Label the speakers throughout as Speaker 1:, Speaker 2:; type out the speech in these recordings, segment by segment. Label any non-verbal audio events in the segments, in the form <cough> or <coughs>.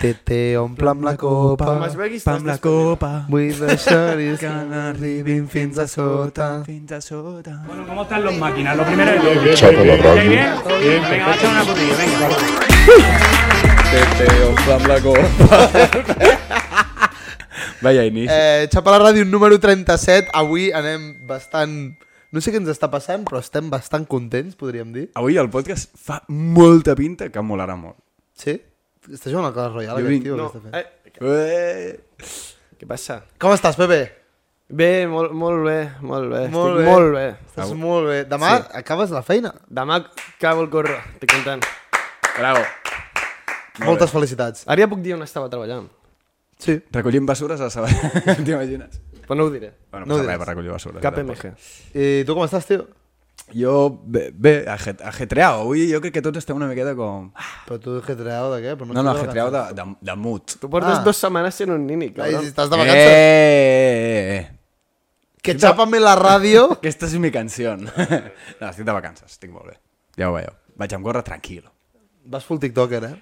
Speaker 1: Tete, omplem la copa.
Speaker 2: Amb els belguis
Speaker 3: Pam la copa.
Speaker 1: Vull
Speaker 2: <laughs>
Speaker 1: deixar-hi
Speaker 3: Que
Speaker 1: arribin fins a sota.
Speaker 3: Fins a sota.
Speaker 4: Bueno, ¿cómo están los máquinas? Lo primero es lo
Speaker 5: Chato la
Speaker 4: ¿Estáis
Speaker 5: radio.
Speaker 4: bien? Venga, va a echar una putilla, venga.
Speaker 2: Tete, omplem la copa. Vaya inici.
Speaker 1: Eh, xapa la ràdio número 37. Avui anem bastant... No sé què ens està passant, però estem bastant contents, podríem dir.
Speaker 2: Avui el podcast fa molta pinta que molarà molt.
Speaker 1: Sí? Està jugant a Clash Royale,
Speaker 2: Jo
Speaker 1: aquest
Speaker 2: vinc-
Speaker 1: tio, no,
Speaker 2: no,
Speaker 1: que està fent.
Speaker 2: Eh, eh.
Speaker 6: Què passa?
Speaker 1: Com estàs, Pepe?
Speaker 6: Bé, molt, molt bé, molt bé.
Speaker 1: Molt bé.
Speaker 6: Estic molt bé.
Speaker 1: Estàs
Speaker 2: Au.
Speaker 1: molt bé. Demà acabes la feina.
Speaker 6: Demà acabo el corro, estic content.
Speaker 2: Bravo.
Speaker 1: Moltes felicitats.
Speaker 6: Ara ja puc dir on estava treballant,
Speaker 1: Sí.
Speaker 2: Recollint bessures a Sabadell, <laughs> t'imagines?
Speaker 6: però no ho diré.
Speaker 2: Bueno,
Speaker 1: No
Speaker 2: no
Speaker 1: ho
Speaker 2: passa res
Speaker 1: diràs.
Speaker 2: per recollir bessures.
Speaker 6: Cap
Speaker 2: eh,
Speaker 6: MG.
Speaker 1: I tu com estàs, tio?
Speaker 2: tampoc. Jo, bé, bé ajet- ajetreau. Avui jo crec que tots estem una miqueta com...
Speaker 1: Però tu getreau de què? Però
Speaker 2: No, no,
Speaker 1: estàs
Speaker 2: ajetreau
Speaker 1: de
Speaker 2: de, de, de mut.
Speaker 6: Tu portes
Speaker 1: Ah.
Speaker 6: dues setmanes sent un nini,
Speaker 1: vacances. Ai,
Speaker 6: cabrón.
Speaker 1: si estàs de
Speaker 2: Eh,
Speaker 1: vacances.
Speaker 2: eh, eh.
Speaker 1: Que xapa-me la ràdio.
Speaker 2: Aquesta és mi canció. <laughs> no, estic de vacances, estic molt bé. Ja ho veieu. Vaig amb gorra tranquil.
Speaker 1: Vas full tiktoker, eh?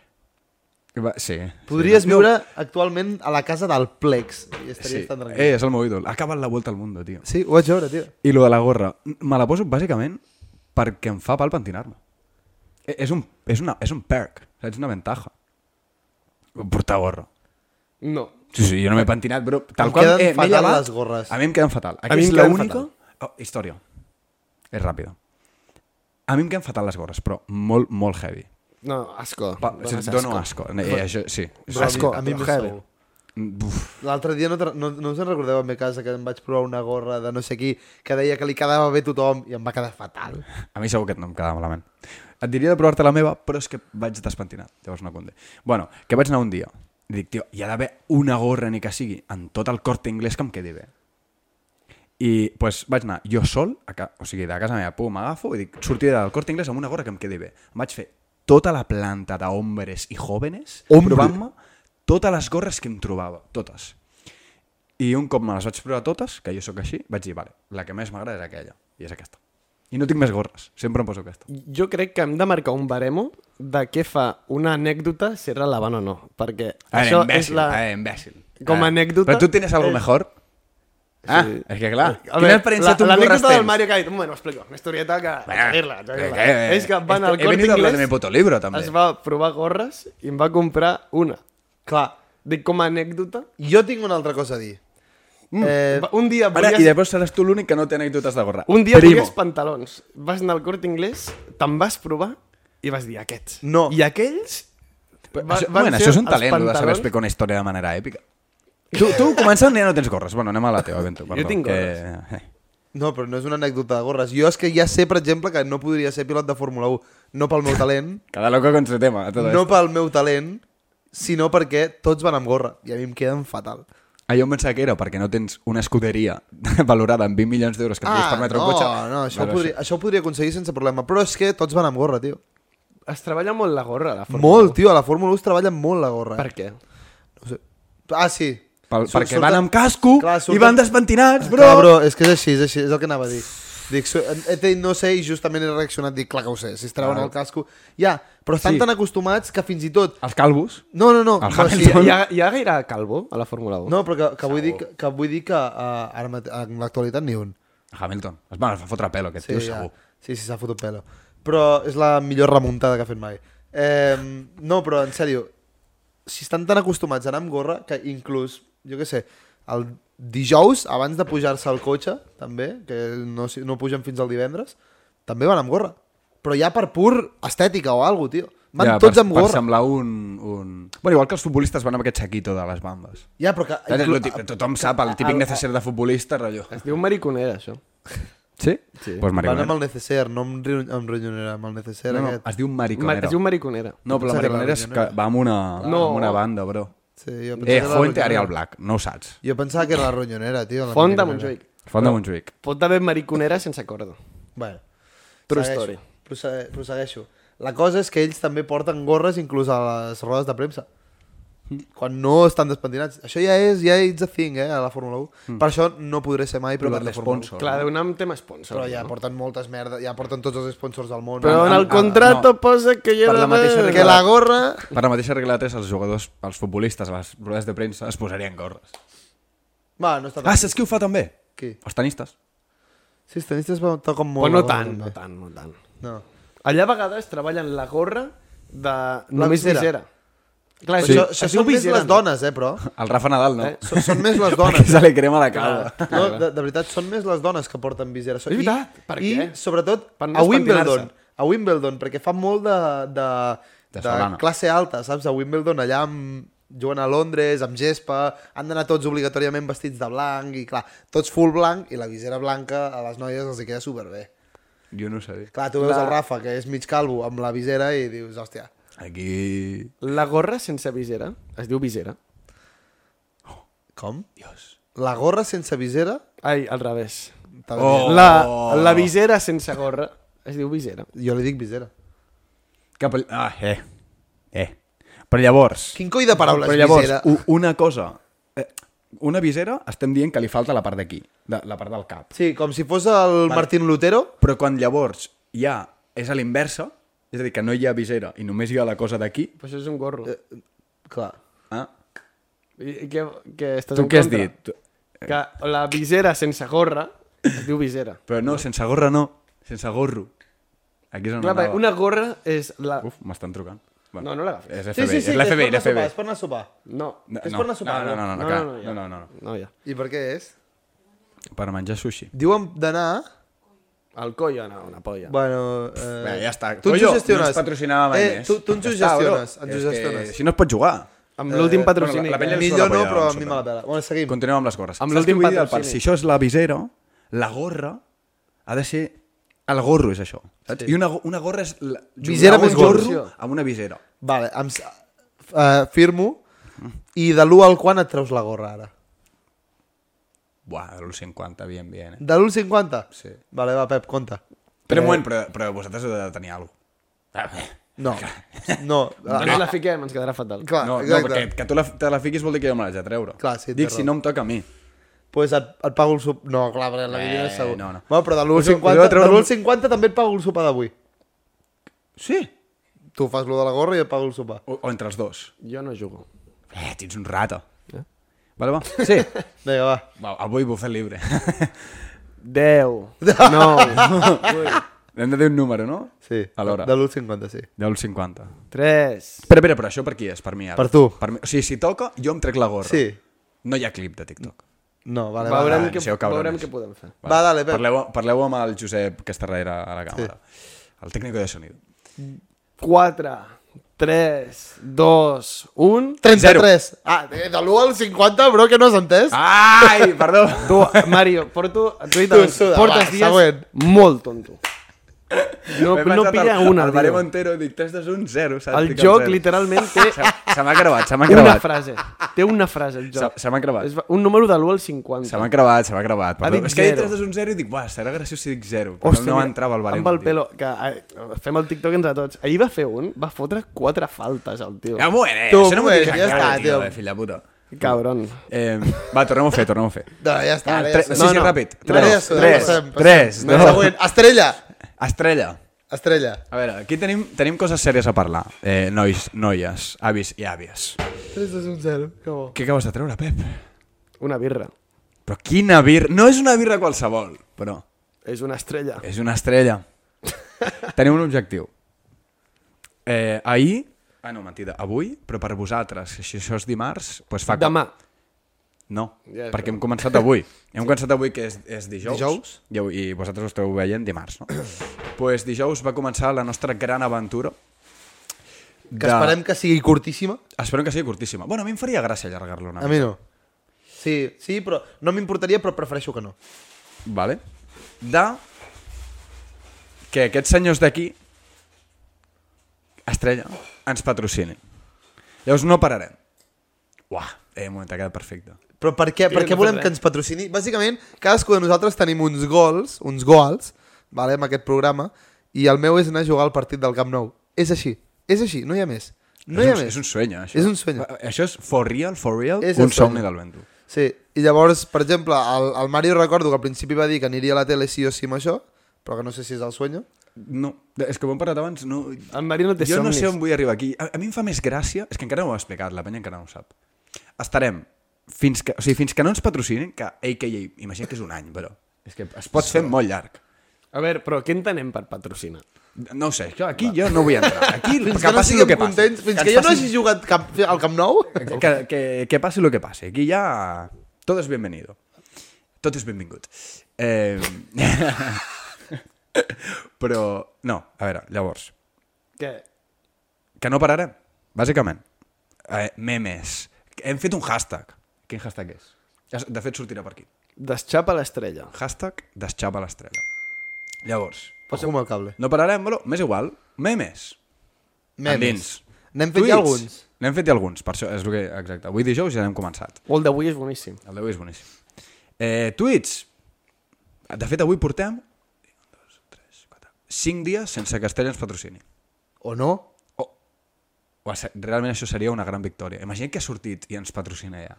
Speaker 2: Va, sí.
Speaker 1: Podries
Speaker 2: sí.
Speaker 1: viure actualment a la casa del Plex. I
Speaker 2: Sí.
Speaker 1: estaries tan tranquil.
Speaker 2: Eh, és el meu ídol. Ha acabat la volta al món, tio.
Speaker 1: Sí, ho vaig veure, tio.
Speaker 2: I lo de la gorra, me la poso bàsicament perquè em fa pal pentinar-me. E- És un, és, una, és un perk, saps? Una ventaja. Portar gorra.
Speaker 6: No.
Speaker 2: Sí, sí, jo no m'he pentinat, però tal eh,
Speaker 1: Em
Speaker 2: qual...
Speaker 1: queden
Speaker 2: m'he
Speaker 1: fatal
Speaker 2: llevat-
Speaker 1: les gorres.
Speaker 2: A mi em queden fatal. Aquí
Speaker 6: mi
Speaker 2: és
Speaker 6: em queden
Speaker 2: l'única... Oh, història. És ràpida. A mi em queden fatal les gorres, però molt, molt heavy.
Speaker 6: No, asco.
Speaker 2: Pa, o sigui,
Speaker 6: Dones
Speaker 2: et dono asco. Eh, això, sí.
Speaker 1: Però a mi-
Speaker 6: Asco,
Speaker 1: a mi em
Speaker 6: però
Speaker 1: més
Speaker 6: heavy.
Speaker 1: segur.
Speaker 2: Uf,
Speaker 1: L'altre dia, no, te- no, no us en recordeu a mi casa que em vaig provar una gorra de no sé qui que deia que li quedava bé a tothom i em va quedar fatal.
Speaker 2: A mi segur que no em quedava malament. Et diria de provar-te la meva, però és que vaig despentinar. Llavors no conté. Bueno, que vaig anar un dia. I dic, tio, hi ha d'haver una gorra, ni que sigui, en tot el corte inglès que em quedi bé. I pues, vaig anar jo sol, a ca... o sigui, de casa meva, pum, m'agafo i dic, sortiré del corte inglès amb una gorra que em quedi bé. Em vaig fer tota la planta d'hombres i jóvenes,
Speaker 1: Hombre.
Speaker 2: provant-me totes les gorres que em trobava, totes. I un cop me les vaig provar totes, que jo sóc així, vaig dir, vale, la que més m'agrada és aquella, i és aquesta. I no tinc més gorres, sempre em poso aquesta.
Speaker 6: Jo crec que hem de marcar un baremo de què fa una anècdota ser relevant o no, perquè
Speaker 2: A veure,
Speaker 6: això és
Speaker 2: Ah, imbècil,
Speaker 6: la...
Speaker 2: a veure, imbècil. Ah.
Speaker 6: Com a anècdota-
Speaker 2: Però tu tens alguna
Speaker 6: Eh.
Speaker 2: mejor? Ah, és que clar.
Speaker 6: A
Speaker 2: Quina
Speaker 6: veure,
Speaker 2: experiència
Speaker 6: la-
Speaker 2: tu amb gorres
Speaker 6: L'anècdota del
Speaker 2: tens?
Speaker 6: Mario que ha dit, bueno, explico, una historieta que...
Speaker 2: Bueno,
Speaker 6: Seguir-la, seguir-la.
Speaker 2: que- que-
Speaker 6: És que van
Speaker 2: esto-
Speaker 6: al
Speaker 2: He
Speaker 6: Corte
Speaker 2: venido a hablar de mi
Speaker 6: Inglés,
Speaker 2: puto libro, també.
Speaker 6: es va provar gorres i em va comprar una.
Speaker 1: Clar,
Speaker 6: Dic, com a anècdota,
Speaker 1: jo tinc una altra cosa a dir. Eh,
Speaker 6: Va- un dia
Speaker 2: Ara,
Speaker 6: volies,
Speaker 2: i després seràs tu l'únic que no té anècdotes de gorra.
Speaker 6: un dia
Speaker 2: Primo.
Speaker 6: volies pantalons. Vas anar al Corte Inglés, te'n vas provar i vas dir aquests.
Speaker 1: No.
Speaker 6: I aquells...
Speaker 2: Però
Speaker 6: va-
Speaker 2: això,
Speaker 6: van
Speaker 2: bueno,
Speaker 6: ser
Speaker 2: això és un
Speaker 6: els
Speaker 2: talent, pantalons... de saber
Speaker 6: pantalons-
Speaker 2: explicar una història de manera èpica. Tu, tu començant ja no tens gorres. Bueno, anem a la teva, Bento. Perdó,
Speaker 6: tinc
Speaker 2: que...
Speaker 1: No, però no és una anècdota de gorres. Jo és que ja sé, per exemple, que no podria ser pilot de Fórmula 1. No pel meu talent,
Speaker 2: <laughs> Cada loco con su tema. a Todo
Speaker 1: no
Speaker 2: no.
Speaker 1: pel meu talent, sinó perquè tots van amb gorra. I a mi em queden fatal.
Speaker 2: Ah, jo em pensava que era perquè no tens una escuderia <laughs> valorada amb 20 milions d'euros que et puguis permetre
Speaker 1: Ah, no,
Speaker 2: un cotxe.
Speaker 1: no, això,
Speaker 2: Vale,
Speaker 1: ho podria, això ho podria aconseguir sense problema. Però és que tots van amb gorra, tio.
Speaker 6: Es treballa molt la gorra, la forma.
Speaker 1: Molt, tio. A la Fórmula 1 es treballa molt la gorra.
Speaker 6: Per què?
Speaker 1: No ho sé. Ah, sí.
Speaker 2: Pel,
Speaker 1: Sur-
Speaker 2: perquè
Speaker 1: surten-
Speaker 2: van amb casco
Speaker 1: Clar, surten-
Speaker 2: i van despentinats, bro.
Speaker 1: Clar, bro, és que és així, és així, és el que anava a dir. Dic, su- he dit no sé i justament he reaccionat, dic, clar que ho sé, si es treuen
Speaker 2: Clar.
Speaker 1: el casco... Ja, però estan
Speaker 2: Sí.
Speaker 1: tan acostumats que fins i tot...
Speaker 2: Els calvos.
Speaker 1: No, no, no.
Speaker 2: El
Speaker 1: no,
Speaker 6: Hi ha, hi ha, hi ha gaire calvo a la Fórmula 1?
Speaker 1: No, però que, que, vull dir, que, que vull dir que uh, ara mate- en l'actualitat ni un.
Speaker 2: Hamilton. Es va, es va fotre pelo, aquest sí, tio,
Speaker 1: ja.
Speaker 2: segur.
Speaker 1: sí, sí, s'ha fotut pelo. Però és la millor remuntada que ha fet mai. Eh, no, però en sèrio, si estan tan acostumats a anar amb gorra que inclús, jo què sé, el dijous, abans de pujar-se al cotxe, també, que no, s'hi- no pugen fins al divendres, també van amb gorra. Però ja per pur estètica o alguna tio. Van
Speaker 2: Ja,
Speaker 1: tots
Speaker 2: per,
Speaker 1: amb
Speaker 2: Per
Speaker 1: gorra.
Speaker 2: semblar un, un... Bueno, igual que els futbolistes van amb aquest xaquito de les bambes.
Speaker 1: Ja, però que...
Speaker 2: Saps?
Speaker 1: inclús-
Speaker 2: Lo típic- Tothom sap el típic necessari de futbolista, rotllo.
Speaker 6: Es diu mariconera, això.
Speaker 2: Sí? Sí. Pues
Speaker 1: Van
Speaker 2: mariconera.
Speaker 1: amb el necesser, no amb, riu, amb ronyonera, amb el necesser
Speaker 2: eh? No, no,
Speaker 1: aquest.
Speaker 2: es diu
Speaker 6: Mar
Speaker 2: mariconera.
Speaker 6: es diu mariconera.
Speaker 2: No, però la
Speaker 1: Sí,
Speaker 2: mariconera
Speaker 1: la
Speaker 2: és que va amb una,
Speaker 6: No.
Speaker 2: amb una banda, bro.
Speaker 1: Sí, jo
Speaker 2: Eh,
Speaker 1: pensava que era
Speaker 2: Fuente
Speaker 1: la
Speaker 2: Ariel
Speaker 1: ronyonera.
Speaker 2: Black, no ho saps.
Speaker 1: Jo pensava que era la ronyonera, tio. la
Speaker 6: Font de
Speaker 1: ronyonera.
Speaker 6: Montjuïc.
Speaker 2: Font de Montjuïc.
Speaker 6: Pot haver mariconera sense corda.
Speaker 1: Bueno,
Speaker 6: True
Speaker 1: segueixo,
Speaker 6: story.
Speaker 1: Prosse- Prossegueixo. La cosa és que ells també porten gorres inclús a les rodes de premsa. quan no estan despentinats. Això ja és, ja it's a thing, eh, a la Fórmula 1. Mm. Per això no podré ser mai
Speaker 2: Però
Speaker 1: privat de
Speaker 2: de
Speaker 1: Fórmula 1.
Speaker 2: sponsor.
Speaker 6: Clar, deu anar amb tema sponsor.
Speaker 1: Però ja
Speaker 6: no?
Speaker 1: porten moltes merdes, ja porten tots els sponsors del món.
Speaker 6: Però en el
Speaker 2: Ah,
Speaker 6: contrato
Speaker 2: no.
Speaker 6: posa que jo
Speaker 2: Per la mateixa
Speaker 1: que la gorra...
Speaker 2: Per la mateixa regla de tres, els jugadors, els futbolistes, a les rodes de premsa, es posarien gorres.
Speaker 1: Va, no està
Speaker 2: Ah,
Speaker 1: tan...
Speaker 2: saps qui ho fa també?
Speaker 1: Qui?
Speaker 2: Els tenistes.
Speaker 1: Sí, els tenistes va- toquen molt.
Speaker 6: Però no
Speaker 1: la gorra,
Speaker 6: tant,
Speaker 1: també.
Speaker 6: no tant, no tant.
Speaker 1: No.
Speaker 6: Allà a vegades treballen la gorra de... Només
Speaker 1: visera.
Speaker 6: visera. Clar,
Speaker 1: Això, això són més les dones, eh, però.
Speaker 2: El Rafa Nadal, no?
Speaker 1: Eh? Són, són més les
Speaker 2: Perquè
Speaker 1: dones. eh?
Speaker 2: se li crema la calva.
Speaker 1: Ah, No, de, de veritat, són més les dones que porten visera.
Speaker 6: És veritat,
Speaker 1: I,
Speaker 6: per
Speaker 1: i
Speaker 6: què?
Speaker 1: sobretot,
Speaker 6: Per no
Speaker 1: a Wimbledon.
Speaker 6: despentinar-se.
Speaker 1: A Wimbledon, perquè fa molt de, de,
Speaker 2: De
Speaker 1: de,
Speaker 2: solana.
Speaker 1: classe alta, saps? A Wimbledon, allà amb, juguen a Londres, amb gespa, han d'anar tots obligatòriament vestits de blanc, i clar, tots full blanc, i la visera blanca a les noies els hi queda superbé.
Speaker 2: Jo no ho sé dir.
Speaker 1: Clar, tu veus
Speaker 6: La-
Speaker 1: el Rafa, que és mig calvo, amb la visera, i dius, hòstia,
Speaker 2: Aquí...
Speaker 6: La gorra sense visera es diu visera.
Speaker 1: com? Dios. La gorra sense visera?
Speaker 6: Ai, al revés.
Speaker 1: T'ha
Speaker 2: Oh.
Speaker 1: dit.
Speaker 6: La, la visera sense gorra es diu visera.
Speaker 1: Jo li dic visera.
Speaker 2: Cap al... Ah, eh. Eh. Però llavors...
Speaker 1: Quin coi de paraules,
Speaker 2: Però llavors,
Speaker 1: visera?
Speaker 2: u- una cosa... Eh, una visera estem dient que li falta la part d'aquí, de, la part del cap.
Speaker 1: Sí, com si fos el Martín Lutero,
Speaker 2: Però quan llavors ja és a l'inversa, és a dir, que no hi ha visera i només hi ha la cosa d'aquí...
Speaker 6: Però això és un gorro.
Speaker 1: Clar.
Speaker 2: Ah,
Speaker 6: I, i què, què estàs
Speaker 2: tu
Speaker 6: en
Speaker 2: què has
Speaker 6: contra?
Speaker 2: dit? Tu-
Speaker 6: Que la visera sense gorra es diu visera.
Speaker 2: Però no, sense gorra no. Sense gorro. Aquí és on
Speaker 6: Clar,
Speaker 2: anava.
Speaker 6: perquè una gorra és la...
Speaker 2: Uf, m'estan trucant.
Speaker 6: No, no l'agafis.
Speaker 2: És FBI, sí, sí, sí, és l'FBI,
Speaker 1: que és per anar
Speaker 2: l'FBI.
Speaker 1: a sopar, és per anar a sopar.
Speaker 6: No.
Speaker 2: No,
Speaker 1: és
Speaker 2: no,
Speaker 1: per anar a sopar,
Speaker 2: no, no, no, no,
Speaker 6: no,
Speaker 2: clar,
Speaker 6: no, ja.
Speaker 2: no, no, no.
Speaker 6: No, ja.
Speaker 1: I per què és?
Speaker 2: Per menjar sushi.
Speaker 1: Diuen d'anar...
Speaker 6: Al coll o no, una polla.
Speaker 1: Bueno, eh...
Speaker 2: Bé, ja està.
Speaker 1: Tu ens
Speaker 2: Pollo,
Speaker 1: ho gestiones.
Speaker 2: No ens patrocinava mai
Speaker 1: eh,
Speaker 2: més.
Speaker 1: Tu, tu ens ho
Speaker 2: Ja està, bro.
Speaker 1: gestiones. Ens ho
Speaker 2: És que
Speaker 1: gestiones.
Speaker 2: Si no es pot jugar.
Speaker 6: Amb l'últim patrocini.
Speaker 2: bueno, la-
Speaker 6: eh,
Speaker 2: la
Speaker 6: que-
Speaker 2: pell-
Speaker 1: Millor no,
Speaker 2: polla,
Speaker 1: però a
Speaker 2: em
Speaker 1: mi
Speaker 2: sembla.
Speaker 1: me la pela. Bueno, seguim.
Speaker 2: Continuem amb les gorres.
Speaker 6: Amb
Speaker 2: Saps
Speaker 6: l'últim
Speaker 2: què vull dir del
Speaker 6: patrocini.
Speaker 2: part? Si això és la visera, la gorra ha de ser... El gorro és això. Saps? I una, go- una gorra és... La...
Speaker 1: Visera
Speaker 2: jugar
Speaker 1: més
Speaker 2: un
Speaker 1: gorro.
Speaker 2: gorro amb una visera.
Speaker 1: Vale, em... s- eh, firmo. I de l'1 al quan et treus la gorra, ara?
Speaker 2: Buah, de l'1,50, bien, bien. Eh?
Speaker 1: De l'1 al 50?
Speaker 2: Sí.
Speaker 1: Vale, va, Pep, compta.
Speaker 2: Però, un moment, Eh, però, però vosaltres heu de tenir alguna cosa. <laughs>
Speaker 1: No. No.
Speaker 6: No
Speaker 1: Clar,
Speaker 6: ens la fiquem, ens quedarà fatal.
Speaker 1: clar
Speaker 2: No, no,
Speaker 1: exacte.
Speaker 2: perquè que tu la, te la fiquis vol dir que jo me l'haig de treure.
Speaker 1: Clar, sí, té
Speaker 2: Dic,
Speaker 1: raó.
Speaker 2: si no em toca a mi.
Speaker 1: pues et, et pago el sopar... No, clar, perquè la vídeo
Speaker 2: Eh,
Speaker 1: és segur.
Speaker 2: no, no.
Speaker 1: Bueno, però de l'1 al
Speaker 2: Podeu-
Speaker 1: 50,
Speaker 2: podeu
Speaker 1: de
Speaker 2: treure-
Speaker 1: l'1 al 50 també et pago el sopar d'avui.
Speaker 2: Sí.
Speaker 1: Tu fas lo de la gorra i et pago el sopar.
Speaker 2: O, o entre els dos.
Speaker 6: Jo no jugo.
Speaker 2: Eh, tens un rata. Eh? Vale, <laughs> va.
Speaker 6: <laughs>
Speaker 2: Sí.
Speaker 1: Vinga, va.
Speaker 2: va, avui bufet libre.
Speaker 6: 10, 9,
Speaker 2: <laughs> Hem de dir un número, no?
Speaker 1: Sí.
Speaker 2: Alhora.
Speaker 1: De l'1 al 50, sí.
Speaker 2: Del 50.
Speaker 6: 3...
Speaker 2: Espera, espera, però això per qui és? Per mi ara.
Speaker 1: Per tu.
Speaker 2: Per mi... O sigui, si toca, jo em trec la gorra.
Speaker 1: Sí.
Speaker 2: No hi ha clip de TikTok.
Speaker 1: No, vale, vale.
Speaker 6: Veurem,
Speaker 2: va,
Speaker 6: què,
Speaker 2: deixeu cabrones.
Speaker 6: veurem què podem fer.
Speaker 1: Va, dale, Pep.
Speaker 2: Parleu, parleu amb el Josep, que està darrere a la càmera. Sí. El tècnic de sonido.
Speaker 6: 4, 3, 2, 1...
Speaker 1: 33. Ah, de, de l'1 al 50, bro, que no has entès?
Speaker 2: Ah. Ai, perdó.
Speaker 6: Tu, Mario, porto... Tu,
Speaker 1: Tu, suda,
Speaker 6: portes
Speaker 1: va,
Speaker 6: dies
Speaker 1: següent.
Speaker 6: molt
Speaker 2: <laughs>
Speaker 6: tonto. No,
Speaker 2: M'he
Speaker 6: no
Speaker 2: pensat
Speaker 6: pilla
Speaker 2: el-
Speaker 6: una,
Speaker 2: El barem
Speaker 6: tio.
Speaker 2: entero, dic 3, 2, 1, 0. Saps?
Speaker 6: El
Speaker 2: Dic
Speaker 6: joc
Speaker 2: zero.
Speaker 6: literalment té
Speaker 2: <laughs> Se, se m'ha creuat, se m'ha creuat.
Speaker 6: una frase. Té una frase, el joc.
Speaker 2: Se- se m'ha crevat.
Speaker 6: És un número de l'1 al 50.
Speaker 2: Se m'ha crevat, se m'ha crevat.
Speaker 6: Ha dit
Speaker 2: Perdó. És que he dit
Speaker 6: zero.
Speaker 2: 3, 2, 1, 0 i dic, buah, serà graciós si dic 0. Però Hòstia, no
Speaker 6: mira,
Speaker 2: entrava el barem.
Speaker 6: Amb el
Speaker 2: tio.
Speaker 6: pelo, que eh, fem el TikTok entre tots. Ahir va fer un, va fotre quatre faltes, el tio.
Speaker 2: Ja m'ho era, eh?
Speaker 1: Tu,
Speaker 2: això no m'ho
Speaker 1: pues,
Speaker 2: dic
Speaker 1: ja
Speaker 2: encara,
Speaker 1: està,
Speaker 2: tio,
Speaker 1: tio.
Speaker 2: eh, fill de puta.
Speaker 6: Cabron.
Speaker 2: Eh, va, tornem-ho a fer, tornem-ho a fer.
Speaker 1: No, ja està.
Speaker 2: Ah,
Speaker 1: ara
Speaker 2: tre-
Speaker 1: ja
Speaker 2: sí,
Speaker 1: està.
Speaker 2: sí, ràpid.
Speaker 1: No,
Speaker 2: Tres,
Speaker 1: ara ja està, ja
Speaker 2: tres,
Speaker 1: passem, passem.
Speaker 2: tres,
Speaker 1: Vinga,
Speaker 2: no.
Speaker 1: Següent. Estrella.
Speaker 2: Estrella.
Speaker 1: Estrella.
Speaker 2: A veure, aquí tenim, tenim coses sèries a parlar. Eh, nois, noies, avis i àvies.
Speaker 1: 3, 2, 1, 0. Que bo.
Speaker 2: Què acabes de treure, Pep?
Speaker 6: Una birra.
Speaker 2: Però quina birra... No és una birra qualsevol, però
Speaker 6: És una estrella.
Speaker 2: és una estrella. tenim un objectiu. Eh, ahir... Ah, no, mentida. Avui, però per vosaltres, si això és dimarts, doncs fa...
Speaker 6: Demà.
Speaker 2: No,
Speaker 6: Ja
Speaker 2: ja
Speaker 6: és
Speaker 2: perquè hem començat avui. Hem començat avui, que és, és dijous.
Speaker 1: Dijous?
Speaker 2: I, avui- I vosaltres ho esteu veient dimarts, no? <clears throat> Doncs pues dijous va començar la nostra gran aventura.
Speaker 1: Que esperem que sigui curtíssima.
Speaker 2: Esperem que sigui curtíssima. Bueno, a mi em faria gràcia allargar-la una
Speaker 1: A mi no. Sí, sí, però no m'importaria, però prefereixo que no.
Speaker 2: mica. Vale. De que aquests senyors d'aquí, Estrella, ens patrocinin. Llavors no pararem. Uah, eh, un moment, ha quedat perfecte.
Speaker 1: Però per què, per
Speaker 6: no
Speaker 1: què
Speaker 6: fas
Speaker 1: volem
Speaker 6: res.
Speaker 1: que ens patrocini? Bàsicament, cadascú de nosaltres tenim uns gols, uns goals, vale, amb aquest programa, i el meu és anar a jugar al partit del Camp Nou. És així, és així, no hi ha més. No hi
Speaker 2: és,
Speaker 1: ha
Speaker 2: un,
Speaker 1: més.
Speaker 2: és un sueño, això.
Speaker 1: És un sueño.
Speaker 2: A- Això és for real, for real,
Speaker 1: És
Speaker 2: és
Speaker 1: el
Speaker 2: un somni
Speaker 1: sueño.
Speaker 2: del vento.
Speaker 1: Sí, i llavors, per exemple, el, el Mario recordo que al principi va dir que aniria a la tele sí o sí amb això, però que no sé si és el sueño.
Speaker 2: No, és que ho hem parlat abans, no...
Speaker 6: En Mario no té
Speaker 2: jo no
Speaker 6: somnis.
Speaker 2: sé on vull arribar aquí. A, a mi em fa més gràcia... És que encara no ho he explicat, la penya encara no ho sap. Estarem fins que... O sigui, fins que no ens patrocinin, que AKA, imagina que és un any, però... És que es pot fer molt llarg.
Speaker 6: A veure, però què entenem per patrocinar?
Speaker 2: No ho sé, això aquí jo no
Speaker 1: <laughs>
Speaker 2: vull entrar. Aquí
Speaker 1: Fins
Speaker 2: que,
Speaker 1: que, no
Speaker 2: passi el
Speaker 1: siguem
Speaker 2: que passi.
Speaker 1: contents, fins que,
Speaker 2: ens
Speaker 1: jo no
Speaker 2: facin-
Speaker 1: hagi jugat cap, al Camp Nou...
Speaker 2: que, que, que passi el que passi. Aquí ja tot és benvenido. Tot és benvingut. Eh... <laughs> Però, no, a veure, llavors,
Speaker 6: Què?
Speaker 2: que no pararem, bàsicament. Eh, memes. Hem fet un hashtag. Quin hashtag és? Ja s- De fet, sortirà per aquí.
Speaker 6: Deschapa l'estrella.
Speaker 2: Hashtag desxapa l'estrella. Llavors,
Speaker 1: Ojo amb el cable.
Speaker 2: no pararem, però m'és igual. Memes. Endins.
Speaker 1: N'hem fet ja
Speaker 2: Tuits.
Speaker 1: alguns.
Speaker 2: N'hem fet ja alguns, per això és el que... Exacte, avui dijous ja n'hem començat.
Speaker 6: O el d'avui és boníssim.
Speaker 2: El d'avui és boníssim. Eh, tuits. De fet, avui portem 5 dies sense que Estella ens patrocini.
Speaker 1: O no?
Speaker 2: O se- Realment això seria una gran victòria. Imagina't que ha sortit i ens patrocina ja.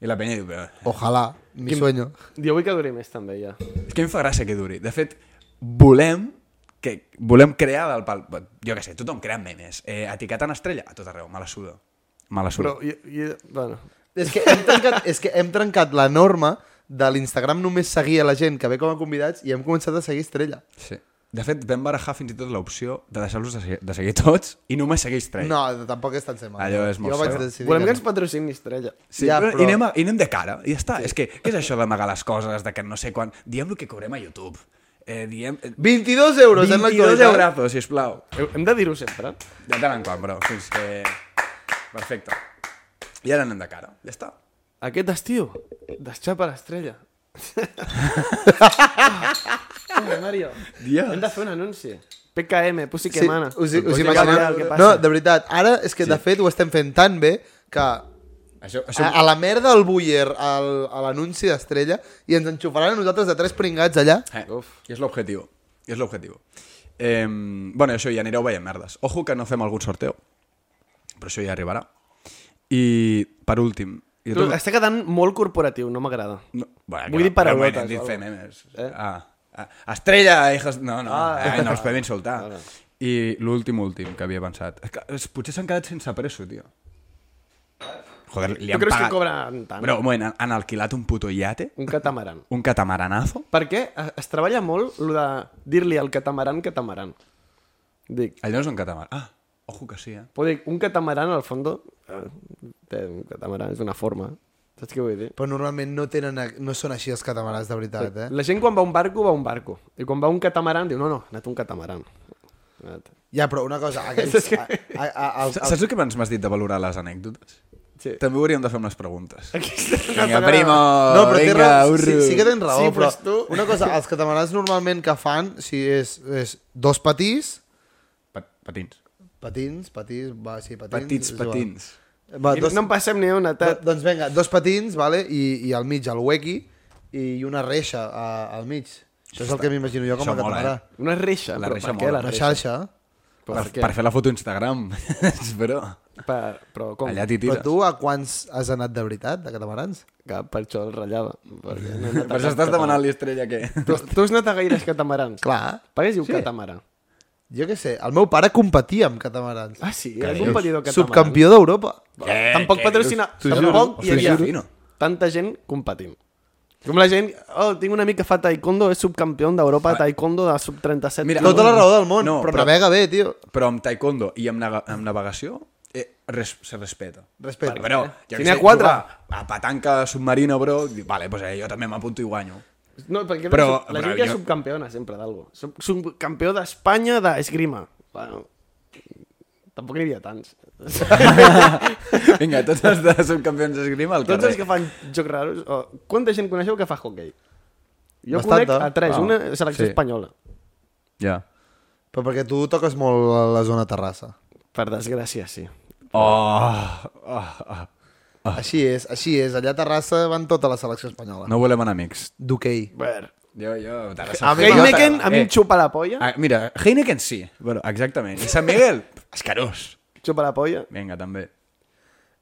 Speaker 2: I la penya diu... "Eh,
Speaker 1: Ojalá, mi sueño.
Speaker 6: Jo vull que duri més, també, ja.
Speaker 2: És que a mi em fa gràcia que duri. De fet, volem que volem crear del pal... Jo què sé, tothom crea memes. Eh, etiquetant estrella a tot arreu, me la suda. Me la suda.
Speaker 6: Però, jo, jo, bueno...
Speaker 1: És que hem trencat, és que hem trencat la norma de l'Instagram només seguir a la gent que ve com a convidats i hem començat a seguir Estrella.
Speaker 2: Sí. De fet, vam barajar fins i tot l'opció de deixar-los de, se- de seguir tots i només seguir Stray.
Speaker 1: No, tampoc és tan sema.
Speaker 2: Allò és molt
Speaker 1: jo vaig
Speaker 2: seu.
Speaker 1: decidir
Speaker 6: Volem que ens
Speaker 1: no.
Speaker 6: patrocini estrella.
Speaker 2: Sí,
Speaker 1: Ja,
Speaker 2: ja, però...
Speaker 1: però-
Speaker 2: i, anem a, I anem de cara, i ja està. Sí. És que, què és això d'amagar les coses, de que no sé quan... Diem el que cobrem a YouTube. Eh, diem... eh,
Speaker 1: 22 euros eh? en
Speaker 2: 22
Speaker 1: l'actualitat.
Speaker 2: eurazos, sisplau.
Speaker 6: Hem de dir-ho sempre.
Speaker 2: De tant en quant, però, fins que... Perfecte. I ara anem de cara, ja està.
Speaker 6: Aquest estiu, deschapa l'estrella. Home, Mario,
Speaker 2: Dios.
Speaker 6: hem de fer un anunci. PKM, Pussy que
Speaker 1: Sí,
Speaker 6: mana.
Speaker 1: us, hi- us
Speaker 6: Pussy que mana, el que
Speaker 1: imagineu?
Speaker 6: passa.
Speaker 1: No, de veritat, ara és que de fet ho estem fent tan bé que a,
Speaker 2: Això, això...
Speaker 1: a la merda el Buller, al, a l'anunci d'Estrella, i ens enxufaran a nosaltres de tres pringats allà.
Speaker 2: Eh, I és l'objectiu. I és l'objectiu. Eh, bueno, això ja anireu veient merdes. Ojo que no fem algun sorteo. Però això ja arribarà. I, per últim... Jo
Speaker 6: Tu,
Speaker 2: també-
Speaker 6: està quedant molt corporatiu, no m'agrada.
Speaker 2: No, bueno,
Speaker 6: Vull dir paraulotes
Speaker 2: Hem dit
Speaker 6: o
Speaker 2: fer
Speaker 6: algo.
Speaker 2: memes. Eh? Ah, ah, estrella, hijos... No, no,
Speaker 6: Ah.
Speaker 2: ah, eh, no els podem
Speaker 6: <laughs>
Speaker 2: insultar. I l'últim, últim que havia pensat. És que, és, potser s'han quedat sense preso, tio. Joder, li
Speaker 6: Tu
Speaker 2: han
Speaker 6: creus
Speaker 2: pagat...
Speaker 6: que cobren tant?
Speaker 2: Però, un moment, han, han alquilat un puto iate,
Speaker 6: Un catamaran.
Speaker 2: un catamaranazo,
Speaker 6: Perquè es, es treballa molt el de dir-li al catamaran catamaran. Dic,
Speaker 2: Allò no és un catamaran. Ah, ojo que sí, eh?
Speaker 6: però dic, un catamaran al fondo... eh, Té un catamaran, és una forma. Saps què vull dir?
Speaker 1: Però normalment no, tenen, no són així els catamarans, de veritat, eh?
Speaker 6: La gent quan va a un barco, va a un barco. I quan va a un catamaran, diu, no, no, ha anat un catamaran. Ha anat-
Speaker 1: Ja, però una
Speaker 6: <laughs>
Speaker 1: cosa, aquells... A, a, a, a,
Speaker 2: Saps el que abans m'has dit de valorar les anècdotes?
Speaker 6: Sí.
Speaker 2: També hauríem de fer amb les preguntes. Vinga,
Speaker 6: parada.
Speaker 2: primo,
Speaker 1: No, però té
Speaker 2: vinga,
Speaker 1: raó, sí,
Speaker 2: urru.
Speaker 1: sí que tens raó,
Speaker 6: Sí,
Speaker 1: però
Speaker 6: pues tu-
Speaker 1: una cosa, els catamarans normalment que fan, si és, és dos patins,
Speaker 2: Pa- Patins.
Speaker 1: patins, patins, va, sí, patins.
Speaker 2: Petits
Speaker 1: és igual.
Speaker 2: patins.
Speaker 1: Va,
Speaker 6: I
Speaker 1: dos,
Speaker 6: no en passem ni una,
Speaker 1: do,
Speaker 6: tat.
Speaker 1: doncs vinga, dos patins, vale? I, i al mig el huequi i una reixa a, al mig. Això és el que m'imagino jo com
Speaker 2: Això
Speaker 1: a
Speaker 2: mola,
Speaker 1: catamarà.
Speaker 6: Una reixa,
Speaker 2: La
Speaker 6: però
Speaker 2: reixa
Speaker 6: per què
Speaker 2: mola.
Speaker 6: la
Speaker 1: Una
Speaker 6: reixa?
Speaker 1: xarxa.
Speaker 6: Per,
Speaker 2: Per,
Speaker 6: què?
Speaker 2: per fer la foto a Instagram. <laughs> Però
Speaker 6: Per, però com?
Speaker 2: allà t'hi
Speaker 1: Però
Speaker 2: tires.
Speaker 1: tu a quants has anat de veritat, de catamarans?
Speaker 6: Cap, per això el ratllava. Perquè no he anat a
Speaker 2: Per això
Speaker 6: cap
Speaker 2: estàs
Speaker 6: catamaran.
Speaker 2: demanant l'estrella que...
Speaker 6: Tu, tu has anat a gaires catamarans?
Speaker 1: Clar.
Speaker 6: Pagues diu sí. catamarà.
Speaker 1: Jo què sé, el meu pare competia amb catamarans.
Speaker 6: Ah, sí, és un patidor catamaran.
Speaker 1: Subcampió d'Europa.
Speaker 2: Què?
Speaker 6: Eh, Tampoc
Speaker 2: Què
Speaker 6: patrocina...
Speaker 2: dius? T'ho Eh, juro,
Speaker 6: Tampoc
Speaker 2: us ho
Speaker 6: hi havia
Speaker 2: juro.
Speaker 6: tanta gent competint. Com la gent... Oh, tinc un amic que fa taekwondo, és subcampió d'Europa, taekwondo de sub-37.
Speaker 2: Mira,
Speaker 1: Tota la raó del món,
Speaker 2: No,
Speaker 1: però,
Speaker 2: però-
Speaker 1: navega bé, tio.
Speaker 2: Però amb taekwondo i amb, nava amb navegació eh, res, se respeta.
Speaker 1: Respecte.
Speaker 2: Però,
Speaker 6: Si
Speaker 2: jo què
Speaker 6: n'hi ha
Speaker 2: sé,
Speaker 6: quatre.
Speaker 2: jugar a petanca submarina, bro, dic, vale, pues eh, jo també m'apunto i guanyo.
Speaker 6: No, perquè
Speaker 2: Però-
Speaker 6: però, la gent
Speaker 2: però
Speaker 6: que és
Speaker 2: jo-
Speaker 6: subcampeona sempre d'algo. Sub- Subcampió d'Espanya d'esgrima. Bueno, tampoc n'hi
Speaker 1: <laughs>
Speaker 6: havia tants.
Speaker 2: Vinga, tots els de subcampions d'esgrima al carrer.
Speaker 6: Tots els que fan jocs raros... O... Quanta gent coneixeu que fa hockey? Jo
Speaker 1: Bastanta.
Speaker 6: conec a tres,
Speaker 2: Ah,
Speaker 6: una selecció
Speaker 2: sí.
Speaker 6: espanyola.
Speaker 2: Ja.
Speaker 1: Però perquè tu toques molt la zona terrassa.
Speaker 6: Per desgràcia, sí.
Speaker 2: Oh, oh, oh.
Speaker 1: Ah. Així és, així és. Allà a Terrassa van tota la selecció espanyola. No.
Speaker 2: No volem enemics.
Speaker 1: D'hoquei.
Speaker 6: A veure,
Speaker 2: Jo, jo... Eh, Te
Speaker 1: A mi- Eh.
Speaker 6: Heineken a mi em xupa la polla.
Speaker 2: Ah, mira, Heineken sí. Bueno, exactament. I Sant Miguel, <laughs> escarós.
Speaker 6: Xupa la polla.
Speaker 2: Vinga, també.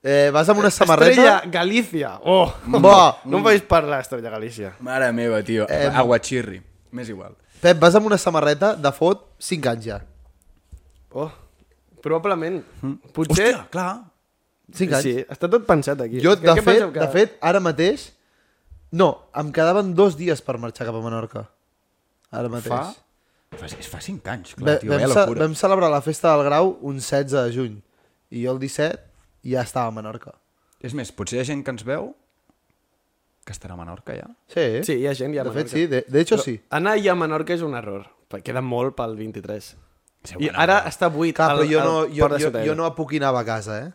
Speaker 1: Eh, vas amb una
Speaker 6: Estrella
Speaker 1: samarreta...
Speaker 6: Galícia. Oh.
Speaker 1: Buah.
Speaker 6: No em facis parlar, Estrella Galícia.
Speaker 2: Mare meva, tio. Eh, Aguachirri. M'és igual.
Speaker 1: Pep, vas amb una samarreta de fot 5 anys ja.
Speaker 6: Oh. Probablement. Potser...
Speaker 2: Hòstia, clar.
Speaker 1: 5 Mm. anys.
Speaker 6: Sí, està tot pensat aquí.
Speaker 1: Jo,
Speaker 6: Què-
Speaker 1: de
Speaker 6: què
Speaker 1: fet,
Speaker 6: penseu que-
Speaker 1: de fet, ara mateix... No, em quedaven dos dies per marxar cap a Menorca. Ara mateix.
Speaker 2: Fa? Fa, és fa 5 anys, clar,
Speaker 1: Ve-
Speaker 2: tio.
Speaker 6: eh,
Speaker 1: vam,
Speaker 2: Vaya
Speaker 1: ce-
Speaker 2: locura.
Speaker 1: vam celebrar la festa del grau un 16 de juny. I jo el 17 ja estava a Menorca.
Speaker 2: És més, potser hi ha gent que ens veu que estarà a Menorca, ja.
Speaker 1: Sí, eh?
Speaker 6: Sí, hi ha gent ja a
Speaker 1: De fet,
Speaker 6: Menorca.
Speaker 1: sí. De, de hecho,
Speaker 6: Però
Speaker 1: sí.
Speaker 6: Anar ja a Menorca és un error. perquè Queda molt pel 23.
Speaker 2: Sí,
Speaker 6: I
Speaker 2: bueno,
Speaker 6: ara
Speaker 2: però-
Speaker 6: està buit
Speaker 1: Clar, però
Speaker 6: al-
Speaker 1: jo
Speaker 6: al
Speaker 1: no, jo,
Speaker 6: Port de
Speaker 1: jo,
Speaker 6: Ciutadella.
Speaker 1: jo no apuquinava a casa, eh?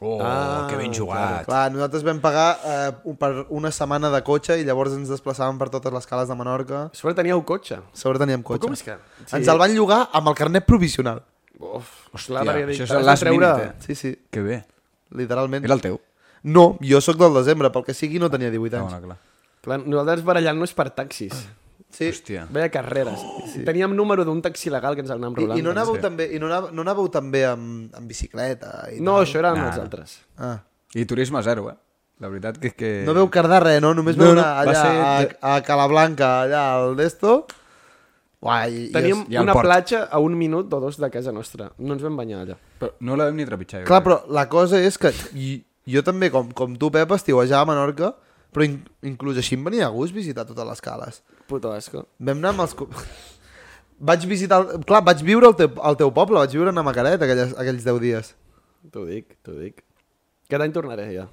Speaker 2: Oh,
Speaker 6: Ah,
Speaker 2: que ben jugat.
Speaker 1: Clar, nosaltres vam pagar eh, un- per una setmana de cotxe i llavors ens desplaçàvem per totes les cales de Menorca.
Speaker 6: A sobre teníeu cotxe.
Speaker 1: A Sobre teníem cotxe.
Speaker 6: com és que-
Speaker 1: Sí. Ens el van llogar amb el carnet provisional.
Speaker 6: Uf,
Speaker 2: Hòstia, això és el
Speaker 6: has
Speaker 2: last
Speaker 6: de
Speaker 2: minute,
Speaker 1: Sí, sí,
Speaker 2: eh? Que bé.
Speaker 1: literalment.
Speaker 2: Era el teu.
Speaker 1: No, jo sóc del desembre, pel que sigui no tenia 18
Speaker 2: Ah,
Speaker 1: anys.
Speaker 2: bueno, clar.
Speaker 6: Clar, nosaltres barallant-nos per taxis.
Speaker 2: Ah.
Speaker 1: Sí.
Speaker 2: Hòstia.
Speaker 6: Veia carreres. Teníem número d'un taxi legal que ens el anàvem
Speaker 1: Oh, I,
Speaker 6: rolant.
Speaker 1: I no anàveu
Speaker 2: sí.
Speaker 1: també, i no anàveu, no anàveu també amb, amb bicicleta? I
Speaker 6: No,
Speaker 1: tal?
Speaker 6: això eren
Speaker 2: No,
Speaker 6: els
Speaker 2: no.
Speaker 6: altres.
Speaker 1: Ah.
Speaker 2: I turisme zero, eh? La veritat que és que...
Speaker 1: No veu cardar res, no? Només
Speaker 2: Eh. No,
Speaker 1: veu
Speaker 2: no,
Speaker 1: anar
Speaker 2: va
Speaker 1: allà
Speaker 2: ser-
Speaker 1: a, a Calablanca, allà al d'esto. Uai, i- i
Speaker 6: Teníem
Speaker 2: i al
Speaker 6: una
Speaker 2: port.
Speaker 6: platja a un minut o dos de casa nostra. No ens vam banyar allà.
Speaker 2: Però no la vam ni trepitjar. jo
Speaker 1: Clar,
Speaker 2: crec.
Speaker 1: però la cosa és que i, jo també, com, com tu, Pep, estiuejava a Menorca, però in, inclús així em venia a gust visitar totes les cales.
Speaker 6: Puto asco.
Speaker 1: Vam anar amb els... co- <laughs> vaig visitar... el- Clar, vaig viure al teu, al teu poble, vaig viure a Namacaret aquells, aquells 10 dies.
Speaker 6: T'ho dic, t'ho dic. Aquest any tornaré, ja.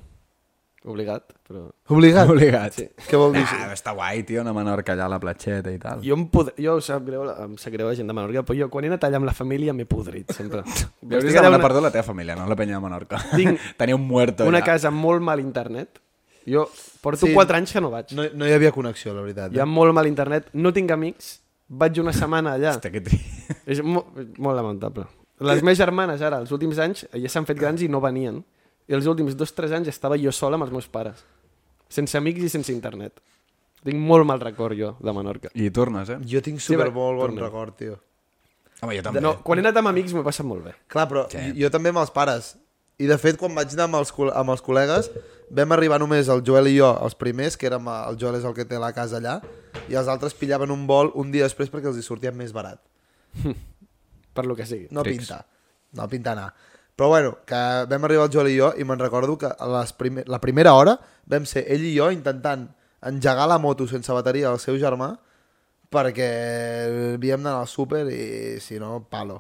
Speaker 6: Obligat, però...
Speaker 1: Obligat.
Speaker 6: <laughs>
Speaker 2: Obligat. Sí.
Speaker 1: Què vol dir?
Speaker 2: Ah, està guai, tio, anar a Menorca allà a la platxeta i tal.
Speaker 6: Jo em podre... Jo ho sap greu, em sap greu la gent de Menorca, però jo quan he anat allà amb la família m'he podrit, sempre.
Speaker 2: Jo hauries de
Speaker 6: Estic allà
Speaker 2: demanar
Speaker 6: una-
Speaker 2: perdó a la teva família, no a la penya de Menorca.
Speaker 6: Tinc
Speaker 2: <laughs> Tenia un muerto
Speaker 6: Una
Speaker 2: allà.
Speaker 6: casa amb molt mal internet. Jo porto
Speaker 1: Sí.
Speaker 6: 4 anys que no vaig.
Speaker 1: No, no hi havia connexió, la veritat.
Speaker 6: Hi ha molt mal internet, no tinc amics, vaig una setmana allà.
Speaker 2: Hòstia, que tri... <laughs>
Speaker 6: És mo molt lamentable. Les meves germanes ara, els últims anys, ja s'han fet grans i no venien. I els últims dos, tres anys estava jo sola amb els meus pares. Sense amics i sense internet. Tinc molt mal record jo de Menorca.
Speaker 2: I tornes, eh?
Speaker 1: Jo tinc
Speaker 6: Sí, va,
Speaker 1: super molt bon
Speaker 6: tornem.
Speaker 1: record, tio.
Speaker 2: Home, jo també.
Speaker 6: No, quan he anat amb amics m'ho he passat molt bé.
Speaker 1: Clar, però
Speaker 2: Sí.
Speaker 1: jo també amb els pares. I de fet, quan vaig anar amb els, col- amb els col·legues, vam arribar només el Joel i jo, els primers, que érem, el Joel és el que té la casa allà, i els altres pillaven un vol un dia després perquè els hi sortia més barat.
Speaker 6: Per lo que sigui.
Speaker 1: No
Speaker 2: Trics.
Speaker 1: pinta. No pinta anar. Però bueno, que vam arribar el Joel i jo i me'n recordo que a les primer, la primera hora vam ser ell i jo intentant engegar la moto sense bateria al seu germà perquè havíem d'anar al súper i si no, palo.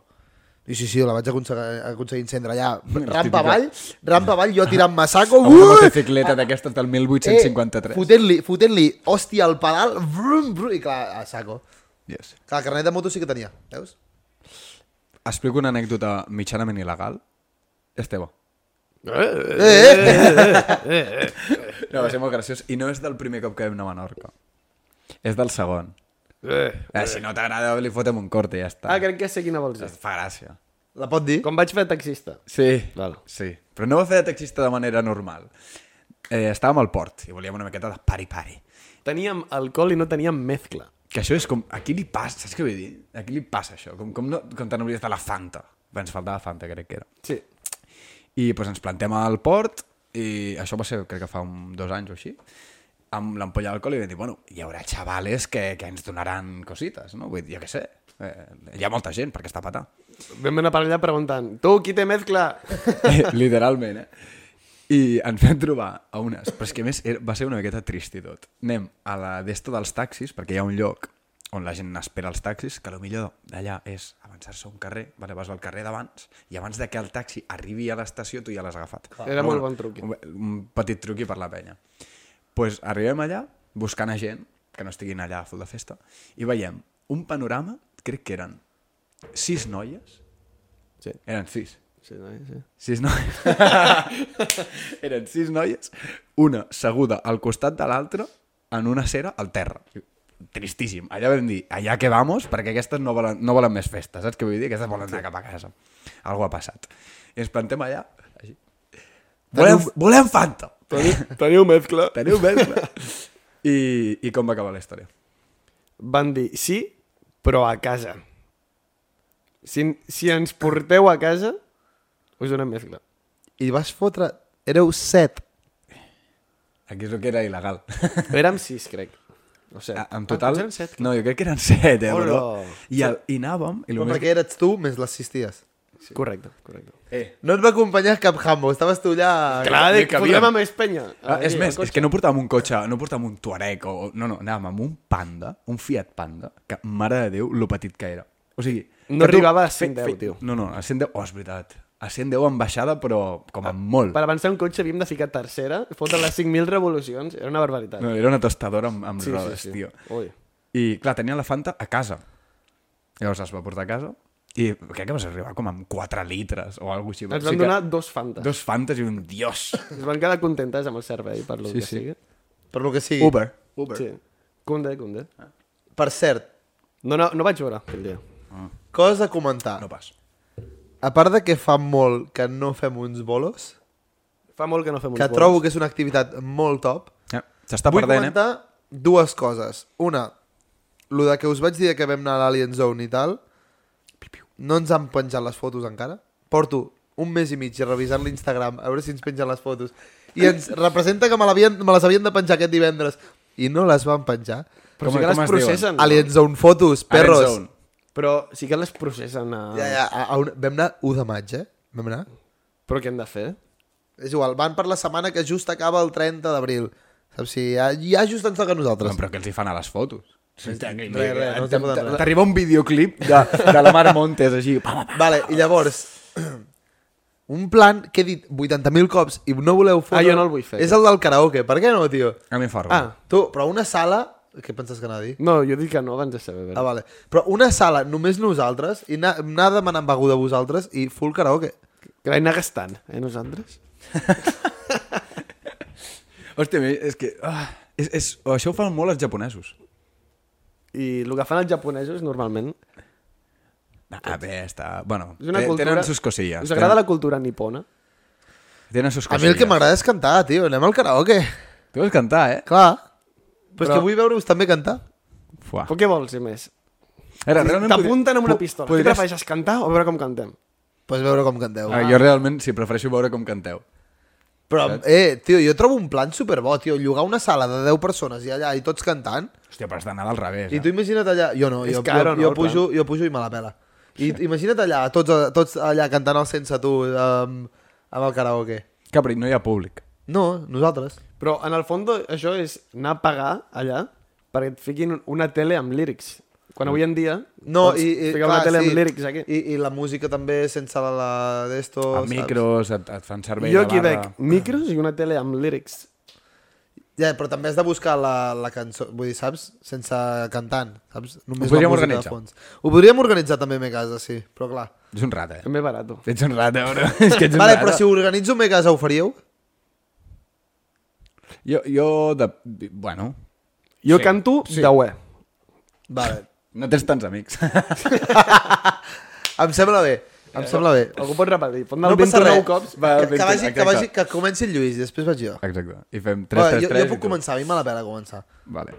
Speaker 1: I sí, sí, la vaig aconseguir, aconseguir encendre allà. Rampa avall, rampa avall, jo tirant massaco.
Speaker 2: Amb una
Speaker 1: Ui!
Speaker 2: motocicleta d'aquestes del
Speaker 1: Eh,
Speaker 2: 1853.
Speaker 1: Fotent-li, fotent-li, hòstia, al pedal. Brum, brum, I clar, a saco.
Speaker 2: Yes.
Speaker 1: Clar, el carnet de moto sí que tenia, veus?
Speaker 2: Explico una anècdota mitjanament il·legal. És teva.
Speaker 6: eh,
Speaker 2: Eh, eh, eh, eh, eh, eh. No, va ser molt graciós. I no és del primer cop que vam anar a Menorca. És del segon. Eh, eh. Si no t'agrada, li fotem un corte i ja està.
Speaker 6: Ah, crec que sé quina vols dir.
Speaker 2: Fa gràcia.
Speaker 1: La pot dir?
Speaker 6: Com vaig fer taxista.
Speaker 2: Sí.
Speaker 6: Val.
Speaker 2: Sí. Però no va fer de taxista de manera normal. Eh, estàvem al port i volíem una miqueta de pari-pari.
Speaker 6: Teníem alcohol i no teníem mezcla.
Speaker 2: Que això és com... Aquí li passa, saps què vull dir? Aquí li passa això. Com, com, no, com te n'hauries de la Fanta. Bé, ens faltava Fanta, crec que era.
Speaker 6: Sí.
Speaker 2: I doncs, ens plantem al port i això va ser, crec que fa un, dos anys o així, amb l'ampolla d'alcohol i vam dir, bueno, hi haurà xavales que, que ens donaran cosites, no? Vull dir, jo què sé. Eh, hi ha molta gent perquè està a petar.
Speaker 6: Vam anar per allà preguntant, tu, qui té mezcla?
Speaker 2: Eh, <laughs> literalment, eh? I ens vam trobar a unes... Però és que, a més, era- va ser una miqueta trist i tot. Anem a la d'esto dels taxis, perquè hi ha un lloc on la gent espera els taxis, que lo millor d'allà és avançar-se a un carrer, vale, vas al carrer d'abans, i abans de que el taxi arribi a l'estació, tu ja l'has agafat.
Speaker 6: Era
Speaker 2: Però
Speaker 6: molt bon eh? truqui.
Speaker 2: Un, un petit truqui per la penya. Doncs pues arribem allà, buscant a gent, que no estiguin allà a full de festa, i veiem un panorama, crec que eren sis noies,
Speaker 6: Sí.
Speaker 2: eren sis,
Speaker 6: Sí, no, sí.
Speaker 2: Sis noies. Eren sis noies, una seguda al costat de l'altra, en una cera al terra. Tristíssim. Allà vam dir, allà que vamos, perquè aquestes no volen, no volen més festes, saps què vull dir? Aquestes volen anar cap a casa. Algo ha passat. I ens plantem allà, així. Volem, volem Fanta!
Speaker 6: Teniu mezcla.
Speaker 2: Teniu bé, clar. I, I com va acabar la història?
Speaker 6: Van dir, sí, però a casa. Si, si ens porteu a casa, Us donem mescla.
Speaker 1: I vas fotre... Éreu set.
Speaker 2: Aquí és el que era il·legal.
Speaker 6: Érem sis, crec. O set.
Speaker 2: A- <laughs> En total...
Speaker 6: potser eren set.
Speaker 2: no, jo crec que eren set, eh, bro.
Speaker 6: Hola.
Speaker 2: I, el, I anàvem... I
Speaker 1: Però
Speaker 2: lo més...
Speaker 1: perquè eres tu més les sis ties.
Speaker 6: Correcte, correcte.
Speaker 2: Eh,
Speaker 1: No et va acompanyar cap jambo, estaves tu allà...
Speaker 6: Clar,
Speaker 2: ni
Speaker 6: de que
Speaker 2: cabíem.
Speaker 6: podríem a més penya.
Speaker 2: ah, és
Speaker 6: Allí,
Speaker 2: més,
Speaker 6: al
Speaker 2: és que no portàvem un cotxe, no portàvem un Touareg o... No, no, anàvem amb un Panda, un Fiat Panda, que, mare de Déu, lo petit que era. O sigui... que
Speaker 6: No
Speaker 2: tu-
Speaker 6: arribava a
Speaker 2: fe-
Speaker 6: 110,
Speaker 2: fe-
Speaker 6: tio.
Speaker 2: No, no, a 110... Oh, és veritat. A 110 en baixada, però com a molt.
Speaker 6: Per avançar un cotxe havíem de ficar tercera, fotre les 5.000 revolucions, era una barbaritat.
Speaker 2: No, era una tostadora amb, amb sí, rodes, sí, sí. tio.
Speaker 6: Ui.
Speaker 2: I, clar, tenia la Fanta a casa. Llavors es va portar a casa i crec que vas arribar com amb 4 litres o alguna cosa així.
Speaker 6: Ens
Speaker 2: O sigui
Speaker 6: van
Speaker 2: que
Speaker 6: donar dos fantes.
Speaker 2: Dos Fantes i un dios.
Speaker 6: Es van quedar contentes amb el servei, per lo
Speaker 2: Sí,
Speaker 6: que
Speaker 2: sí.
Speaker 6: sigui.
Speaker 1: Per lo que sigui.
Speaker 2: Uber. Uber. Ah.
Speaker 6: Sí. Cunde, cunde.
Speaker 1: Per cert,
Speaker 6: No, no, no vaig veure aquell dia.
Speaker 1: coses a comentar.
Speaker 2: No pas.
Speaker 1: A part de que fa molt que no fem uns bolos,
Speaker 6: Fa molt que no fem uns
Speaker 1: que
Speaker 6: bolos.
Speaker 1: trobo que és una activitat molt top,
Speaker 2: Eh, S'està
Speaker 1: Vull
Speaker 2: perdent,
Speaker 1: comentar dues coses. Una, lo de que us vaig dir que vam anar a l'Alien Zone i tal, no ens han penjat les fotos encara. Porto un mes i mig revisant l'Instagram a veure si ens pengen les fotos. I ens representa que me, l'havien- me les havien de penjar aquest divendres. I no les van penjar.
Speaker 6: Però
Speaker 2: Com-
Speaker 6: sí que
Speaker 2: com
Speaker 6: les
Speaker 2: es diuen?
Speaker 6: processen. no?
Speaker 1: Alien Zone fotos,
Speaker 2: eh? Iron
Speaker 1: perros.
Speaker 2: Zone.
Speaker 6: Però sí que les processen a...
Speaker 1: Ja, ja, a, a una... Vam anar 1 de maig, eh? Vam anar.
Speaker 6: Però què hem de fer?
Speaker 1: És igual, van per la setmana que just acaba el 30 d'abril. Saps? Si ja, ja just ens toca a
Speaker 2: No,
Speaker 1: nosaltres.
Speaker 2: però què els hi fan a les fotos?
Speaker 1: res, res, no estem parlant de res.
Speaker 2: T'arriba un videoclip de, de la Mar Montes, així. pa, pa, pa.
Speaker 1: Vale, i llavors... <clears throat> Un plan que he dit 80.000 cops i no voleu fotre...
Speaker 6: Ah, jo no el vull fer.
Speaker 1: És el del karaoke. Per què no, tio?
Speaker 2: A mi em fa
Speaker 6: Ah,
Speaker 2: ah.
Speaker 1: Tu, però una sala... Què penses que anava a dir?
Speaker 6: no, jo dic que no abans de saber.
Speaker 1: Ah,
Speaker 6: veure.
Speaker 1: vale. Però una sala només nosaltres i anar, anar demanant beguda a vosaltres i full karaoke.
Speaker 6: Que l'hem anar gastant, eh, nosaltres?
Speaker 2: Hòstia, mi- és que... Ah, és, és, això ho fan molt els japonesos.
Speaker 6: I el que fan els japonesos normalment...
Speaker 2: A Ah, bé, està... Bueno,
Speaker 6: És una
Speaker 2: te-
Speaker 6: cultura...
Speaker 2: tenen sus cosillas.
Speaker 6: Us agrada
Speaker 2: tenen,
Speaker 6: la cultura nipona?
Speaker 2: Tenen sus
Speaker 1: A
Speaker 6: Ah,
Speaker 2: cosillas.
Speaker 1: mi el que m'agrada és cantar, tio. Anem al karaoke. <laughs>
Speaker 2: Tu vols cantar, eh?
Speaker 1: Clar. Però, és
Speaker 6: Però-
Speaker 1: que vull veure-vos també cantar.
Speaker 2: Fuà.
Speaker 6: Però què vols, i més?
Speaker 2: Ara,
Speaker 6: T'apunten amb una
Speaker 2: po-
Speaker 6: pistola. Podries... Què
Speaker 2: Podries...
Speaker 6: prefereixes, cantar o veure com cantem?
Speaker 1: Pots veure com canteu.
Speaker 2: Ah, jo realment, si prefereixo veure com canteu.
Speaker 1: Però, eh, tio, jo trobo un plan superbo, tio. Llogar una sala de 10 persones i allà i tots cantant.
Speaker 2: Hòstia, però has d'anar del revés. eh?
Speaker 1: I tu imagina't allà... Jo no,
Speaker 6: És
Speaker 1: jo,
Speaker 6: caro,
Speaker 1: jo,
Speaker 6: no,
Speaker 1: jo,
Speaker 6: el
Speaker 1: pujo, jo pujo i me la pela. I imagina't allà, tots, eh, tots allà cantant el Sense Tu amb, amb el karaoke.
Speaker 2: Que, però no hi ha públic.
Speaker 1: No, nosaltres.
Speaker 6: Però, en el fons, això és anar a pagar allà perquè et fiquin una tele amb lírics. Quan avui en dia...
Speaker 1: No,
Speaker 6: pots
Speaker 1: i, i,
Speaker 6: ficar una tele amb lírics aquí.
Speaker 1: I, I la música també sense la, la d'esto...
Speaker 2: Amb
Speaker 1: saps?
Speaker 2: micros, et, et fan servei
Speaker 6: Oh, jo
Speaker 2: de
Speaker 6: aquí
Speaker 2: barra.
Speaker 6: veig micros i una tele amb lírics.
Speaker 1: Ja, però també has de buscar la, la cançó, vull dir, saps? Sense cantant, saps? Només
Speaker 2: Ho podríem
Speaker 1: la música de
Speaker 2: organitzar.
Speaker 1: fons. Ho podríem organitzar també a casa, sí, però clar.
Speaker 2: Ets un rata, eh?
Speaker 6: També barato.
Speaker 2: Ets un rata, bro. <laughs> És que ets un
Speaker 1: Vale,
Speaker 2: rata.
Speaker 1: però si organitzo a casa ho faríeu?
Speaker 2: Jo, jo de... Bueno,
Speaker 6: Jo
Speaker 2: Sí,
Speaker 6: sí, canto sí. de web.
Speaker 1: Vale.
Speaker 2: no tens tants amics.
Speaker 1: Em sembla bé, em sembla bé.
Speaker 6: Algú pot repetir, pot anar
Speaker 1: No
Speaker 6: no
Speaker 1: passa
Speaker 6: 29
Speaker 1: res.
Speaker 6: cops.
Speaker 2: Va,
Speaker 1: que, que,
Speaker 2: vinga,
Speaker 1: vagi, que,
Speaker 2: exacte.
Speaker 1: vagi, que comenci el Lluís i després vaig jo.
Speaker 2: <laughs> Exacte. I fem 3,
Speaker 1: Tres,
Speaker 2: 3, 3...
Speaker 1: jo, jo puc començar, a mi me la pela començar.
Speaker 2: Vale.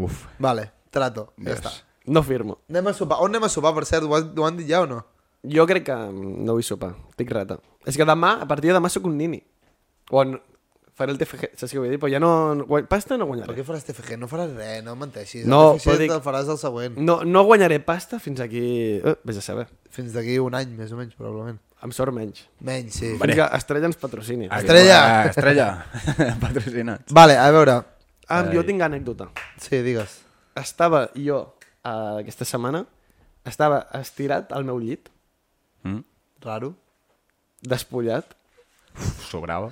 Speaker 2: Uf,
Speaker 1: Vale, trato, ja
Speaker 2: Dios.
Speaker 1: està.
Speaker 6: No firmo.
Speaker 1: Anem a sopar. On anem a sopar, per cert? Ho, has, ho han dit ja o no?
Speaker 6: Jo crec que mm, no vull sopar. Estic rata. És que demà, a partir de demà sóc un nini. Bon, faré el TFG, saps què vull dir? Però ja no... guany- Pasta no
Speaker 1: Per
Speaker 6: guanyaré.
Speaker 1: què faràs TFG? No faràs res, no menteixis.
Speaker 6: No,
Speaker 1: el TFG
Speaker 6: però dic-
Speaker 1: te'l faràs el
Speaker 2: Mm.
Speaker 1: següent.
Speaker 6: No, no guanyaré pasta fins aquí... Eh, vés a saber.
Speaker 1: Fins d'aquí un any, més o menys, probablement.
Speaker 6: Amb sort menys.
Speaker 1: Menys, sí.
Speaker 6: Fins que Estrella ens patrocini. Ah,
Speaker 1: Estrella.
Speaker 2: Ah, estrella. <laughs> Patrocinats.
Speaker 1: Vale, a veure.
Speaker 6: Ah,
Speaker 2: Eh,
Speaker 6: jo tinc anècdota.
Speaker 1: Sí, digues.
Speaker 6: Estava jo, eh, aquesta setmana, estava estirat al meu llit,
Speaker 2: Mm?
Speaker 1: Raro.
Speaker 2: <laughs>
Speaker 6: despullat,
Speaker 2: Uf, Sobrava.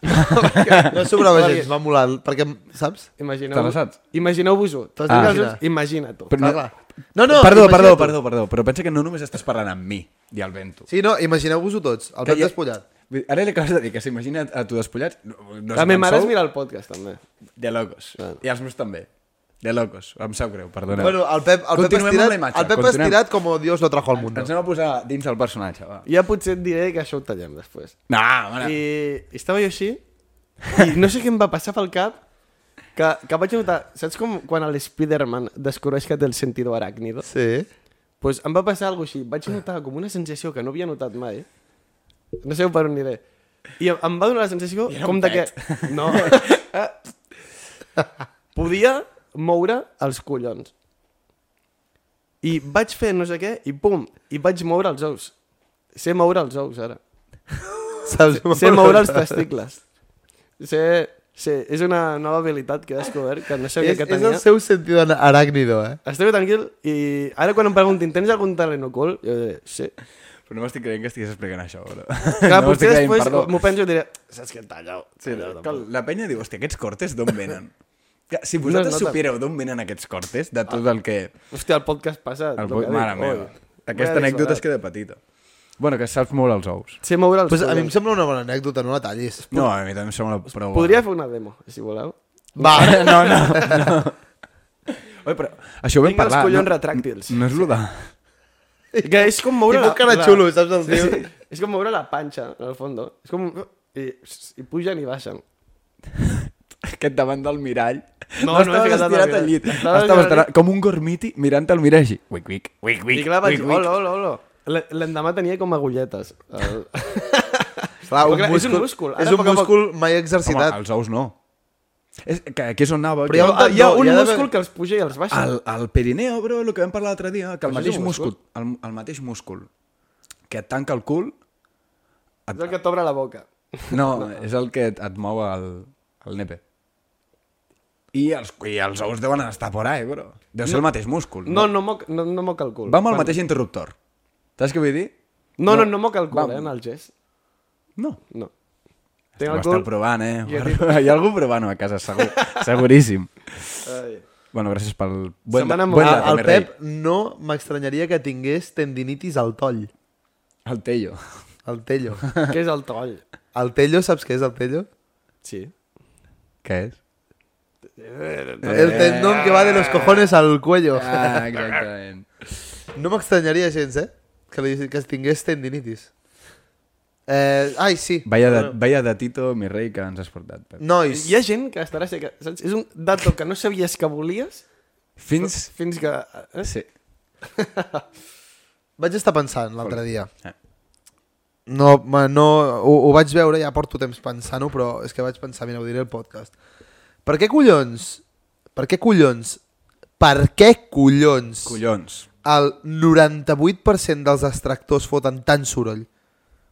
Speaker 1: No
Speaker 2: <laughs>
Speaker 1: sobrava gens, m'ha molat, perquè, saps?
Speaker 6: Imagineu...
Speaker 2: Te la saps?
Speaker 6: Imagineu-vos-ho. T'has
Speaker 1: Ah.
Speaker 6: dit ah. Imagina-t'ho.
Speaker 2: Però no,
Speaker 1: Clar, clar. No, no,
Speaker 2: perdó,
Speaker 1: imagina't.
Speaker 2: perdó, perdó, perdó, però pensa que no només estàs parlant amb mi i al vento.
Speaker 1: Sí, no, imagineu-vos-ho tots. El
Speaker 2: Que
Speaker 1: Pep
Speaker 2: ja-
Speaker 1: despullat.
Speaker 2: Vull dir, Ara li acabes de dir que s'imagina a tu despullat... No, no
Speaker 6: La
Speaker 2: és tan
Speaker 6: meva mare es
Speaker 2: sou,
Speaker 6: mira Ah. el podcast, també.
Speaker 2: De locos. I els meus també. De locos. Em sap greu, perdoneu.
Speaker 1: Bueno, el Pep, el Pep
Speaker 2: Continuem amb
Speaker 1: estirat,
Speaker 2: la imatge,
Speaker 1: el Pep
Speaker 2: continuem.
Speaker 1: estirat com Dios lo trajo al mundo.
Speaker 2: Ens anem a posar dins del personatge, va.
Speaker 6: Ja potser et diré que això ho tallem després.
Speaker 2: No, mare. I...
Speaker 6: I estava jo així, i no sé què em va passar pel cap, que, que vaig notar... Saps com quan l'Spiderman descobreix que té el sentido aràcnido?
Speaker 1: Sí.
Speaker 6: pues em va passar alguna cosa així. Vaig notar com una sensació que no havia notat mai, No sé per on aniré. I em- em va donar la sensació
Speaker 2: I era un
Speaker 6: com de que...
Speaker 2: pet.
Speaker 6: <laughs> No. Podia moure els collons. I vaig fer no sé què, i pum, i vaig moure els ous. Sé moure els ous, ara.
Speaker 1: Saps?
Speaker 6: Sé moure els testicles. Sé... sé és una nova habilitat que he descobert, que eh? no sabia
Speaker 1: És,
Speaker 6: que
Speaker 1: és
Speaker 6: tenia.
Speaker 1: el seu sentit aràcnido, eh?
Speaker 6: Esteu tranquil i ara quan em preguntin tens algun talent ocult? Jo diré, sí.
Speaker 2: Però no m'estic creient que estigués explicant això, bro.
Speaker 6: <laughs> Clar,
Speaker 2: no m'estic
Speaker 6: potser
Speaker 2: creient,
Speaker 6: després
Speaker 2: perdó.
Speaker 6: m'ho penso i diré, saps què, talla-ho.
Speaker 2: Sí, que la penya diu, hòstia, aquests cortes d'on venen? Clar, si
Speaker 6: No
Speaker 2: vosaltres
Speaker 6: es
Speaker 2: no,
Speaker 6: nota.
Speaker 2: supiéreu d'on venen aquests cortes, de tot el que...
Speaker 6: Hòstia, el podcast passat.
Speaker 2: El
Speaker 6: el
Speaker 2: bo...
Speaker 6: que ha dit,
Speaker 2: Mare
Speaker 6: oi.
Speaker 2: meva.
Speaker 6: Vaya
Speaker 2: Aquesta anècdota es
Speaker 6: disbarat.
Speaker 2: queda petita. Bueno, que saps molt els ous.
Speaker 6: Sé moure els
Speaker 1: Pues a mi em
Speaker 6: collons.
Speaker 1: sembla una bona anècdota, no la tallis.
Speaker 2: No, a mi també em sembla prou...
Speaker 6: Podria fer una demo, si voleu.
Speaker 1: Va,
Speaker 2: No, no, no. Oi, però això ho vam
Speaker 6: Tinc els
Speaker 2: parlar.
Speaker 6: collons
Speaker 2: no,
Speaker 6: retràctils.
Speaker 2: no és lo de...
Speaker 6: Que és com moure
Speaker 1: Moure
Speaker 6: la...
Speaker 1: un cara
Speaker 6: la-
Speaker 1: xulo, saps? El
Speaker 6: Sí,
Speaker 1: tio?
Speaker 6: sí. És com moure la panxa, en el fons. És com... I, i pugen i baixen.
Speaker 2: Aquest davant del mirall.
Speaker 6: No, no he
Speaker 2: estaves
Speaker 6: ficat el
Speaker 2: estirat al
Speaker 6: mirall.
Speaker 2: llit.
Speaker 6: Estava
Speaker 2: Estaves
Speaker 6: mirant-
Speaker 2: estirat, com un gormiti mirant el mirall així. Uic, uic, uic, uic.
Speaker 6: I clar, vaig...
Speaker 2: uic, uic.
Speaker 6: Hola, hola, hola. L'e- L'endemà tenia com agulletes. El... <laughs>
Speaker 1: Clar,
Speaker 6: Però
Speaker 1: un
Speaker 6: clar, és un
Speaker 1: múscul,
Speaker 6: múscul. Ara
Speaker 1: És
Speaker 6: a
Speaker 1: un
Speaker 6: poc a poc-
Speaker 1: múscul mai
Speaker 2: Home,
Speaker 1: exercitat.
Speaker 2: els ous no. És, que aquí és on anava.
Speaker 1: Però hi ha
Speaker 2: que-
Speaker 1: un- Ah,
Speaker 6: Hi ha
Speaker 1: no,
Speaker 6: un
Speaker 1: hi ha d'haver-
Speaker 6: múscul que els puja i els baixa.
Speaker 2: Al, al Pirineu, bro, el que vam parlar l'altre dia, que el
Speaker 6: Però això
Speaker 2: mateix
Speaker 6: és un múscul.
Speaker 2: múscul, el, el mateix múscul que et tanca el
Speaker 6: <laughs>
Speaker 2: cul,
Speaker 6: És el que t'obre la boca.
Speaker 2: no, és el que et, et mou el, el nepe. I els, I els ous deuen estar por ahí, bro. Deu ser el mateix múscul.
Speaker 6: No, no moc, no, no moca el cul.
Speaker 2: Va amb el mateix interruptor. Saps què vull dir?
Speaker 6: No, no, no moca el cul,
Speaker 2: Va-
Speaker 6: eh, en el gest.
Speaker 2: No.
Speaker 6: No.
Speaker 2: Ho
Speaker 6: Tinc el
Speaker 2: estan
Speaker 6: cul...
Speaker 2: provant, eh?
Speaker 6: I a
Speaker 2: <laughs> Hi ha algú provant-ho a casa,
Speaker 6: <laughs>
Speaker 2: segur. seguríssim.
Speaker 6: Ai.
Speaker 2: Bueno, gràcies pel...
Speaker 6: Setmana
Speaker 2: buen
Speaker 6: molt-
Speaker 2: dato,
Speaker 1: El
Speaker 2: me rei.
Speaker 1: Pep no m'estranyaria que tingués tendinitis al toll.
Speaker 2: El Tello.
Speaker 1: Al tello.
Speaker 6: Què és el toll?
Speaker 1: El tello, saps què és el tello?
Speaker 6: Sí.
Speaker 2: Què és?
Speaker 6: Doncs
Speaker 1: El tendón que va de los cojones al cuello.
Speaker 2: Ah, exactament.
Speaker 1: No m'extranyaria gens, eh? Que, li, que tingués tendinitis. Eh, ai, sí.
Speaker 2: Vaya, de, vaya datito, mi rei, que ens has portat. Pep.
Speaker 1: Nois,
Speaker 6: Hi ha gent que estarà... sé Que, saps? És un dato que no sabies que volies
Speaker 2: Fins...
Speaker 6: fins que... Eh?
Speaker 2: Sí.
Speaker 1: vaig estar pensant l'altre dia.
Speaker 2: Eh.
Speaker 1: No, ma, no, ho, ho vaig veure, ja porto temps pensant-ho, però és que vaig pensar, mira, ho diré al podcast. Per què collons, per què collons, per què collons,
Speaker 2: Collons.
Speaker 1: el 98% dels extractors foten tant soroll.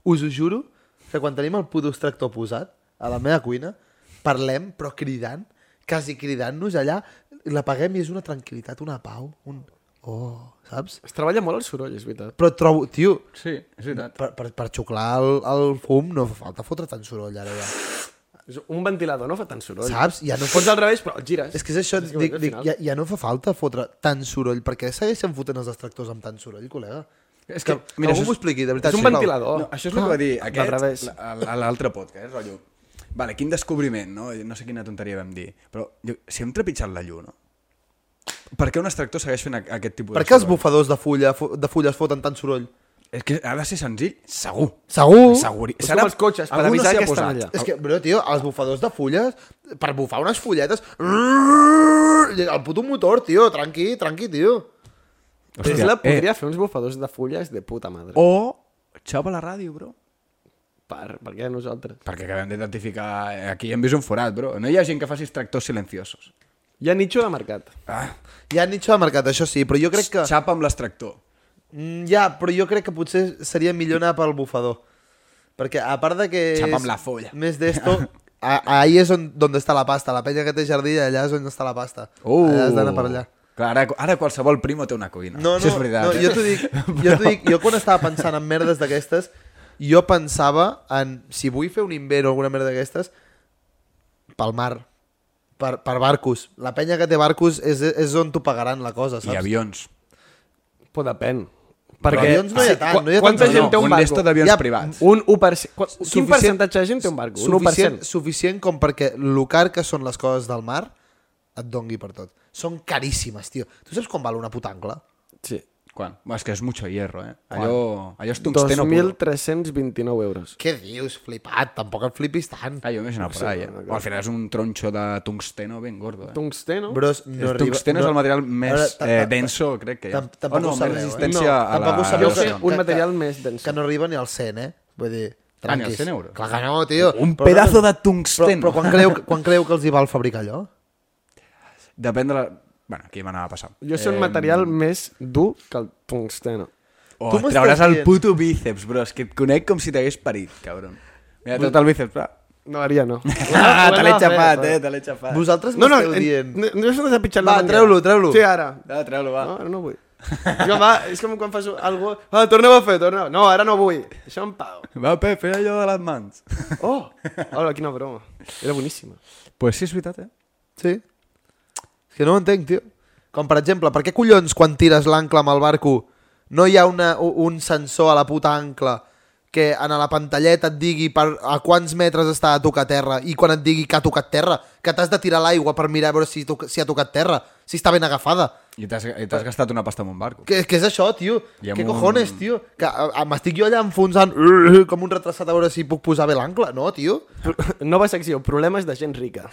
Speaker 1: Us ho juro que quan tenim el puto extractor posat a la meva cuina, parlem, però cridant, quasi cridant-nos allà, l'apaguem i és una tranquil·litat, una pau, un... Oh, saps?
Speaker 6: Es treballa molt el soroll, és veritat.
Speaker 1: Però trobo, tio,
Speaker 2: Sí, és veritat.
Speaker 1: per, per, per xuclar el, el fum no fa falta fotre tant soroll ara ja.
Speaker 6: És un ventilador no fa tant soroll.
Speaker 1: Saps? Ja no
Speaker 6: Ho fots
Speaker 1: fots...
Speaker 6: al revés, però el gires.
Speaker 1: És que és això,
Speaker 6: Saps què vull
Speaker 1: dic,
Speaker 6: dir, al
Speaker 1: dic,
Speaker 6: final?
Speaker 1: ja, ja no fa falta fotre tant soroll, perquè segueixen fotent els extractors amb tant soroll, col·lega.
Speaker 2: És que,
Speaker 1: que algú
Speaker 2: mira, això és-
Speaker 1: m'ho expliqui, de veritat.
Speaker 6: és un
Speaker 1: sisplau.
Speaker 6: ventilador.
Speaker 2: No, això és el que va dir
Speaker 6: Al
Speaker 2: aquest,
Speaker 6: revés.
Speaker 2: la- a l'altre podcast, rotllo. Vale, quin descobriment, no? No sé quina tonteria vam dir. Però jo, si hem trepitjat la llum, no? Per què un extractor segueix fent a- aquest tipus
Speaker 1: Per
Speaker 2: de
Speaker 1: què els
Speaker 2: soroll?
Speaker 1: bufadors de, fulla, fo- de fulles foten tant soroll?
Speaker 2: És que ha de ser senzill, segur.
Speaker 1: Segur?
Speaker 2: Seguri.
Speaker 6: És com els cotxes, per
Speaker 2: Algú
Speaker 6: avisar
Speaker 2: s'hi ha
Speaker 6: que estan
Speaker 2: posat.
Speaker 6: allà.
Speaker 1: És que, però, tio, els bufadors de fulles, per bufar unes fulletes... El puto motor, tio, tranqui, tranqui, tio.
Speaker 2: Hòstia,
Speaker 6: Tesla
Speaker 2: eh,
Speaker 6: podria fer uns bufadors de fulles de puta madre.
Speaker 1: Oh.
Speaker 2: O xapa la ràdio, bro.
Speaker 6: Per, per què nosaltres?
Speaker 2: Perquè acabem d'identificar... eh, Aquí hem vist un forat, bro. No hi ha gent que faci extractors silenciosos.
Speaker 6: Hi ha nicho de mercat.
Speaker 2: Ah,
Speaker 1: Hi ha nicho de mercat, això sí, però jo crec que...
Speaker 2: Xapa amb l'extractor.
Speaker 1: Mm, Ja, però jo crec que potser seria millor anar pel bufador. Perquè, a part de que...
Speaker 2: Xapa
Speaker 1: és
Speaker 2: amb la folla.
Speaker 1: Més d'esto... a- Ahí és on, on està la pasta. La penya que té jardí, allà és on està la pasta.
Speaker 2: Uh.
Speaker 1: Allà Eh, has d'anar per allà.
Speaker 2: Clar, ara, ara qualsevol primo té una cuina.
Speaker 1: No, no,
Speaker 2: Això és veritat. eh?
Speaker 1: no jo t'ho
Speaker 2: <laughs>
Speaker 1: dic, jo t'ho dic, jo quan estava pensant en merdes d'aquestes, jo pensava en, si vull fer un invent o alguna merda d'aquestes, pel mar, per, per barcos. La penya que té barcos és, és on t'ho pagaran la cosa,
Speaker 2: I
Speaker 1: saps?
Speaker 2: avions.
Speaker 6: Però depèn.
Speaker 1: avions no hi ha tant,
Speaker 6: quan-
Speaker 1: no hi ha
Speaker 6: quanta
Speaker 1: tants
Speaker 6: gent
Speaker 1: avions.
Speaker 6: té un barco?
Speaker 2: d'esto d'avions
Speaker 1: Ja,
Speaker 2: privats.
Speaker 6: Un 1%. Quan, quin
Speaker 1: Suficient-
Speaker 6: percentatge de gent té un barco? Un 1%.
Speaker 1: Suficient, suficient com perquè lo car que són les coses del mar et dongui per tot. Són caríssimes, tio. Tu saps com val una puta ancla?
Speaker 6: Sí.
Speaker 2: Quan? Bueno, és que és mucho hierro, eh? Allò, allò és tungsteno puro.
Speaker 6: 2.329 euros.
Speaker 1: Què dius, flipat? Tampoc et flipis tant.
Speaker 2: Ah, jo m'he anat
Speaker 6: Sí,
Speaker 2: per ahí, eh?
Speaker 6: no,
Speaker 2: O al final és un tronxo de tungsteno ben gordo, eh?
Speaker 6: Tungsteno?
Speaker 1: Bros,
Speaker 2: No
Speaker 1: no
Speaker 2: el
Speaker 1: arriba-
Speaker 2: tungsteno és el material més
Speaker 1: Ara, ta- ta-
Speaker 2: eh, denso, crec que hi ha.
Speaker 1: Tam- tampoc
Speaker 2: o no,
Speaker 1: ho sabeu,
Speaker 2: més
Speaker 1: eh?
Speaker 2: resistència
Speaker 6: No,
Speaker 2: a la...
Speaker 1: tampoc ho
Speaker 6: Jo
Speaker 1: sabeu.
Speaker 2: a la-
Speaker 6: sé
Speaker 1: que-
Speaker 6: un
Speaker 1: que-
Speaker 6: material més dens.
Speaker 1: que no arriba ni al 100, eh? Vull dir,
Speaker 2: Ah, ni els
Speaker 1: Tranquis.
Speaker 2: 100 euros.
Speaker 1: Clar que no, tio.
Speaker 2: Un
Speaker 1: Però-
Speaker 2: pedazo de
Speaker 1: Però,
Speaker 2: tungsten.
Speaker 1: però quan, creu, quan creu que els hi val fabricar allò?
Speaker 2: Depèn de la... Bueno, aquí m'anava a passar.
Speaker 6: Jo sé un material
Speaker 2: mm.
Speaker 6: més dur que el tungsteno.
Speaker 2: Oh,
Speaker 1: Tu m'estàs
Speaker 2: trauràs el
Speaker 1: dient.
Speaker 2: puto bíceps, bro. És que et conec com si t'hagués parit, cabron. Mira, tot el bíceps, va.
Speaker 6: No, Aria no.
Speaker 2: <laughs> Ah, te l'he
Speaker 6: Bueno,
Speaker 2: xapat,
Speaker 6: eh,
Speaker 2: eh, te l'he xapat.
Speaker 1: Vosaltres
Speaker 6: No, no,
Speaker 1: m'esteu
Speaker 6: en-
Speaker 1: dient...
Speaker 6: no, no se n'ha de pitjar la
Speaker 1: Va,
Speaker 6: manga.
Speaker 1: treu-lo, treu-lo.
Speaker 6: Sí, ara.
Speaker 2: Ah, treu-lo, va.
Speaker 6: No, ara no vull. Jo, va, és com quan fas algo... Ah, torneu a fer, torneu. No, ara no vull. Això em pau.
Speaker 2: Va, Pep, fes allò de les mans.
Speaker 6: Oh! Hola, quina broma. Era boníssima.
Speaker 2: Pues sí, és veritat, eh?
Speaker 1: Sí. És que no ho entenc, tio. Com, per exemple, per què collons quan tires l'ancla amb el barco no hi ha una, u- un sensor a la puta ancla que en la pantalleta et digui per a quants metres està a tocar terra i quan et digui que ha tocat terra, que t'has de tirar a l'aigua per mirar a veure si, toca- si ha tocat terra, si està ben agafada.
Speaker 2: I t'has i t'has gastat una pasta en un barco.
Speaker 1: Què, què és això, tio?
Speaker 2: I
Speaker 1: Què
Speaker 2: amb
Speaker 1: un...
Speaker 2: un-
Speaker 1: cojones, tio? Que a- a- m'estic jo allà enfonsant uh, uh, com un retrasat a veure si puc posar bé l'ancla. No,
Speaker 2: <laughs>
Speaker 1: tio.
Speaker 6: Nova secció, problemes de gent rica.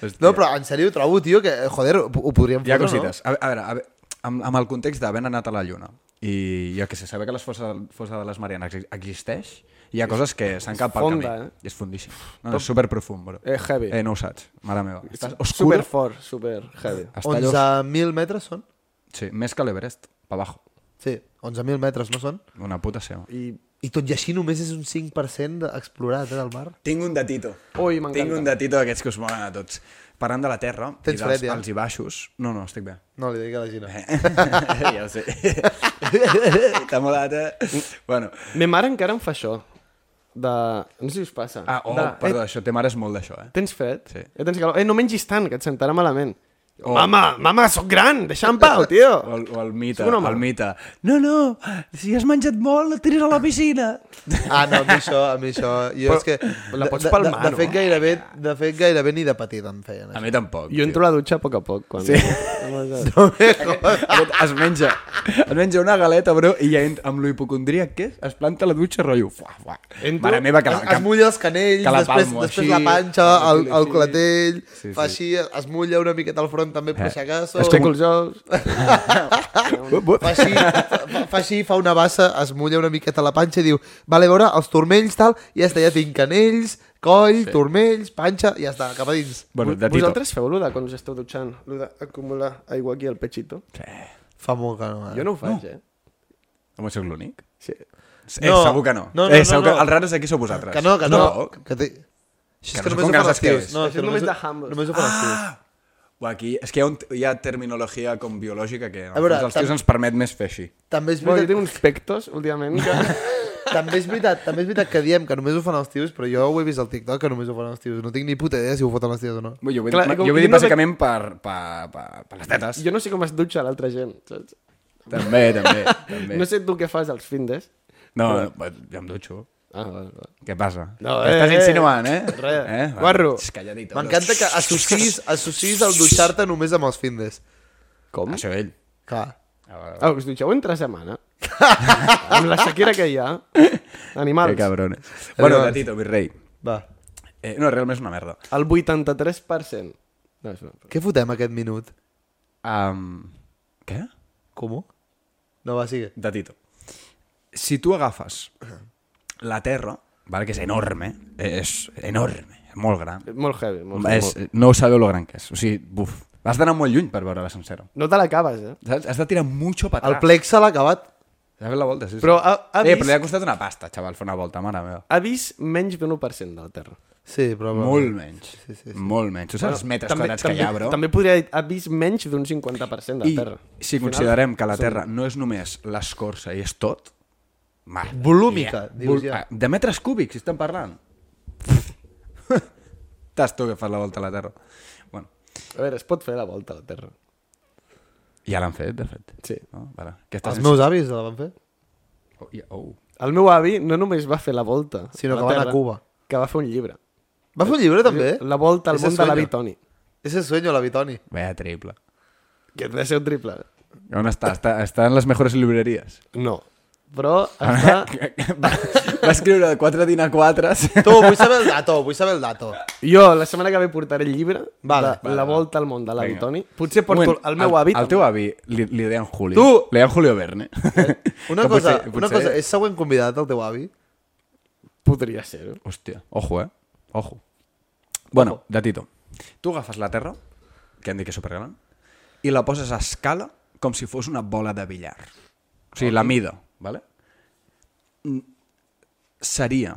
Speaker 2: Hòstia.
Speaker 1: No, però en sèrio trobo, tio, que, joder, ho, ho podríem
Speaker 2: Hi ha
Speaker 1: fotre,
Speaker 2: cosites. A, ve- a veure, a veure amb, amb el context d'haver anat a la Lluna i jo que sé, saber que les fossa, fossa de les Marianes ex- existeix, hi ha coses que s'han cap pel
Speaker 6: fonda,
Speaker 2: camí.
Speaker 6: eh?
Speaker 2: És fondíssim. No, és super profund, bro.
Speaker 6: Eh, heavy.
Speaker 2: Eh, no ho saps, mare meva. Estàs oscuro.
Speaker 6: super fort, super heavy.
Speaker 2: Està
Speaker 1: no?
Speaker 2: allò...
Speaker 1: 11.000 metres són?
Speaker 2: Sí, més que l'Everest, pa abajo.
Speaker 1: Sí, 11.000 metres, no són?
Speaker 2: Una puta seva.
Speaker 6: I...
Speaker 1: I tot i així només és un 5% de- explorat eh, del mar.
Speaker 2: Tinc un datito.
Speaker 6: Ui, m'encanta.
Speaker 2: Tinc un datito d'aquests que us molen a tots. Parlant de la Terra
Speaker 1: Tens
Speaker 2: i dels
Speaker 1: fred, ja?
Speaker 2: alts i baixos... No, no, estic bé.
Speaker 6: <laughs>
Speaker 1: No, li dic a la Gina.
Speaker 2: Eh. ja ho sé. T'ha molat,
Speaker 6: Mm.
Speaker 2: eh? Bueno.
Speaker 6: Me mare encara em fa això. De... No sé si us passa.
Speaker 2: Ah, oh,
Speaker 6: de...
Speaker 2: perdó, això té mares molt d'això, eh?
Speaker 6: Tens fred?
Speaker 2: Sí.
Speaker 6: Eh, tens calor? Eh, no mengis tant, que et sentarà malament.
Speaker 2: Oh.
Speaker 6: Mama, mama, sóc gran, deixa'm en pau,
Speaker 2: O
Speaker 6: tio.
Speaker 2: el, o el mite,
Speaker 6: Sóc un home.
Speaker 2: el mite. No, no, si has menjat molt, et tiris a la piscina.
Speaker 1: Ah, no, a mi això, a mi això... Jo
Speaker 6: Però
Speaker 1: és que...
Speaker 6: la
Speaker 1: de-
Speaker 6: pots
Speaker 1: de-
Speaker 6: palmar,
Speaker 1: de,
Speaker 6: no?
Speaker 1: de, fet, gairebé, de fet, gairebé ni de petit em feien
Speaker 2: A
Speaker 1: això.
Speaker 2: mi tampoc.
Speaker 6: Jo
Speaker 2: <laughs>
Speaker 6: entro a la dutxa a poc a poc. Quan... Sí.
Speaker 2: Aquest es menja, es menja una galeta, bro, i ja entra amb l'hipocondria, què és? Es planta a la dutxa, rotllo, fuà, fuà.
Speaker 6: Entro-
Speaker 2: Mare meva, que,
Speaker 1: Es,
Speaker 2: la,
Speaker 1: es
Speaker 2: que,
Speaker 1: mulla els canells,
Speaker 2: que la
Speaker 1: després,
Speaker 2: palmo
Speaker 1: després
Speaker 2: així,
Speaker 1: la panxa, el, el clatell,
Speaker 2: sí.
Speaker 1: fa així, es mulla una miqueta al front també, per
Speaker 2: Eh.
Speaker 1: si acaso.
Speaker 6: Estic els ous.
Speaker 2: Bup, bup.
Speaker 1: fa així, fa, fa així, fa una bassa, es mulla una miqueta la panxa i diu, vale, a veure, els turmells, tal, i ja està, ja tinc canells, coll, sí. turmells, panxa, i ja està, cap a dins.
Speaker 2: Bueno, de Tito.
Speaker 6: Vosaltres feu lo de quan us esteu dutxant, lo d'acumular aigua aquí al pechito?
Speaker 1: Fa molt que no. eh?
Speaker 6: Jo no ho faig, no. eh?
Speaker 2: Home, sóc l'únic?
Speaker 6: Sí.
Speaker 2: Eh,
Speaker 1: No.
Speaker 2: segur que no.
Speaker 1: No, no,
Speaker 2: eh,
Speaker 1: no,
Speaker 2: segur
Speaker 1: no.
Speaker 2: Que... Els raros aquí sou vosaltres.
Speaker 1: Que no, que no.
Speaker 2: Tampoc.
Speaker 1: Que, té... Això
Speaker 2: Que
Speaker 1: és que
Speaker 2: no
Speaker 1: només ho
Speaker 2: sé com
Speaker 1: fan
Speaker 2: que
Speaker 1: els tios.
Speaker 2: és.
Speaker 1: No,
Speaker 6: Això
Speaker 1: això
Speaker 6: només
Speaker 1: només,
Speaker 6: de Humble.
Speaker 1: només ho fan els tios.
Speaker 2: O aquí, és que hi ha, un, hi ha terminologia com biològica que en
Speaker 1: A veure,
Speaker 2: fons, els
Speaker 1: tam-
Speaker 2: tios ens permet més fer així.
Speaker 1: També és
Speaker 6: Bueno, jo
Speaker 1: veritat,
Speaker 6: tinc uns pectos, últimament, que...
Speaker 1: també és veritat, també és veritat que diem que només ho fan els tios, però jo ho he vist al TikTok que només ho fan els tios. No tinc ni puta idea si ho foten els tios o no.
Speaker 2: Vull, jo vull,
Speaker 6: Clar,
Speaker 2: Clar,
Speaker 6: com-
Speaker 2: jo vull dir
Speaker 6: jo no
Speaker 2: bàsicament per, per, per, per les tetes.
Speaker 6: <laughs> jo no sé com es dutxa l'altra gent, saps?
Speaker 2: També, <laughs> també. també.
Speaker 6: No sé tu què fas als findes.
Speaker 2: no, no, jo em dutxo.
Speaker 6: Ah, vale, vale.
Speaker 2: Què passa?
Speaker 6: No,
Speaker 2: Què
Speaker 6: eh,
Speaker 2: Estàs
Speaker 6: eh.
Speaker 2: insinuant, eh?
Speaker 6: Res.
Speaker 2: eh? Va,
Speaker 6: Guarro.
Speaker 2: xx, Calladito.
Speaker 1: M'encanta que associïs, associïs el dutxar-te només amb els findes.
Speaker 6: Com?
Speaker 2: Això ell.
Speaker 1: Clar.
Speaker 6: Ah, us dutxeu entre setmana? <laughs> amb la sequera que hi ha.
Speaker 2: Que
Speaker 6: Animals.
Speaker 2: cabrones. Bueno,
Speaker 1: Animals.
Speaker 2: gatito, virrei.
Speaker 1: Va.
Speaker 2: Eh, no, realment és una merda.
Speaker 6: El 83%. No, és una...
Speaker 1: Què fotem aquest minut?
Speaker 2: Um, què?
Speaker 1: Com? No, va, sigue.
Speaker 2: Datito. Si tu agafes la Terra, vale, que és enorme, eh, és enorme, és molt gran,
Speaker 6: Eh, Molt heavy. Molt,
Speaker 2: és,
Speaker 6: molt...
Speaker 2: no sabeu lo gran que és. O sigui, buf, has d'anar molt lluny per veure-la sencera.
Speaker 6: No te l'acabes, eh?
Speaker 2: Saps? Has de tirar mucho pa
Speaker 1: El
Speaker 2: atrás.
Speaker 1: plexa l'ha acabat.
Speaker 2: Has fet la volta, sí. sí.
Speaker 6: Però ha, ha,
Speaker 2: eh,
Speaker 6: vist,
Speaker 2: però li ha costat una pasta, xaval, fer una volta, mare meva.
Speaker 6: ha vist menys d'un 1% de la Terra.
Speaker 1: Sí, però...
Speaker 2: Molt menys.
Speaker 1: Sí, sí, sí.
Speaker 2: Molt menys. Tu saps els metres quadrats
Speaker 6: també,
Speaker 2: que hi ha, bro?
Speaker 6: També podria dir, ha vist menys d'un 50% de la
Speaker 2: I
Speaker 6: Terra.
Speaker 2: si considerem que la Terra no és només l'escorça i és tot, mare.
Speaker 1: Volúmica, dius ja.
Speaker 2: Ah, De metres cúbics, estem parlant. <laughs> T'has tu que fas la volta a la Terra. Bueno,
Speaker 6: A veure, es pot fer la volta a la Terra.
Speaker 2: ja l'han fet, de fet.
Speaker 6: Sí.
Speaker 2: No? Vale. Aquesta
Speaker 1: Els
Speaker 2: sense-
Speaker 1: meus avis la van fer.
Speaker 2: Oh, ja, oh.
Speaker 6: El meu avi no només va fer la volta
Speaker 1: Sinó
Speaker 6: la
Speaker 1: que va anar a
Speaker 6: Terra,
Speaker 1: Cuba.
Speaker 6: Que va fer un llibre.
Speaker 1: Va fer un llibre, també?
Speaker 6: La volta al
Speaker 1: Ese
Speaker 6: món de
Speaker 1: sueño.
Speaker 6: l'avi Toni.
Speaker 1: Ese sueño, la Vitoni.
Speaker 2: Vaya triple.
Speaker 6: Que et va ser un triple.
Speaker 1: <laughs>
Speaker 2: On està? està? Està en les mejores libreries.
Speaker 6: No.
Speaker 2: <laughs>
Speaker 6: però està...
Speaker 2: va, va escriure 4 dinar 4
Speaker 1: Tu, vull saber el dato, vull saber el dato.
Speaker 6: Jo, la setmana que ve portaré el llibre
Speaker 1: Vale,
Speaker 6: de
Speaker 1: vale,
Speaker 6: La
Speaker 1: vale.
Speaker 6: volta al món de l'avi
Speaker 2: Vinga.
Speaker 6: Toni. Potser porto el meu avi.
Speaker 2: El, el teu avi li, li deien Julio.
Speaker 1: Tu! Eh,
Speaker 2: Li deien Julio Verne.
Speaker 1: Una,
Speaker 2: <laughs>
Speaker 1: cosa,
Speaker 2: Que potser-
Speaker 1: una
Speaker 2: potser-
Speaker 1: cosa, és següent convidat el teu avi?
Speaker 6: Podria ser-ho.
Speaker 2: Hòstia, ojo, eh? Ojo. Bueno, de Tito. Tu agafes la terra, que hem dit que és supergran, i la poses a escala com si fos una bola de billar. O sigui, la mida, vale? Mm, Seria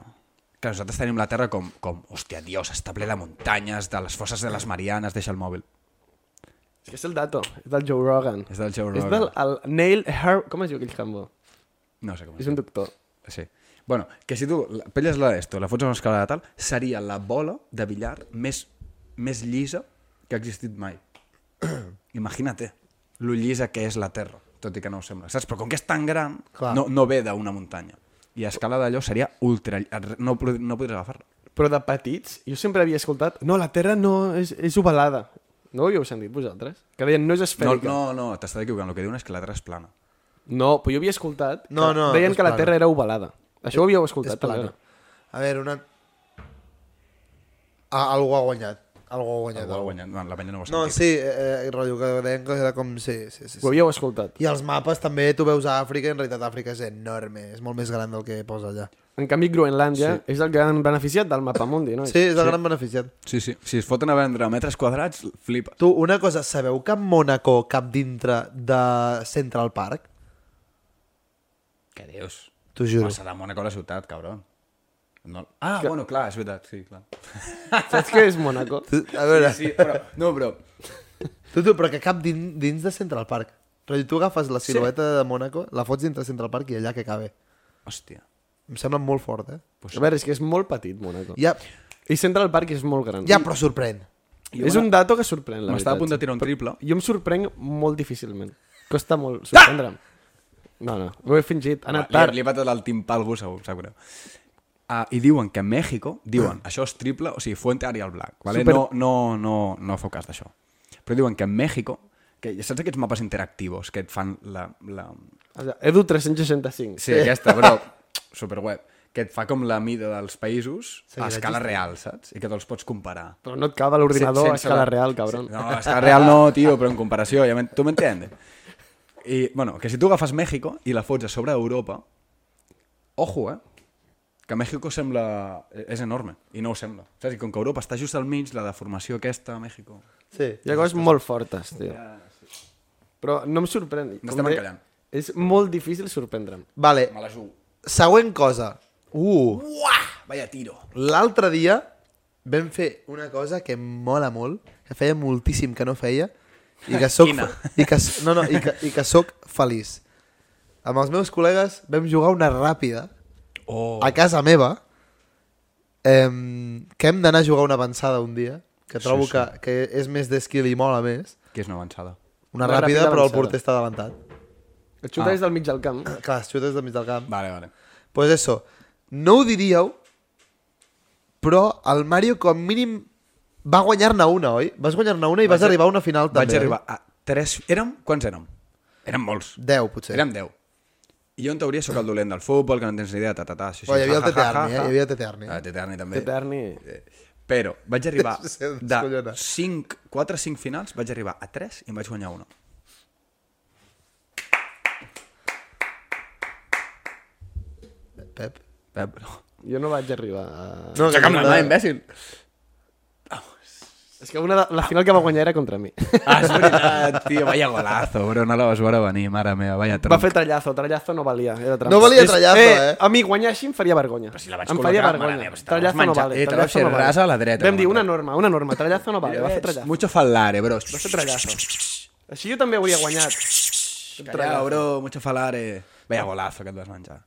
Speaker 2: que nosaltres tenim la terra com, com hòstia, Dios, està ple de muntanyes, de les fosses de les Marianes, deixa el mòbil.
Speaker 6: És que és el dato, és del Joe Rogan.
Speaker 2: És del Joe
Speaker 6: És
Speaker 2: Rogan.
Speaker 6: del el Neil Her... Com es diu aquell jambo?
Speaker 2: No sé com
Speaker 6: És un doctor.
Speaker 2: Sí. Bueno, que si tu la- pelles la d'esto, la fots a una escala de tal, seria la bola de billar més, més llisa que ha existit
Speaker 1: <clears throat>
Speaker 2: mai. Imagina't, eh, lo llisa que és la Terra, tot i que no ho sembla. Saps? Però com que és tan gran,
Speaker 1: Clar.
Speaker 2: no, no ve d'una muntanya. I a escala d'allò seria ultra... lli- No, pod- no podries agafar-la.
Speaker 6: Però de petits, jo sempre havia escoltat... No, la Terra no és, és ovalada. No ho havíeu sentit vosaltres? Que deien, no és
Speaker 2: No,
Speaker 6: esfèrica.
Speaker 2: no, no, t'estàs equivocant. El que diuen és que la Terra és plana.
Speaker 6: No, però jo havia escoltat
Speaker 1: No,
Speaker 6: que
Speaker 1: no,
Speaker 6: deien
Speaker 1: és
Speaker 6: que la
Speaker 1: plana.
Speaker 6: Terra era ovalada. Això ho havíeu escoltat,
Speaker 1: És
Speaker 6: també.
Speaker 1: plana. A veure, una... Ah, algú ha guanyat. Algú ha guanyat.
Speaker 2: Algú ha
Speaker 1: Algú.
Speaker 2: guanyat. No, la penya no ho ha
Speaker 1: No,
Speaker 2: sentit.
Speaker 1: sí, eh, eh, rotllo, que deien que era com... Sí, sí, sí,
Speaker 6: Ho
Speaker 1: sí.
Speaker 6: havíeu escoltat.
Speaker 1: I els mapes també, tu veus a Àfrica, en realitat Àfrica és enorme, és molt més gran del que posa allà.
Speaker 6: En canvi, Groenlàndia sí. és el gran beneficiat del mapa mundi, no?
Speaker 1: Sí, és el gran beneficiat.
Speaker 2: Sí, sí. Si es foten a vendre metres quadrats, flipa.
Speaker 1: Tu, una cosa, sabeu que Mónaco cap dintre de Central Park?
Speaker 2: Què dius?
Speaker 1: T'ho juro.
Speaker 2: Juro. Passa de Mònaco a la ciutat, cabron. No... Ah, que... bueno, clar, és veritat, sí, clar.
Speaker 6: Saps què és Mónaco?
Speaker 1: <laughs> A veure,
Speaker 2: Sí, però, no, però...
Speaker 1: tu, tu, però que cap din, dins de Central Park. Però tu agafes la silueta sí. de Mónaco, la fots dintre Central Park i allà que cabe.
Speaker 2: Hòstia.
Speaker 1: Em sembla molt fort, eh?
Speaker 6: A veure, és que és molt petit, Mónaco.
Speaker 1: Ja,
Speaker 6: I Central Park és molt gran.
Speaker 1: ja però sorprèn.
Speaker 6: És un dato que sorprèn, la
Speaker 2: M'estava
Speaker 6: veritat.
Speaker 2: a punt de tirar un triple.
Speaker 6: Jo em sorprenc molt difícilment. Costa molt sorprendre'm. No, no, ho he fingit. Ha anat
Speaker 2: Va,
Speaker 6: tard.
Speaker 2: Ah! Li, li va tot el timpà algú, segur, em sap greu. Ah, I diuen que a Mèxico, diuen, això és triple, o sigui, Fuente Ariel Black, vale?
Speaker 6: Ah. Super-
Speaker 2: Super... no, no, no, no feu cas d'això. Però diuen que a Mèxico, que ja saps aquests mapes interactius que et fan la... la...
Speaker 6: O sigui, Edu 365.
Speaker 2: Sí, aquesta, però superweb, que et fa com la mida dels països a
Speaker 1: Seguiràs
Speaker 2: escala real, saps? I que te'ls pots comparar.
Speaker 6: Però no et cabe l'ordinador a
Speaker 2: Sense- sense
Speaker 6: escala
Speaker 2: la-
Speaker 6: real, cabron.
Speaker 2: No, a escala real no, tio, però en comparació, ja men- tu m'entiendes. I, bueno, que si tu agafes Mèxico i la fots a sobre d'Europa, ojo, eh? Que Mèxico sembla... e-, és enorme, i no ho sembla. Saps? I com que Europa està just al mig, la deformació aquesta a Mèxico...
Speaker 1: Sí.
Speaker 6: Hi ha coses molt fortes, tio. Però no em sorprèn.
Speaker 2: No
Speaker 6: Com
Speaker 2: estem
Speaker 6: de-
Speaker 2: encallant.
Speaker 6: És molt difícil sorprendre'm.
Speaker 1: Vale,
Speaker 2: Me la jugo.
Speaker 1: següent cosa. Uh,
Speaker 2: Uah! Vaya tiro.
Speaker 1: L'altre dia vam fer una cosa que em mola molt, que feia moltíssim que no feia, i
Speaker 2: <laughs>
Speaker 1: que soc,
Speaker 2: Quina?
Speaker 1: i que, s- no, no, i que, i que soc feliç. Amb els meus col·legues vam jugar una ràpida
Speaker 2: Oh,
Speaker 1: a casa meva, em, que hem d'anar a jugar una avançada un dia, que trobo
Speaker 2: sí.
Speaker 1: Que, que és més d'esquil i mola més.
Speaker 2: que és una avançada.
Speaker 1: Una,
Speaker 6: Una
Speaker 1: ràpida,
Speaker 6: ràpida
Speaker 1: però el
Speaker 6: avançada.
Speaker 1: porter està davantat.
Speaker 6: Et xuta
Speaker 2: Ah.
Speaker 6: des del mig del camp.
Speaker 1: Clar, es xutes del mig del camp.
Speaker 2: Vale, vale.
Speaker 1: Pues eso, no ho diríeu, però el Mario com mínim va guanyar-ne una, oi? Vas guanyar-ne una i vas
Speaker 2: a-
Speaker 1: arribar a una final
Speaker 2: Vaig
Speaker 1: també. eh?
Speaker 2: arribar a tres... Érem... Quants érem? Érem molts.
Speaker 1: 10, potser.
Speaker 2: Érem 10. I jo en teoria sóc el dolent del futbol, que no en tens ni idea, ta, ta, ta, sí, sí,
Speaker 1: Però hi havia
Speaker 2: ja,
Speaker 1: el Tete Arni, eh? Hi havia el Tete Arni.
Speaker 2: Ah, Tete Arni també.
Speaker 6: Té terni.
Speaker 2: Però
Speaker 1: <laughs>
Speaker 2: vaig arribar
Speaker 1: Sí,
Speaker 2: de
Speaker 1: descollona.
Speaker 2: 5, 4 5 finals, vaig arribar a 3 i em vaig guanyar una.
Speaker 1: Pep.
Speaker 2: Pep, no.
Speaker 6: Jo no vaig arribar a...
Speaker 1: No,
Speaker 2: Saca'm la mà, imbècil.
Speaker 6: És que una de... la final que va guanyar era contra mi. <laughs>
Speaker 2: Ah, és veritat, tio, vaya golazo, bro, no la vas veure venir, mare meva, vaya tronc.
Speaker 6: Va fer trallazo, trallazo no valia. Era trampa.
Speaker 1: No valia
Speaker 6: És-
Speaker 1: trallazo, eh?
Speaker 6: A mi guanyar així em faria vergonya. Però
Speaker 2: si la vaig
Speaker 6: em
Speaker 2: col·locar,
Speaker 6: faria
Speaker 2: mare
Speaker 6: vergonya.
Speaker 2: meva, si te la vas
Speaker 6: trallazo no
Speaker 2: menjar.
Speaker 6: vale.
Speaker 2: Eh, te la vas
Speaker 6: trallazo
Speaker 2: fer
Speaker 6: no vale.
Speaker 2: rasa a la dreta,
Speaker 6: Vam dir
Speaker 2: contra.
Speaker 6: una norma, una norma. Trallazo no vale, va fer trallazo.
Speaker 2: Mucho falare, bro.
Speaker 6: Va fer trallazo. Així jo també hauria guanyat.
Speaker 2: Callao, bro, mucho falare. Vaya golazo que et vas menjar.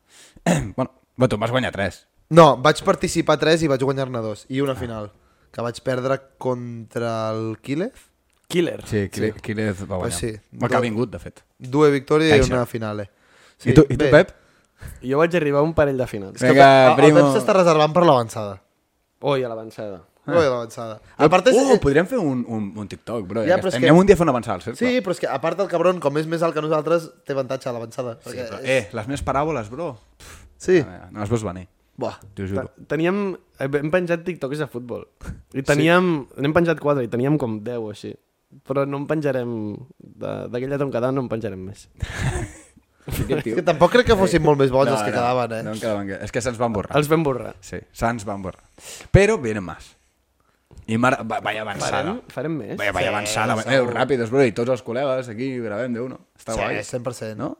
Speaker 2: <clears throat> bueno, però tu em vas guanyar 3.
Speaker 1: No, vaig participar 3 i vaig guanyar-ne 2.
Speaker 2: Ah.
Speaker 1: I una final, que vaig perdre contra el Kílev.
Speaker 6: Killer.
Speaker 2: Sí, qui, sí. qui l'és va guanyar.
Speaker 1: sí,
Speaker 2: Va que ha
Speaker 1: dos-
Speaker 2: vingut, de fet.
Speaker 1: Due victòries i
Speaker 2: Caixa.
Speaker 1: una finale.
Speaker 2: Sí, I tu, i tu
Speaker 1: bé.
Speaker 2: Pep?
Speaker 6: Jo vaig arribar a un parell de finals.
Speaker 1: És que
Speaker 2: Vinga,
Speaker 1: el Pep- el-
Speaker 2: primo. Ah.
Speaker 1: El Pep s'està reservant per l'avançada.
Speaker 6: Oi, a l'avançada.
Speaker 1: No ve l'avançada. A part és...
Speaker 2: Uh, podríem fer un, un, un TikTok, bro.
Speaker 1: Ja,
Speaker 2: Ja,
Speaker 1: però és
Speaker 2: ja que...
Speaker 1: que-
Speaker 2: Anem un dia a fer una avançada al cercle.
Speaker 1: Sí, però és que a part del cabron, com és més alt que nosaltres, té avantatge a l'avançada.
Speaker 2: Sí, però,
Speaker 1: perquè-
Speaker 2: eh, les meves paràboles, bro. Pff,
Speaker 1: Sí.
Speaker 2: no les veus venir,
Speaker 1: Buah.
Speaker 2: t'ho juro.
Speaker 6: Teníem... eh, Hem penjat TikToks de futbol. I teníem... Sí. N'hem penjat 4 i teníem com 10 o així. Però no en penjarem... de- D'aquella toncada no en penjarem més.
Speaker 1: <laughs> És que tampoc crec que fossin molt més bons els que quedaven, eh?
Speaker 2: No, en quedaven, que- és que se'ns van borrar.
Speaker 6: Els vam borrar.
Speaker 2: Sí, se'ns van borrar. Però vienen más. I mare, va- vaya avançada.
Speaker 6: Farem, farem més?
Speaker 2: Vaya, vaya avançada. Eh, ràpidos, bro. I tots els col·legues aquí gravem de uno. Està
Speaker 1: Sí,
Speaker 2: guai.
Speaker 1: 100%.
Speaker 2: No?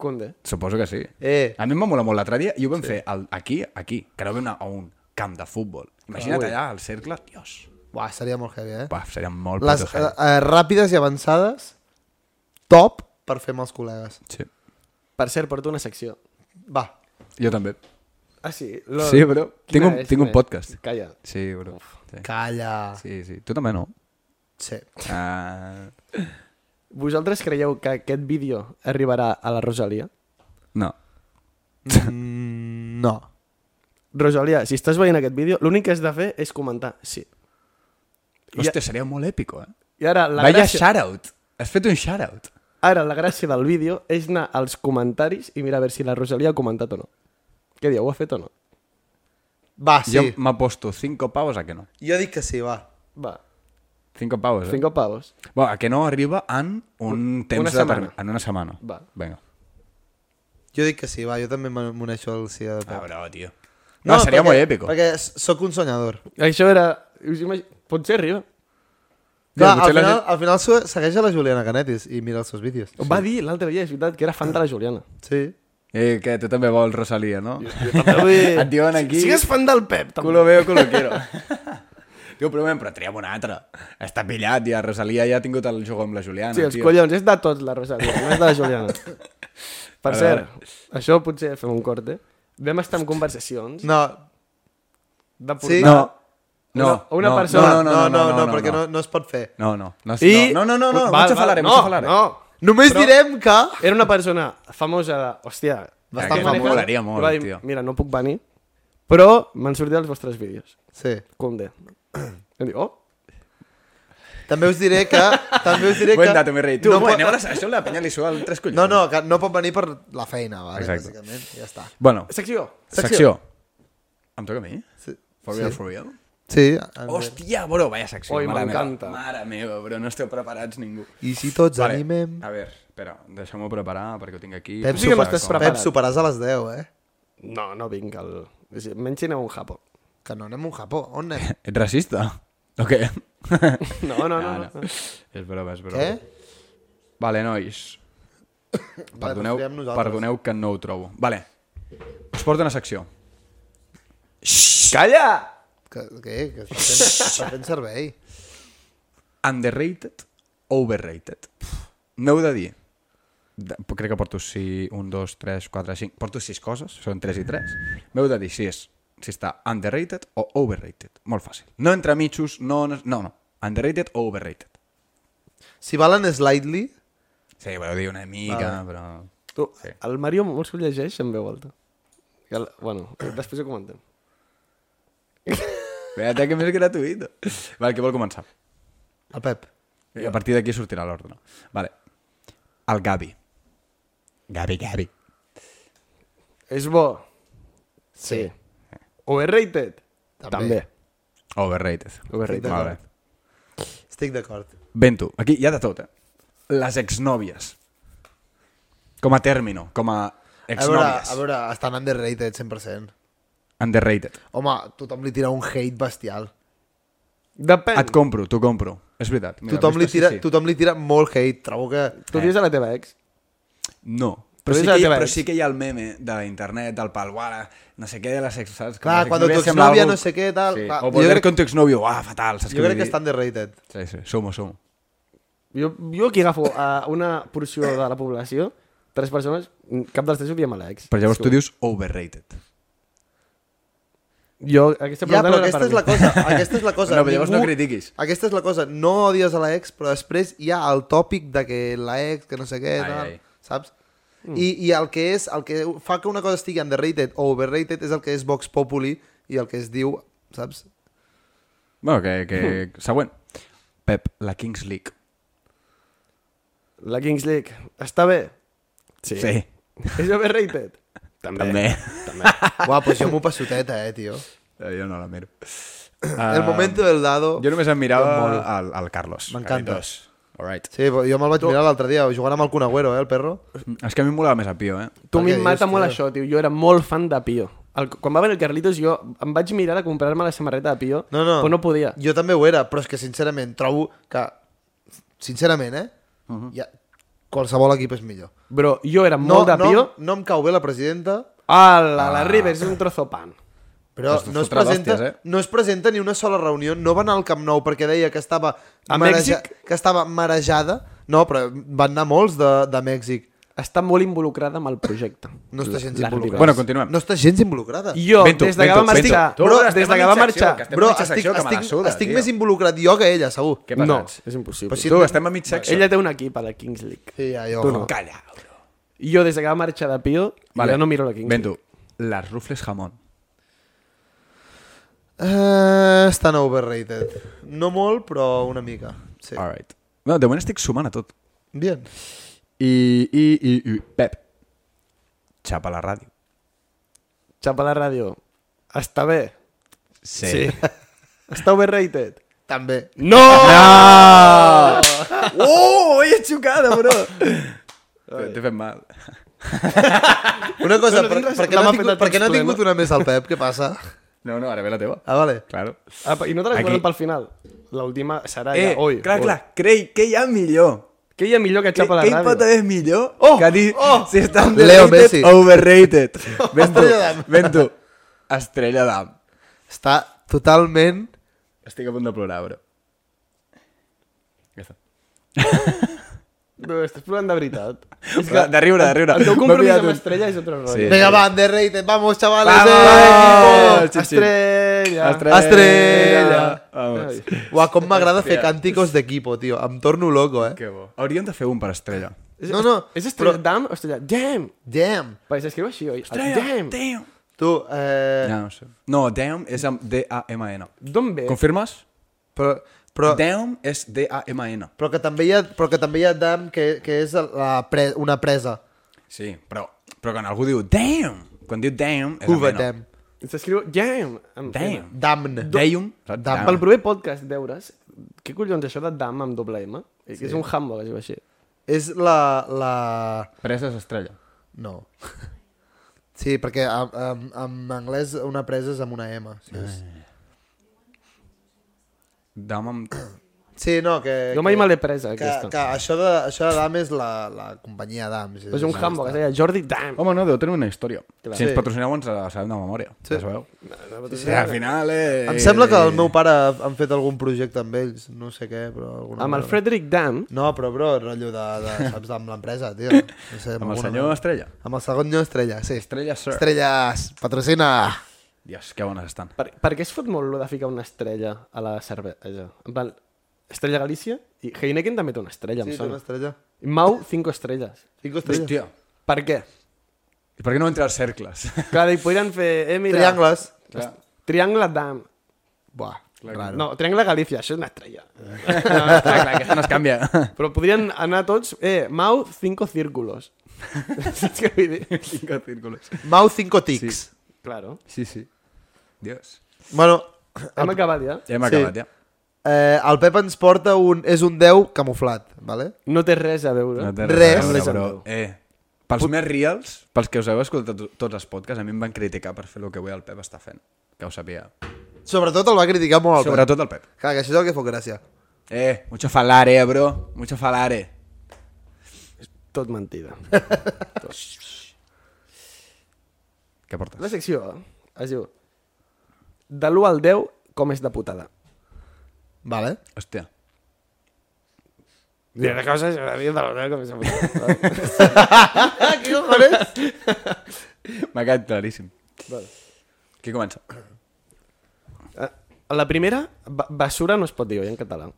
Speaker 6: Conde.
Speaker 2: Suposo que sí.
Speaker 1: Eh.
Speaker 2: A mi em va molar molt l'altre dia i ho vam sí. fer al, aquí, aquí, que no vam anar a un camp de futbol. Imagina't allà al cercle, dios.
Speaker 1: Buah, seria molt heavy, eh?
Speaker 2: Buah, seria molt
Speaker 1: Les
Speaker 2: puto
Speaker 1: eh,
Speaker 2: heavy.
Speaker 1: eh, ràpides i avançades, top per fer amb els col·legues.
Speaker 2: Sí.
Speaker 6: Per cert, porto una secció.
Speaker 1: Va,
Speaker 2: Jo també.
Speaker 6: Ah, sí? Lol.
Speaker 2: Sí, bro. Tinc un,
Speaker 6: és?
Speaker 2: tinc
Speaker 6: Quina
Speaker 2: un
Speaker 6: és?
Speaker 2: podcast.
Speaker 6: Calla.
Speaker 2: Sí, bro. Sí.
Speaker 1: calla. Sí.
Speaker 2: Eh. sí, sí. Tu també no?
Speaker 1: sí.
Speaker 2: Ah,
Speaker 6: Vosaltres creieu que aquest vídeo arribarà a la Rosalia?
Speaker 2: no.
Speaker 1: Mm, no.
Speaker 6: Rosalia, si estàs veient aquest vídeo, l'únic que has de fer és comentar sí.
Speaker 2: Hòstia, seria molt èpico, eh?
Speaker 6: I ara la,
Speaker 2: Vaya
Speaker 6: gràcia,
Speaker 2: shoutout. Has fet un shoutout.
Speaker 6: ara la gràcia del vídeo és anar als comentaris i mirar a veure si la Rosalia ha comentat o no. Què dieu, ho ha fet o no?
Speaker 1: Va, sí.
Speaker 2: Jo
Speaker 1: Jo,
Speaker 2: m'aposto 5 pavos a que no.
Speaker 1: jo dic que sí, va.
Speaker 6: Va,
Speaker 2: 5 pavos, eh?
Speaker 6: cinco pavos.
Speaker 2: Bueno, a que no arriba en un temps
Speaker 6: setmana.
Speaker 2: determinat. En una setmana.
Speaker 6: Va.
Speaker 2: Vinga.
Speaker 1: Jo dic que sí, va. Jo també m'un- m'uneixo al sí de
Speaker 2: Ah,
Speaker 1: Pep.
Speaker 2: bravo, tio. No, seria
Speaker 1: perquè-
Speaker 2: molt èpico.
Speaker 1: Perquè s- sóc un soñador.
Speaker 6: Això era... Us imag... Potser arriba.
Speaker 1: Clar,
Speaker 2: potser
Speaker 1: al
Speaker 2: la
Speaker 1: final, al final se- segueix a la Juliana Canetis i mira els seus vídeos.
Speaker 6: Sí. Va dir l'altre dia, és veritat, que era fan de la Juliana.
Speaker 1: Sí.
Speaker 2: Eh, que tu també vols Rosalia, no? <laughs>
Speaker 6: també.
Speaker 2: Et diuen aquí...
Speaker 6: Sí que és fan del Pep, també.
Speaker 2: Culo veo, culo quiero. tio, però, men, però triem un altre. Està pillat, ja. Rosalia ja ha tingut el joc amb la Juliana,
Speaker 6: Sí, els
Speaker 2: tio.
Speaker 6: collons, és de tots la Rosalia, no és de la
Speaker 2: <laughs>
Speaker 6: Juliana. Per
Speaker 2: A
Speaker 6: cert, això potser fem un corte. Vam estar en conversacions
Speaker 1: No,
Speaker 6: de portar...
Speaker 1: Sí?
Speaker 2: No. No,
Speaker 6: Una- una
Speaker 2: no,
Speaker 6: persona-
Speaker 2: No, no, no, no, no, no,
Speaker 1: perquè no, no es pot fer.
Speaker 2: No, no. No,
Speaker 6: I...
Speaker 2: no, no, no, no,
Speaker 6: Val,
Speaker 2: mucho
Speaker 6: val,
Speaker 2: falaré,
Speaker 6: no,
Speaker 2: mucho falaré.
Speaker 6: No,
Speaker 1: Només
Speaker 6: Però-
Speaker 1: direm que...
Speaker 6: Era una persona famosa de... Hòstia,
Speaker 1: Bastant
Speaker 6: aquest
Speaker 1: famosa.
Speaker 2: Molaria molt,
Speaker 6: I va dir,
Speaker 2: tio.
Speaker 6: Mira, no puc venir, però m'han sortit els vostres vídeos.
Speaker 1: Sí.
Speaker 6: Com de... <clears throat> Em dic, oh,
Speaker 1: També us diré que...
Speaker 2: <laughs>
Speaker 1: també us diré que...
Speaker 2: Buen dato, mi rei. Tu,
Speaker 1: no,
Speaker 2: no, bueno,
Speaker 1: pot,
Speaker 2: ara això la penya li suda el tres collons.
Speaker 1: no, no, que no pot venir per la feina, vale?
Speaker 2: Exacte.
Speaker 1: bàsicament. Ja està.
Speaker 2: Bueno,
Speaker 6: secció.
Speaker 1: Secció.
Speaker 2: secció. Em toca a mi?
Speaker 1: Sí.
Speaker 2: For real, for real?
Speaker 1: Sí.
Speaker 2: Hòstia, bro, vaya secció.
Speaker 6: Oi,
Speaker 2: mare meva.
Speaker 6: m'encanta.
Speaker 2: Mare meva, bro, no esteu preparats ningú.
Speaker 1: I si tots vale. animem...
Speaker 2: A veure, espera, deixeu-m'ho preparar perquè ho tinc aquí.
Speaker 1: Pep,
Speaker 6: Sí que
Speaker 1: super,
Speaker 6: m'estàs
Speaker 1: Pep,
Speaker 6: preparat.
Speaker 1: superaràs a les 10, eh?
Speaker 6: No, no vinc al... és a dir, Menys si aneu a un Japó.
Speaker 1: Que no anem a un Japó. On
Speaker 2: <laughs>
Speaker 1: anem?
Speaker 2: Ets racista? O què?
Speaker 6: No, no, no. no, no.
Speaker 2: És broma, és broma.
Speaker 1: Què?
Speaker 2: Vale, nois. Perdoneu,
Speaker 1: doncs diem nosaltres.
Speaker 2: perdoneu que no ho trobo. Vale. Us porto una secció.
Speaker 6: Calla!
Speaker 1: Que, què? Que està fent, està fent servei.
Speaker 2: Underrated, overrated. No heu de dir. De, crec que porto 6, 1, 2, 3, 4, 5... Porto 6 coses, són 3 i 3. M'heu de dir si, és, si està underrated o overrated. Molt fàcil. No entre mitjos, no... No, no. Underrated o overrated.
Speaker 1: Si valen slightly...
Speaker 2: Sí, però dir una mica, vale. però...
Speaker 6: Tu,
Speaker 2: Sí.
Speaker 6: el Mario molts ho llegeix en veu alta. Que El, bueno, després ho comentem.
Speaker 2: Espera't, que més gratuït. Vale, qui vol començar?
Speaker 1: El Pep.
Speaker 2: I a partir d'aquí sortirà l'ordre. Vale. El Gavi. Gavi, Gavi.
Speaker 6: És bo. Sí. Overrated.
Speaker 1: També.
Speaker 2: Overrated.
Speaker 6: Overrated.
Speaker 2: Vale.
Speaker 1: Estic d'acord.
Speaker 2: Vento. Aquí hi ha de tot, eh? Les exnòvies. Com a término, com a
Speaker 1: A veure,
Speaker 2: exnòvies.
Speaker 1: a veure, estan underrated 100%.
Speaker 2: Underrated.
Speaker 1: Home, tothom li tira un hate bestial.
Speaker 6: Depèn.
Speaker 2: Et compro, t'ho compro. És veritat. Mira,
Speaker 1: tothom, li
Speaker 2: vist-ho,
Speaker 1: tira,
Speaker 2: sí, sí.
Speaker 1: tothom li tira molt hate. Trobo que...
Speaker 6: Tu dius a la teva ex?
Speaker 2: No. Però
Speaker 6: Tu
Speaker 2: sí,
Speaker 6: és la
Speaker 2: que hi,
Speaker 6: teva
Speaker 2: però
Speaker 6: ex.
Speaker 2: sí que hi ha el meme de internet, del pal, uala, no sé què, de les ex... Saps? Que
Speaker 1: Clar,
Speaker 2: les
Speaker 1: quan tu
Speaker 2: exnòvies
Speaker 1: ets
Speaker 2: sembla
Speaker 1: novia,
Speaker 2: algo-
Speaker 1: no sé què, tal,
Speaker 2: Sí.
Speaker 1: clar.
Speaker 2: O
Speaker 1: Jo
Speaker 2: volver
Speaker 1: crec-
Speaker 2: con tu exnòvio, uah, fatal, saps
Speaker 1: Jo
Speaker 2: què
Speaker 1: crec que
Speaker 2: vull
Speaker 1: està underrated.
Speaker 2: dir? Sí, sí, sumo, sumo.
Speaker 6: Jo, jo aquí agafo a una porció de la població, tres persones, cap dels tres ho diem a l'ex.
Speaker 2: Però llavors tu dius overrated.
Speaker 6: Jo, aquesta
Speaker 1: Ja,
Speaker 6: pregunta
Speaker 1: però
Speaker 6: no era
Speaker 1: aquesta
Speaker 6: per
Speaker 1: és la
Speaker 6: mi.
Speaker 1: cosa, aquesta és la cosa.
Speaker 2: <laughs> No, però llavors no critiquis.
Speaker 1: Aquesta és la cosa, no odies a la ex, però després hi ha el tòpic de que la ex, que no sé què,
Speaker 2: Ai,
Speaker 1: tal,
Speaker 2: ai.
Speaker 1: saps? I, I el que és, el que fa que una cosa estigui
Speaker 2: <laughs>
Speaker 1: underrated o overrated és el que és Vox Populi i el que es diu, saps?
Speaker 2: Bueno, que,
Speaker 1: Hmm.
Speaker 2: que... Següent. Pep, la Kings League.
Speaker 6: La Kings League. Està bé? Sí. És overrated? També.
Speaker 2: També. <laughs>
Speaker 1: Uau, pues jo m'ho passoteta, eh, tio.
Speaker 2: Eh, Jo no la miro.
Speaker 1: El momento del dado...
Speaker 2: Ah, Jo només em mirava
Speaker 1: Molt.
Speaker 2: al, al Carlos.
Speaker 1: M'encanta.
Speaker 2: Carlitos. All right.
Speaker 1: Sí, però jo me'l vaig mirar l'altre dia, jugant amb el Kun Agüero, eh, el perro.
Speaker 2: És que a mi em molava més a Pio, eh?
Speaker 6: Tu a mi
Speaker 1: Perquè
Speaker 6: em mata
Speaker 1: dius,
Speaker 6: molt
Speaker 1: tio.
Speaker 6: això, tio. Jo era molt fan de Pio. El, quan va venir el Carlitos, jo em vaig mirar a comprar-me la samarreta de Pio,
Speaker 1: No, no.
Speaker 6: però no podia.
Speaker 1: Jo també ho era, però és que sincerament trobo que... Sincerament, eh? Uh -huh. ja, qualsevol equip és millor.
Speaker 6: Bro, jo era molt de
Speaker 1: no,
Speaker 6: Pio.
Speaker 1: No, em cau bé la presidenta,
Speaker 6: Ah, la, la Rivers és un trozo pan.
Speaker 1: però
Speaker 2: T'has de
Speaker 1: no es,
Speaker 2: fotre
Speaker 1: presenta,
Speaker 2: d'hòsties, eh?
Speaker 1: no es presenta ni una sola reunió. No va anar al Camp Nou perquè deia que estava,
Speaker 6: A Mèxic?
Speaker 1: que estava marejada. No, però van anar molts de, de Mèxic.
Speaker 6: Està molt involucrada amb el projecte.
Speaker 1: No està gens
Speaker 6: La- la
Speaker 1: involucrada.
Speaker 6: Rivers.
Speaker 2: Bueno, continuem.
Speaker 1: No està gens involucrada.
Speaker 6: Jo,
Speaker 2: Vento,
Speaker 6: des de que
Speaker 2: vento,
Speaker 6: va marxar...
Speaker 2: vento. Tu
Speaker 6: Bro,
Speaker 2: ara estem
Speaker 6: des de
Speaker 2: en
Speaker 6: que va
Speaker 2: una secció,
Speaker 6: marxar...
Speaker 2: que estem
Speaker 1: Bro,
Speaker 2: mitja
Speaker 1: estic,
Speaker 2: secció que me la
Speaker 1: estic,
Speaker 2: suda,
Speaker 1: estic
Speaker 2: tio.
Speaker 1: més involucrat jo que ella, segur.
Speaker 2: Què
Speaker 6: No,
Speaker 2: passats?
Speaker 6: és impossible.
Speaker 1: Però si-
Speaker 2: Tu, estem a mig secció.
Speaker 6: Ella té un equip a la Kings League.
Speaker 1: Sí, ja, jo.
Speaker 6: Tu no.
Speaker 2: Calla, bro.
Speaker 6: Jo, des de que va marxar de Pio, vale. jo no miro la Kings
Speaker 2: Vento, les rufles jamón.
Speaker 1: Eh, estan overrated. No molt, però una mica. Sí.
Speaker 2: All right. No, de moment estic sumant a tot.
Speaker 1: Bien.
Speaker 2: I, i, i, i Pep, xapa la ràdio.
Speaker 6: League. Xapa la ràdio. Està bé.
Speaker 2: Sí.
Speaker 6: <laughs> Està overrated.
Speaker 1: També.
Speaker 6: No! <laughs>
Speaker 2: No! Oh, ella xocada, bro. T'he fet mal.
Speaker 1: Una cosa,
Speaker 6: <laughs> No, no
Speaker 1: per,
Speaker 6: tinc res-
Speaker 1: per, què
Speaker 6: la
Speaker 1: no ha
Speaker 6: mà
Speaker 1: tingut,
Speaker 6: eh, no
Speaker 1: per què no ha
Speaker 6: tens
Speaker 1: tingut una més al Pep? Què passa?
Speaker 2: No, no, ara ve la teva.
Speaker 1: Ah, vale.
Speaker 2: Claro.
Speaker 6: Apa, I no te l'has
Speaker 2: Aquí.
Speaker 6: guardat pel final? L'última serà
Speaker 2: Eh,
Speaker 6: ja. Oi,
Speaker 2: clar,
Speaker 6: oi.
Speaker 2: clar, crei que hi ha millor.
Speaker 6: Que hi ha millor que
Speaker 2: Què,
Speaker 6: xapa la
Speaker 2: què hi
Speaker 6: ràdio?
Speaker 2: pot haver millor oh, que dir oh, si està
Speaker 1: Leo
Speaker 2: underrated
Speaker 1: Messi.
Speaker 2: o <laughs> overrated? Ven tu,
Speaker 1: Estrella d'am.
Speaker 2: ven tu. Estrella d'am.
Speaker 1: Està totalment...
Speaker 2: Estic a punt de plorar, bro. Ja està.
Speaker 6: Bro, estàs plorant de veritat. És que
Speaker 2: De riure, de riure.
Speaker 6: el teu
Speaker 2: M'he
Speaker 6: compromís
Speaker 2: pillat
Speaker 6: amb
Speaker 2: un-
Speaker 6: Estrella és otro rotllo.
Speaker 2: Sí.
Speaker 1: Vinga, va, underrated, vamos, chavales.
Speaker 2: Eh. Vamos,
Speaker 1: eh,
Speaker 2: xip, xip.
Speaker 1: Estrella.
Speaker 2: Estrella.
Speaker 1: Estrella.
Speaker 2: Vamos.
Speaker 1: Uah, com m'agrada fer cànticos d'equipo, tio. Em torno loco, eh?
Speaker 2: Que bo. Hauríem de fer un per estrella.
Speaker 6: És-
Speaker 1: No, no,
Speaker 6: És Estrella Dam o Estrella Damn?
Speaker 1: Damn.
Speaker 6: Perquè s'escriu així, oi? Damn.
Speaker 2: damn.
Speaker 1: Tu, eh...
Speaker 2: Ja, no sé. No, damn és amb D-A-M-N.
Speaker 6: D'on ve?
Speaker 2: Confirmes?
Speaker 1: Però, però,
Speaker 2: Damn és D-A-M-N.
Speaker 1: però, que també hi ha, però que també hi ha damn, que, que és la pre, una presa.
Speaker 2: Sí, però, però quan algú diu damn, quan diu damn... És
Speaker 1: Uva
Speaker 2: amb N.
Speaker 1: damn.
Speaker 6: S'escriu Damn. Amb
Speaker 2: Damn.
Speaker 1: Damn.
Speaker 2: Damn.
Speaker 1: Damn.
Speaker 6: Pel proper podcast deures, què collons això de dam amb doble M? Sí. És un humble, es diu així.
Speaker 1: És la... la...
Speaker 2: Preses estrella.
Speaker 1: No. Sí, perquè en, en, en anglès una presa és amb una M. Sí, és...
Speaker 2: Eh. Dam amb...
Speaker 1: sí no, que...
Speaker 6: Jo mai
Speaker 1: que-
Speaker 6: me l'he presa,
Speaker 1: que,
Speaker 6: aquesta.
Speaker 1: que això de, això de DAM és la, la companyia DAM. Sí,
Speaker 6: Però és un humble, es deia Jordi Dam.
Speaker 2: Home, no, deu tenir una història.
Speaker 6: Clar.
Speaker 2: Si ens
Speaker 1: Sí.
Speaker 2: patrocineu ens la sabem de memòria. Sí. Ja sabeu. Sí, al final... Eh...
Speaker 1: Em sembla que el meu pare han fet algun projecte amb ells, no sé què, però... Alguna
Speaker 6: Amb el
Speaker 1: cosa.
Speaker 6: Frederick Dam,
Speaker 1: No, però, bro, rotllo de, de saps, amb l'empresa, tio. No sé,
Speaker 2: Amb el
Speaker 1: alguna-
Speaker 2: senyor Estrella.
Speaker 1: Amb el segon senyor Estrella, sí.
Speaker 2: Estrella, sir.
Speaker 1: Estrelles, patrocina!
Speaker 2: Dios, que bones estan.
Speaker 6: per, per què es fot molt lo de ficar una estrella a la cervesa? En plan, Estrella Galícia i Heineken també té una estrella,
Speaker 1: Sí, té
Speaker 6: em
Speaker 1: una
Speaker 6: sona.
Speaker 1: estrella.
Speaker 6: I Mau, 5 estrelles.
Speaker 1: Cinco estrelles.
Speaker 2: Hòstia.
Speaker 6: Per què?
Speaker 2: I per què no entra als cercles?
Speaker 6: Clar, i podrien fer... Eh, mira,
Speaker 1: Triangles.
Speaker 2: Clar.
Speaker 6: Triangle Dam.
Speaker 1: Buah, raro.
Speaker 6: No, Triangle Galícia, això és
Speaker 2: <laughs>
Speaker 6: una estrella.
Speaker 2: clar, <laughs> clar, aquesta no es canvia. <laughs>
Speaker 6: Però podrien anar tots... Eh, Mau, 5
Speaker 2: <laughs>
Speaker 6: círculos. Saps què vull dir?
Speaker 2: Cinco círculos.
Speaker 1: Mau 5 tics.
Speaker 6: Claro.
Speaker 2: Sí, sí. Dios.
Speaker 1: Bueno,
Speaker 6: Hem acabat ja.
Speaker 2: Ja hem
Speaker 1: Sí.
Speaker 2: acabat, ja.
Speaker 1: eh, el Pep ens porta un... És un 10 camuflat, vale?
Speaker 6: No té res a veure.
Speaker 2: No té
Speaker 1: Res.
Speaker 2: res, a veure,
Speaker 1: Res
Speaker 6: amb
Speaker 2: però,
Speaker 6: Déu.
Speaker 2: eh, pels més reals, pels que us heu escoltat to- tots els podcasts, a mi em van criticar per fer el que avui el Pep està fent. Que ho sabia.
Speaker 1: Sobretot el va criticar molt el Pep.
Speaker 2: Sobretot el Pep.
Speaker 1: Clar, que això és el que fa gràcia.
Speaker 2: Eh, mucho falar, eh, bro. Mucho falar, eh.
Speaker 6: Tot mentida.
Speaker 2: Què portes?
Speaker 6: La secció es diu de l'1 al 10, com és de putada.
Speaker 1: Vale?
Speaker 2: Hòstia.
Speaker 6: Dir les coses, a mi de l'1 al 10, com és de putada.
Speaker 2: <laughs> M'ha quedat claríssim.
Speaker 6: Vale.
Speaker 2: Qui comença?
Speaker 6: Eh, La primera, ba- basura no es pot dir oi, en català.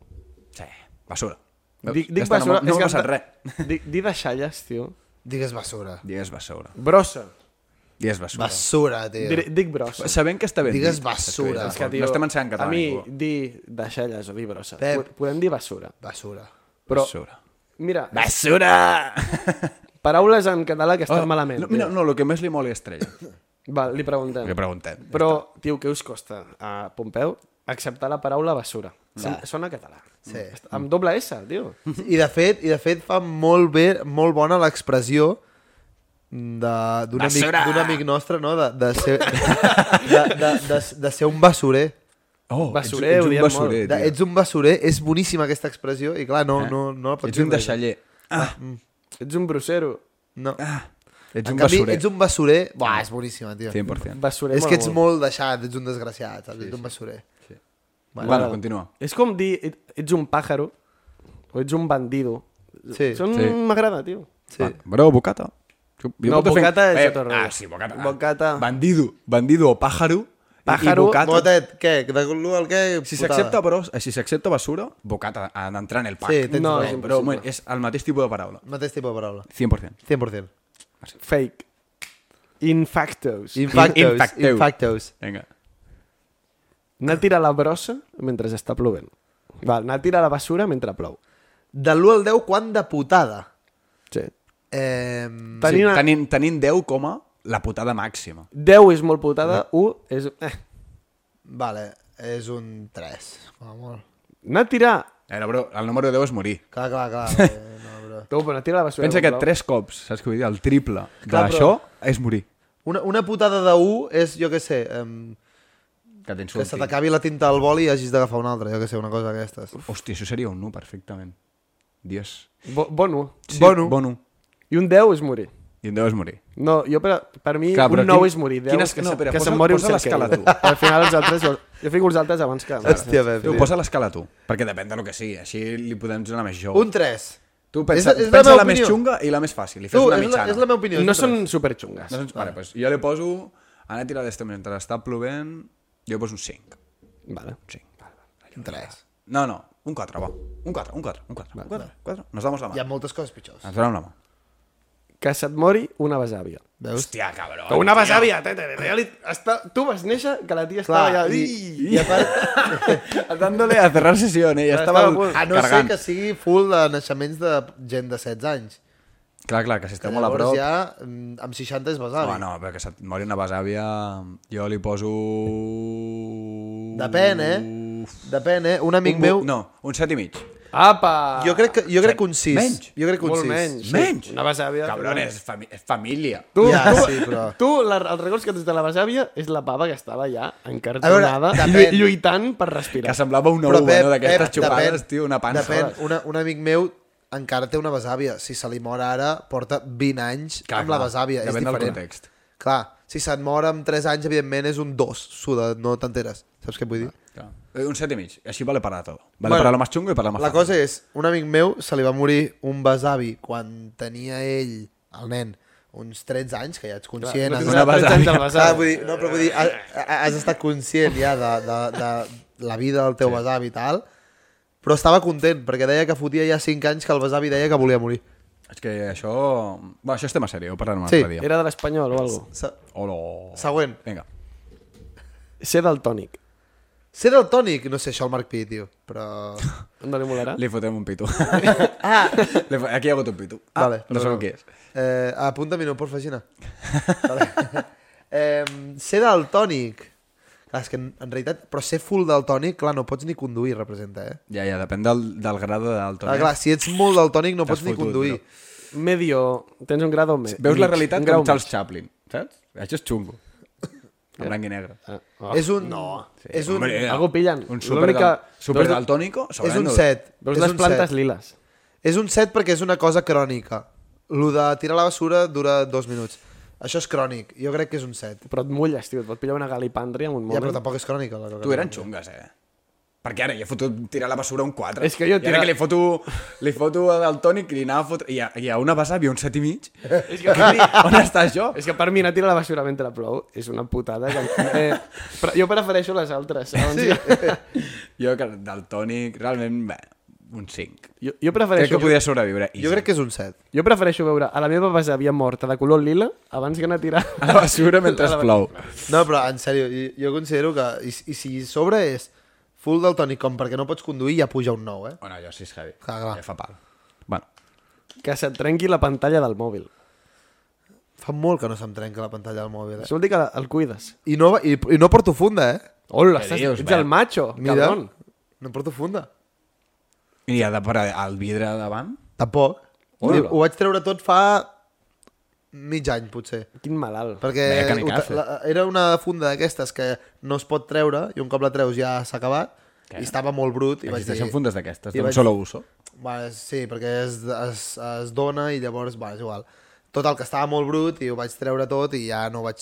Speaker 2: Sí. Basura. Veus?
Speaker 6: Dic, dic
Speaker 2: ja està, No,
Speaker 6: basura... és
Speaker 2: m'ha- no
Speaker 6: que
Speaker 2: m'ha passat
Speaker 6: em-
Speaker 2: res.
Speaker 6: Dic, dic deixalles, tio.
Speaker 1: Digues basura.
Speaker 2: Digues basura.
Speaker 6: Brossa.
Speaker 2: I és basura. Bas...
Speaker 1: Basura, tio.
Speaker 6: Dir- Dic brossa.
Speaker 2: Sabent que està ben
Speaker 1: Digues
Speaker 2: dit,
Speaker 1: basura.
Speaker 2: és
Speaker 1: És
Speaker 2: que,
Speaker 1: que,
Speaker 2: no estem ensenyant català.
Speaker 6: A mi,
Speaker 2: ningú.
Speaker 6: dir deixalles o dir brossa.
Speaker 1: Pep.
Speaker 6: Po- Podem dir basura.
Speaker 1: Basura.
Speaker 6: Però,
Speaker 2: Basura.
Speaker 6: mira,
Speaker 2: Basura!
Speaker 6: <laughs> paraules en català que estan
Speaker 2: Oh,
Speaker 6: malament.
Speaker 2: No, mira, no, el que més li mola és estrella.
Speaker 6: Val, li preguntem.
Speaker 2: Li preguntem.
Speaker 6: Però, tio, què us costa a Pompeu acceptar la paraula basura? Sona, sona català.
Speaker 1: Sí.
Speaker 6: Est- Amb doble S, tio.
Speaker 1: I de fet, i de fet fa molt bé, molt bona l'expressió de- d'un amic,
Speaker 2: Basura!
Speaker 1: d'un amic nostre, no? De, de, ser, <laughs> de, de, de, de ser un basurer.
Speaker 2: Oh,
Speaker 6: Basurer, ho
Speaker 2: ets, ets
Speaker 6: diem
Speaker 2: un basurer,
Speaker 1: De,
Speaker 2: tio. Eh?
Speaker 1: ets un basurer, és boníssima aquesta expressió, i clar, no, no, no la pots
Speaker 2: ets un
Speaker 1: dir res.
Speaker 2: deixaller.
Speaker 6: Ets un brocero.
Speaker 1: No.
Speaker 2: Ets
Speaker 1: En
Speaker 2: un
Speaker 1: canvi,
Speaker 2: basurer.
Speaker 1: ets un basurer... Buah, és boníssima, tio.
Speaker 2: 100%.
Speaker 6: Basurer
Speaker 1: És que ets
Speaker 6: molt.
Speaker 1: molt deixat, ets un desgraciat, saps? Ets un basurer.
Speaker 2: Bueno, bueno, continua.
Speaker 6: És com dir, et- ets un pàjaro o ets un bandido.
Speaker 1: Sí,
Speaker 6: Són...
Speaker 2: Sí.
Speaker 6: M'agrada, tio.
Speaker 1: sí.
Speaker 2: Va, Bro, bocata. Jo, jo
Speaker 6: No,
Speaker 2: porto fent-
Speaker 6: bocata és
Speaker 2: Eh,
Speaker 6: otro
Speaker 2: Ah,
Speaker 6: rollo.
Speaker 2: sí, bocata. Ah.
Speaker 6: Bocata.
Speaker 2: Bandido. Bandido o pájaro. i-
Speaker 6: Pájaro,
Speaker 2: I bocata.
Speaker 1: Botet, què? De l'u al què?
Speaker 2: Si
Speaker 1: Putada.
Speaker 2: s'accepta, però, eh, si s'accepta basura, bocata, ha d'entrar en el pack.
Speaker 1: Sí, tens
Speaker 6: No,
Speaker 1: no,
Speaker 6: és
Speaker 1: raó.
Speaker 2: Però bueno, és el mateix tipus de paraula.
Speaker 1: Mateix tipus de paraula.
Speaker 2: 100%.
Speaker 1: 100%.
Speaker 6: Fake. In
Speaker 1: Infactos.
Speaker 6: factos.
Speaker 2: Infacteus.
Speaker 1: Infactos.
Speaker 2: Vinga.
Speaker 6: Anar a tirar la brossa mentre està plovent. Val, anar a tirar la basura mentre plou.
Speaker 1: De l'1 al 10, quant de putada?
Speaker 6: Sí.
Speaker 1: Eh,
Speaker 2: Sí,
Speaker 6: Tenir una...
Speaker 2: tenint, tenint 10 com a la putada màxima.
Speaker 6: 10 és molt putada, 1 és... Eh.
Speaker 1: vale, és un 3. Com a molt.
Speaker 6: Anar a tirar...
Speaker 2: Eh, no, bro, el número 10 és morir.
Speaker 1: Clar, clar,
Speaker 2: <laughs>
Speaker 1: clar. eh, no, però...
Speaker 6: No, però anar a tirar la basura
Speaker 2: Pensa que
Speaker 6: mentre plou.
Speaker 2: 3 cops, saps què vull dir? El triple
Speaker 1: Clar,
Speaker 2: d'això
Speaker 1: però-
Speaker 2: és morir.
Speaker 1: Una, una putada de 1 és, jo què sé, eh,
Speaker 2: Que
Speaker 1: que
Speaker 2: t'insulti.
Speaker 1: se t'acabi la tinta al boli i hagis d'agafar una altra, jo què sé, una cosa d'aquestes.
Speaker 2: Hòstia, això seria un 1 perfectament. Dios.
Speaker 6: Bo, bon 1.
Speaker 2: Sí,
Speaker 1: Bon u.
Speaker 2: Bon 1.
Speaker 6: I un 10 és morir.
Speaker 2: I un 10 és morir.
Speaker 6: No, jo per, per mi
Speaker 2: Clar,
Speaker 6: Clar,
Speaker 2: però
Speaker 6: un 9
Speaker 2: quin-
Speaker 6: és morir, 10
Speaker 2: quina
Speaker 6: és
Speaker 2: es-
Speaker 6: que,
Speaker 2: no,
Speaker 6: se,
Speaker 2: espera,
Speaker 6: que
Speaker 2: posa-
Speaker 6: se'n mori un
Speaker 2: posa
Speaker 6: cerquell.
Speaker 2: l'escala, tu.
Speaker 6: Al final els altres, jo, jo fico els altres abans que...
Speaker 1: Hòstia, Pep.
Speaker 2: Tu posa l'escala tu, perquè depèn del que sigui, així li podem donar més joc.
Speaker 1: Un 3.
Speaker 2: Tu pensa,
Speaker 1: és- és la
Speaker 2: pensa
Speaker 1: meva
Speaker 2: la, més
Speaker 1: opinió.
Speaker 2: xunga i la més fàcil, i fes
Speaker 1: Tu,
Speaker 2: una
Speaker 1: és la,
Speaker 2: mitjana.
Speaker 1: és la meva opinió.
Speaker 6: No
Speaker 1: és un
Speaker 6: són
Speaker 1: tres.
Speaker 6: superxungues.
Speaker 2: No, doncs, vale, doncs jo li poso... Anar a tirar d'este mentre està plovent, jo li poso un 5.
Speaker 6: Vale.
Speaker 2: Un 5.
Speaker 1: Un 3.
Speaker 2: No, no, un 4, va. Un 4, un 4, un 4. Un 4, 4. Nos damos la mà.
Speaker 1: Hi ha moltes coses pitjors.
Speaker 2: Ens donem la mà.
Speaker 6: Que se't mori una besàvia.
Speaker 1: Veus?
Speaker 2: Hòstia, cabró.
Speaker 6: Que una besàvia, tete, tete, ja li, està, tu vas néixer que la tia estava
Speaker 1: Clar,
Speaker 6: allà...
Speaker 1: i-
Speaker 6: I,
Speaker 1: Ah, I a part,
Speaker 2: <laughs> Dándole a cerrar sesión, eh? Ja
Speaker 6: estava
Speaker 2: estava
Speaker 6: a punt.
Speaker 1: a no ser
Speaker 2: cargant.
Speaker 1: que sigui full de naixements de gent de 16 anys.
Speaker 2: Clar, clar, que si
Speaker 1: Que
Speaker 2: està molt a prop...
Speaker 1: ja mm, amb 60 és besavi.
Speaker 2: Home, no, però que se't mori una besàvia... Jo li poso...
Speaker 1: Depèn, eh? Depèn, eh? Un amic
Speaker 2: Un
Speaker 1: meu...
Speaker 2: meu... No, un set i mig.
Speaker 6: Apa!
Speaker 1: Jo crec que, jo crec que un 6.
Speaker 2: Menys.
Speaker 1: Jo crec que un
Speaker 6: Molt
Speaker 1: 6.
Speaker 6: menys. Sí,
Speaker 2: Menys?
Speaker 6: una besàvia.
Speaker 2: Cabrón, és, fami és família.
Speaker 6: Tu,
Speaker 1: Ja,
Speaker 6: tu,
Speaker 1: sí, però-
Speaker 6: tu la, els records que tens de la besàvia és la pava que estava allà
Speaker 1: A
Speaker 6: encartonada,
Speaker 1: veure,
Speaker 6: llu
Speaker 1: depèn.
Speaker 6: lluitant per
Speaker 2: Que
Speaker 6: respirar.
Speaker 2: semblava una
Speaker 1: Però
Speaker 2: uva,
Speaker 1: Pep,
Speaker 2: no? D'aquestes
Speaker 1: Pep,
Speaker 2: xupades,
Speaker 1: depèn-
Speaker 2: tio, una pansa.
Speaker 1: Depèn, una, un amic meu encara té una besàvia. Si se li mor ara, porta 20 anys
Speaker 2: Clar,
Speaker 1: amb la
Speaker 2: clar.
Speaker 1: besàvia. és
Speaker 2: Depèn del
Speaker 1: diferent.
Speaker 2: context.
Speaker 1: Clar, si se't mor amb 3 anys, evidentment és un 2. Suda, no t'enteres. Saps què vull dir?
Speaker 2: Clar. Eh, Un set i mig. Així vale para todo. Vale
Speaker 1: Bueno,
Speaker 2: para lo más chungo y para lo más
Speaker 1: La
Speaker 2: fácil.
Speaker 1: cosa és, un amic meu se li va morir un besavi quan tenia ell, el nen, uns 13 anys, que ja ets conscient.
Speaker 6: no
Speaker 1: has
Speaker 6: tens
Speaker 2: una
Speaker 1: estat-
Speaker 2: besàvia.
Speaker 6: anys al
Speaker 1: Ah,
Speaker 6: besàvia.
Speaker 1: vull dir, no, però vull dir, has, has estat conscient ja de, de, de la vida del teu sí. besavi i tal, però estava content, perquè deia que fotia ja 5 anys que el besavi deia que volia morir.
Speaker 2: És que això... Bueno, això és tema sèrio, ho parlarem un
Speaker 1: Sí.
Speaker 2: altre dia.
Speaker 6: Era de l'espanyol o alguna cosa.
Speaker 1: Se,
Speaker 2: Hola.
Speaker 1: següent.
Speaker 2: Vinga.
Speaker 6: Ser daltònic.
Speaker 1: Ser del tònic, no sé, això el Marc Pi, tio, però...
Speaker 6: No li molarà?
Speaker 2: Li fotem un pitu.
Speaker 1: <laughs> Ah!
Speaker 2: Li fo- Aquí hi ha hagut un pitu. Ah,
Speaker 1: Vale,
Speaker 2: no sabem qui és.
Speaker 1: Eh, apunta-m'hi, no, porfa, Gina. Vale. <laughs> eh, ser daltònic. Clar, és que en, en realitat... Però ser full daltònic, clar, no pots ni conduir, representa, eh?
Speaker 2: Ja, ja, depèn del, del grau de eh?
Speaker 1: Clar,
Speaker 2: daltonisme.
Speaker 1: Ah, clar, si ets molt daltònic no
Speaker 2: T'has
Speaker 1: pots ni
Speaker 2: fotut,
Speaker 1: conduir.
Speaker 2: tio.
Speaker 6: Medio... Tens un grau o més.
Speaker 2: Veus la realitat
Speaker 6: un grau
Speaker 2: com Charles Chaplin, saps? Això és xungo. En blanc i negre.
Speaker 6: mig. Ah,
Speaker 1: Oh,
Speaker 6: oh.
Speaker 1: és un... No. És un,
Speaker 2: Hombre,
Speaker 6: Algo pillen.
Speaker 2: Un
Speaker 6: L'única-
Speaker 2: superdal- superdaltònico.
Speaker 1: és
Speaker 2: segurament
Speaker 1: un
Speaker 2: no-
Speaker 1: 7.
Speaker 6: Veus
Speaker 1: és
Speaker 6: les
Speaker 1: un
Speaker 6: plantes
Speaker 1: set.
Speaker 6: liles.
Speaker 1: És un 7 perquè és una cosa crònica. Lo de tirar la bessura dura dos minuts. Això és crònic. Jo crec que és un 7.
Speaker 6: Però et mulles, tio. Et pot pillar una galipàndria en un
Speaker 1: Ja, però
Speaker 6: moment.
Speaker 1: tampoc és crònica. La
Speaker 2: Tu eren xungues, eh? Perquè ara ja he fotut tirar la basura un 4.
Speaker 6: És que jo
Speaker 2: I ara
Speaker 6: tira-
Speaker 2: que li foto, li foto a del tònic i li anava a fotre... I a, i a una besàvia un 7 i mig.
Speaker 6: és, que per mi,
Speaker 2: On està
Speaker 6: <laughs>
Speaker 2: això?
Speaker 6: és que per mi anar a tirar la basura mentre plou és una putada. Que, eh, però jo prefereixo les altres. Abans sí.
Speaker 2: Jo que del tònic, realment, bé, un 5.
Speaker 6: Jo, jo
Speaker 2: Crec
Speaker 6: prefereixo...
Speaker 2: que podia sobreviure.
Speaker 1: Jo crec que és un 7.
Speaker 6: Jo prefereixo veure a la meva besàvia morta de color lila abans que anar
Speaker 2: <laughs>
Speaker 6: a tirar...
Speaker 2: A la basura mentre es plou.
Speaker 1: No, però en sèrio, jo, jo considero que... I, i si sobre és full del tònic com perquè no pots conduir, ja puja un 9, eh?
Speaker 2: Oh, no, jo sí és heavy.
Speaker 1: Clar, clar.
Speaker 2: Ja fa pal. Bueno,
Speaker 6: Que se't trenqui la pantalla del mòbil.
Speaker 1: Fa molt que no se'm trenca la pantalla del mòbil, eh?
Speaker 6: Això vol dir que el cuides.
Speaker 1: I no, va- i, i no porto funda, eh?
Speaker 6: Hola,
Speaker 2: Què
Speaker 6: estàs,
Speaker 2: dius,
Speaker 6: ets
Speaker 2: Bel?
Speaker 6: el macho,
Speaker 1: Mira,
Speaker 6: cabron.
Speaker 1: no porto funda.
Speaker 2: i ha de parar al vidre davant?
Speaker 1: Tampoc.
Speaker 2: Hola.
Speaker 1: Ho vaig treure tot fa mig any, potser.
Speaker 6: Quin malalt.
Speaker 1: Perquè
Speaker 2: Vaya
Speaker 1: ho ta-
Speaker 2: kamikaze.
Speaker 1: la, era una funda d'aquestes que no es pot treure i un cop la treus ja s'ha acabat i estava molt brut i vaig dir...
Speaker 2: Existeixen fundes d'aquestes,
Speaker 1: i
Speaker 2: d'un
Speaker 1: vaig-
Speaker 2: solo uso.
Speaker 1: Va, sí, perquè es, es, es dona i llavors, va, és igual. Tot el que estava molt brut i ho vaig treure tot i ja no vaig...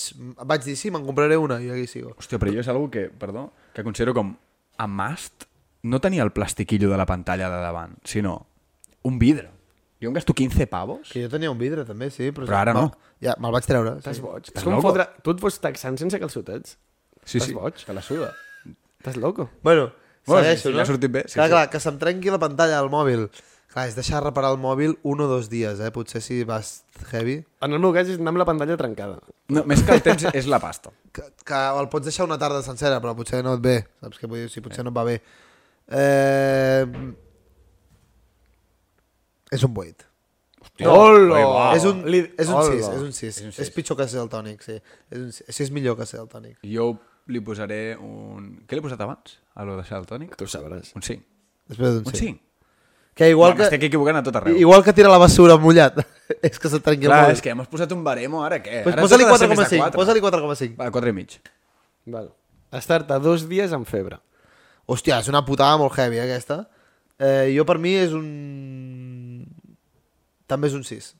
Speaker 1: Vaig dir, sí, me'n compraré una i aquí sigo.
Speaker 2: Hòstia, però jo és algo que, perdó, que considero com a must no tenia el plastiquillo de la pantalla de davant, sinó un vidre. Jo em gasto 15 pavos?
Speaker 1: Que jo tenia un vidre també, sí, però...
Speaker 2: Però ara
Speaker 1: va,
Speaker 2: no.
Speaker 1: Ja, me'l vaig treure.
Speaker 6: Estàs
Speaker 1: Sí.
Speaker 6: boig.
Speaker 2: Estàs
Speaker 6: És com
Speaker 2: loco?
Speaker 6: fotre... Tu et fots taxant sense calçotets.
Speaker 2: Sí,
Speaker 6: Estàs
Speaker 2: sí,
Speaker 6: boig?
Speaker 2: te la suda.
Speaker 6: Estàs loco.
Speaker 1: Bueno,
Speaker 2: Bueno,
Speaker 1: segueixo,
Speaker 2: sí, sí,
Speaker 1: no?
Speaker 2: ha sortit bé, sí,
Speaker 1: clar,
Speaker 2: sí.
Speaker 1: clar, que se'm trenqui la pantalla del mòbil. Clar, és deixar reparar el mòbil un o dos dies, eh? Potser si vas heavy.
Speaker 6: En el meu cas és anar amb la pantalla trencada.
Speaker 2: No, més que el temps és la pasta.
Speaker 1: Que, que el pots deixar una tarda sencera, però potser no et ve. Saps què vull dir? Si potser no et va bé. Eh... És un 8.
Speaker 2: Hòstia, Oh.
Speaker 6: Hola!
Speaker 1: és un,
Speaker 6: Li-
Speaker 1: és un
Speaker 6: Hola.
Speaker 1: 6, és un 6. És, pitjor que ser el tònic, sí. És, un, sis. sí, és millor que ser el tònic.
Speaker 2: Jo li posaré un... Què li he posat abans? A lo de ser el tònic?
Speaker 6: Tu ho sabràs.
Speaker 2: Un 5.
Speaker 1: Després d'un
Speaker 2: Un
Speaker 1: 6.
Speaker 2: 5.
Speaker 1: Que
Speaker 2: Igual
Speaker 1: igual
Speaker 2: que... M'estic
Speaker 1: que,
Speaker 2: equivocant a tot arreu.
Speaker 1: igual que tira la basura mullat, <laughs> és que se't trenqui
Speaker 2: Clar,
Speaker 1: el mòbil.
Speaker 2: és que ja m'has posat un baremo, ara què?
Speaker 1: Pues
Speaker 2: Ara
Speaker 1: posa-li
Speaker 2: tot ha de ser més de
Speaker 1: 4,5.
Speaker 2: quatre.
Speaker 1: Posa-li 4,5.
Speaker 2: Va, 4 i mig.
Speaker 6: Val. Estar-te dos dies amb febre.
Speaker 1: Hòstia, és una putada molt heavy, eh, aquesta. Eh, jo per mi és un... També és un 6.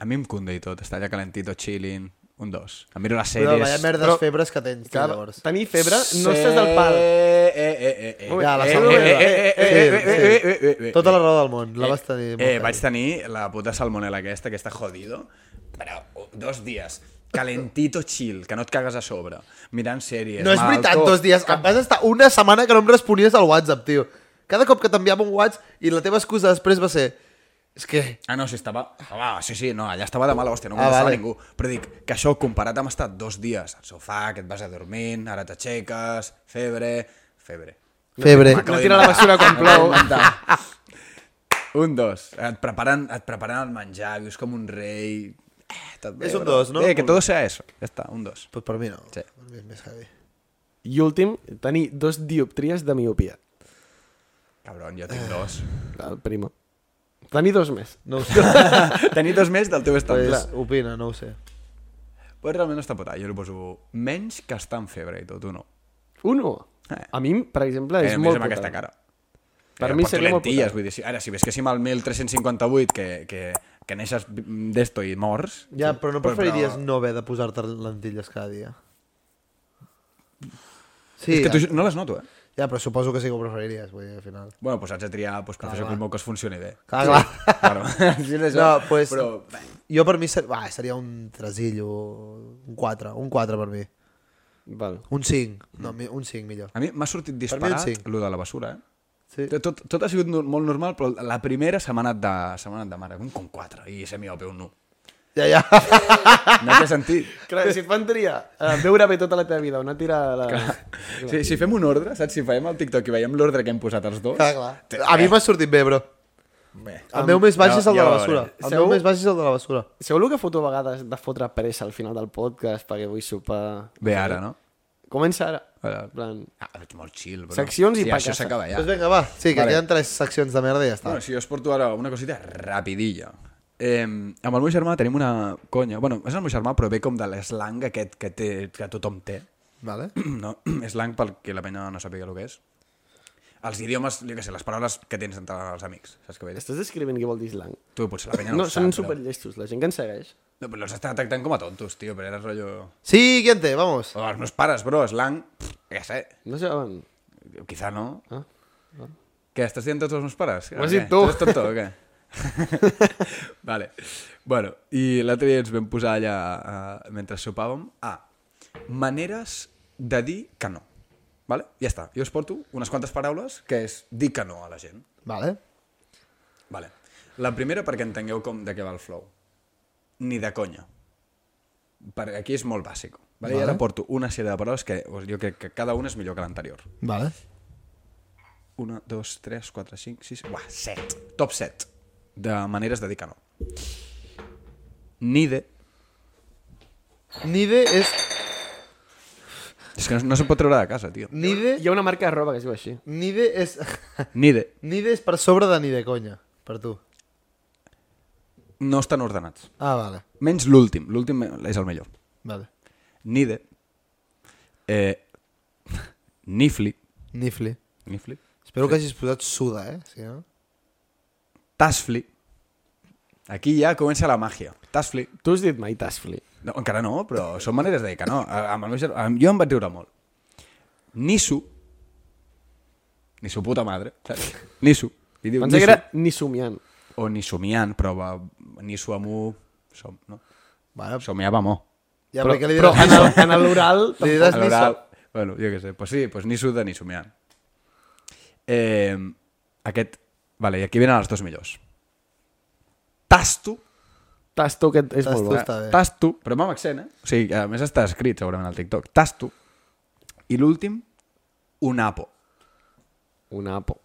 Speaker 2: A mi em conde i tot, està allà calentito, chilling, un 2. Em miro les
Speaker 1: Però
Speaker 2: sèries...
Speaker 1: vaya merdes
Speaker 6: Però-
Speaker 1: febres que tens, tu,
Speaker 6: Clar,
Speaker 1: llavors.
Speaker 6: tenir febre no estàs al pal.
Speaker 2: Eh, eh, eh, eh, eh.
Speaker 1: Ja, la
Speaker 2: Eh,
Speaker 1: salmonella.
Speaker 2: eh, eh, eh, eh, eh, eh, eh, eh, eh, eh, eh.
Speaker 1: Tota la raó del món, la
Speaker 2: Eh,
Speaker 1: vas tenir. molt
Speaker 2: Eh,
Speaker 1: heavy.
Speaker 2: vaig tenir la puta salmonella aquesta, que està jodido, però oh, dos dies, calentito chill, que no et cagues a sobre, mirant sèries...
Speaker 1: No és
Speaker 2: malaltó.
Speaker 1: veritat, dos dies. Em vas estar una setmana que no em responies al WhatsApp, tio. Cada cop que t'enviava un WhatsApp i la teva excusa després va ser... És que...
Speaker 2: Ah, no, sí, estava... Ah, va, sí, sí, no, allà estava de mala hòstia, no
Speaker 1: Ah,
Speaker 2: contestava
Speaker 1: vale.
Speaker 2: vale. ningú. Però dic que això, comparat amb estar dos dies al sofà, que et vas a dormint, ara t'aixeques, febre... Febre. Eh,
Speaker 1: Febre.
Speaker 6: No tira la basura quan plou.
Speaker 2: Un, dos. Et preparen, et preparen el menjar, vius com un rei... Eh, tot bé,
Speaker 1: És un
Speaker 2: bro.
Speaker 1: dos, no?
Speaker 2: Eh, que todo sea eso. Ja està, un dos.
Speaker 1: Pues per mi no.
Speaker 2: Sí.
Speaker 1: Per mi és més heavy.
Speaker 6: I últim, tenir dos dioptries de miopia.
Speaker 2: Cabron, jo tinc dos.
Speaker 6: El primo. Tenir dos més.
Speaker 1: No ho sé.
Speaker 2: <laughs> Tenir dos més del teu estat.
Speaker 1: pues,
Speaker 2: Pues,
Speaker 1: opina, no ho sé.
Speaker 2: pues realment no està potat. Jo li poso menys que estar en febre i tot, tu no.
Speaker 6: Uno.
Speaker 2: Eh.
Speaker 6: A mi, per exemple, és
Speaker 2: Eh, a més
Speaker 6: molt
Speaker 2: amb aquesta
Speaker 6: putada.
Speaker 2: cara.
Speaker 6: Per
Speaker 2: Eh,
Speaker 6: mi
Speaker 2: porto
Speaker 6: seria molt
Speaker 2: lentilles,
Speaker 6: putada.
Speaker 2: vull dir, si, ara, si ves que si amb el 1358 que, que, que neixes mm, d'esto i mors...
Speaker 1: Ja, però no preferiries no haver de posar-te lentilles cada dia? Sí,
Speaker 2: és que
Speaker 1: ja.
Speaker 2: tu no les noto, eh?
Speaker 1: ja, però suposo que sí que ho preferiries, vull dir, al final.
Speaker 2: Bueno, doncs has de triar doncs, per fer que el meu cos funcioni bé.
Speaker 1: Clar, clar. <laughs>
Speaker 2: Claro. <laughs> Sí, és
Speaker 1: No,
Speaker 2: això.
Speaker 1: pues,
Speaker 2: Però,
Speaker 1: Jo per mi ser... Va, seria un tresillo, un 4, un 4 per mi.
Speaker 6: Val.
Speaker 1: Un 5, no,
Speaker 6: Mm.
Speaker 1: mi- un 5 millor.
Speaker 2: a mi m'ha sortit
Speaker 1: un
Speaker 2: disparat
Speaker 1: cinc.
Speaker 2: el de la basura, eh?
Speaker 1: Sí.
Speaker 2: Tot, tot ha sigut no- molt normal, però la primera s'ha anat de, se m'ha anat de mare, un com 4, i ser miope un 1.
Speaker 1: Ja,
Speaker 6: <laughs>
Speaker 1: ja.
Speaker 2: No té sentit.
Speaker 6: Clar, si et fan triar eh, veure bé tota la teva vida o no tirar la...
Speaker 2: Si, si fem un ordre, saps? Si fem el TikTok i veiem l'ordre que hem posat els dos... eh,
Speaker 1: Clar, clar. A mi m'ha sortit bé, bro.
Speaker 2: Bé.
Speaker 1: El meu més baix
Speaker 2: ja-
Speaker 1: és el de
Speaker 2: ja
Speaker 1: la
Speaker 2: ho
Speaker 1: basura.
Speaker 2: veurem.
Speaker 1: El
Speaker 6: Segur?
Speaker 1: meu més baix és el de la basura.
Speaker 6: Sabeu el que foto a vegades de fotre pressa al final del podcast perquè vull sopar?
Speaker 2: Bé, ara, no?
Speaker 6: Comença ara.
Speaker 2: Ara.
Speaker 6: En plan,
Speaker 2: Ah, però és molt chill, bro.
Speaker 6: Seccions i
Speaker 2: sí,
Speaker 6: pa
Speaker 2: això
Speaker 6: casa.
Speaker 2: s'acaba
Speaker 1: Ja.
Speaker 2: ja.
Speaker 1: Doncs vinga, va. Sí, que
Speaker 2: Vale.
Speaker 1: vale. queden tres seccions de merda i ja està.
Speaker 2: Bueno, si jo us porto ara una cosita rapidilla. Eh, amb el meu germà tenim una conya. Bueno, és el meu germà, però ve com de l'eslang aquest que, té, que tothom té.
Speaker 1: Vale.
Speaker 2: <clears throat> No, eslang pel que la penya no sàpiga el que és. Els idiomes, jo què sé, les paraules que tens entre els amics. Saps què vull dir?
Speaker 6: estàs descrivint què vol dir slang?
Speaker 2: Tu, potser la penya
Speaker 6: No,
Speaker 2: no,
Speaker 6: no
Speaker 2: ho
Speaker 6: són
Speaker 2: sap,
Speaker 6: superllestos, la gent que ens segueix.
Speaker 2: però... No, però els està tractant com a tontos, tio, però era rotllo...
Speaker 1: Sí, qui en té? Vamos.
Speaker 2: O els meus pares, bro, eslang... pff, Ja sé,
Speaker 6: No saben.
Speaker 2: quizá no.
Speaker 6: Ah,
Speaker 2: Què, estàs dient tots els meus pares?
Speaker 6: Ho has
Speaker 2: Què?
Speaker 6: dit tu.
Speaker 2: ets tonto
Speaker 6: <laughs>
Speaker 2: o què? vale. Bueno, i l'altre dia ens vam posar allà, uh, mentre sopàvem, a maneres de dir que no. Vale? Ja està. Jo us porto unes quantes paraules que és dir que no a la gent.
Speaker 1: Vale.
Speaker 2: Vale. La primera perquè entengueu com de què va el flow. Ni de conya. Per aquí és molt bàsic. Vale? Vale. I ara porto una sèrie de paraules que o sigui, jo crec que cada una és millor que l'anterior.
Speaker 1: Vale.
Speaker 2: 1, 2, 3, 4, 5, 6... Uah, 7. Top 7 de maneres de dir que no. Nide.
Speaker 1: Nide és...
Speaker 2: És que no, no se pot treure de casa, tio.
Speaker 1: Nide...
Speaker 6: Hi ha una marca de roba que es diu així.
Speaker 1: Nide és... <laughs>
Speaker 2: Nide.
Speaker 1: Nide és per sobre de ni de conya, per tu.
Speaker 2: No estan ordenats.
Speaker 1: Ah, vale.
Speaker 2: Menys l'últim. L'últim és el millor.
Speaker 1: Vale.
Speaker 2: Nide. Eh, nifli.
Speaker 1: Nifli.
Speaker 2: Nifli.
Speaker 1: Espero que hagis posat suda, eh? Si no...
Speaker 2: Tasfli. Aquí ja comença la màgia. Tasfli.
Speaker 6: Tu has dit mai tasfli.
Speaker 2: No, encara no, però són maneres de dir que no. A- Amb el meu ger... amb... Jo em vaig riure molt. Ni su. Ni su puta madre. Saps? Ni su. Li diu
Speaker 6: Pensava
Speaker 2: ni
Speaker 6: que
Speaker 2: su.
Speaker 6: era ni somiant.
Speaker 2: O ni somiant, però va... ni su amu... Som... No.
Speaker 1: Vale,
Speaker 2: Somiava mo.
Speaker 1: ja, però,
Speaker 6: però,
Speaker 1: perquè li
Speaker 6: però
Speaker 1: diràs
Speaker 6: en, el,
Speaker 1: nisso.
Speaker 6: en l'oral...
Speaker 1: Li diràs
Speaker 2: A
Speaker 1: nisso.
Speaker 2: l'oral. Bueno, jo què sé. Pues sí, pues ni su de ni somiant. Eh, aquest... Vale, i aquí venen els dos millors. Tasto.
Speaker 6: Tasto, que és
Speaker 1: Tasto
Speaker 6: molt bo.
Speaker 1: està- bé.
Speaker 2: Ah, Tasto, però amb accent, eh? O sigui, a més està escrit segurament al TikTok. Tasto. I l'últim, un apo.
Speaker 6: Un apo.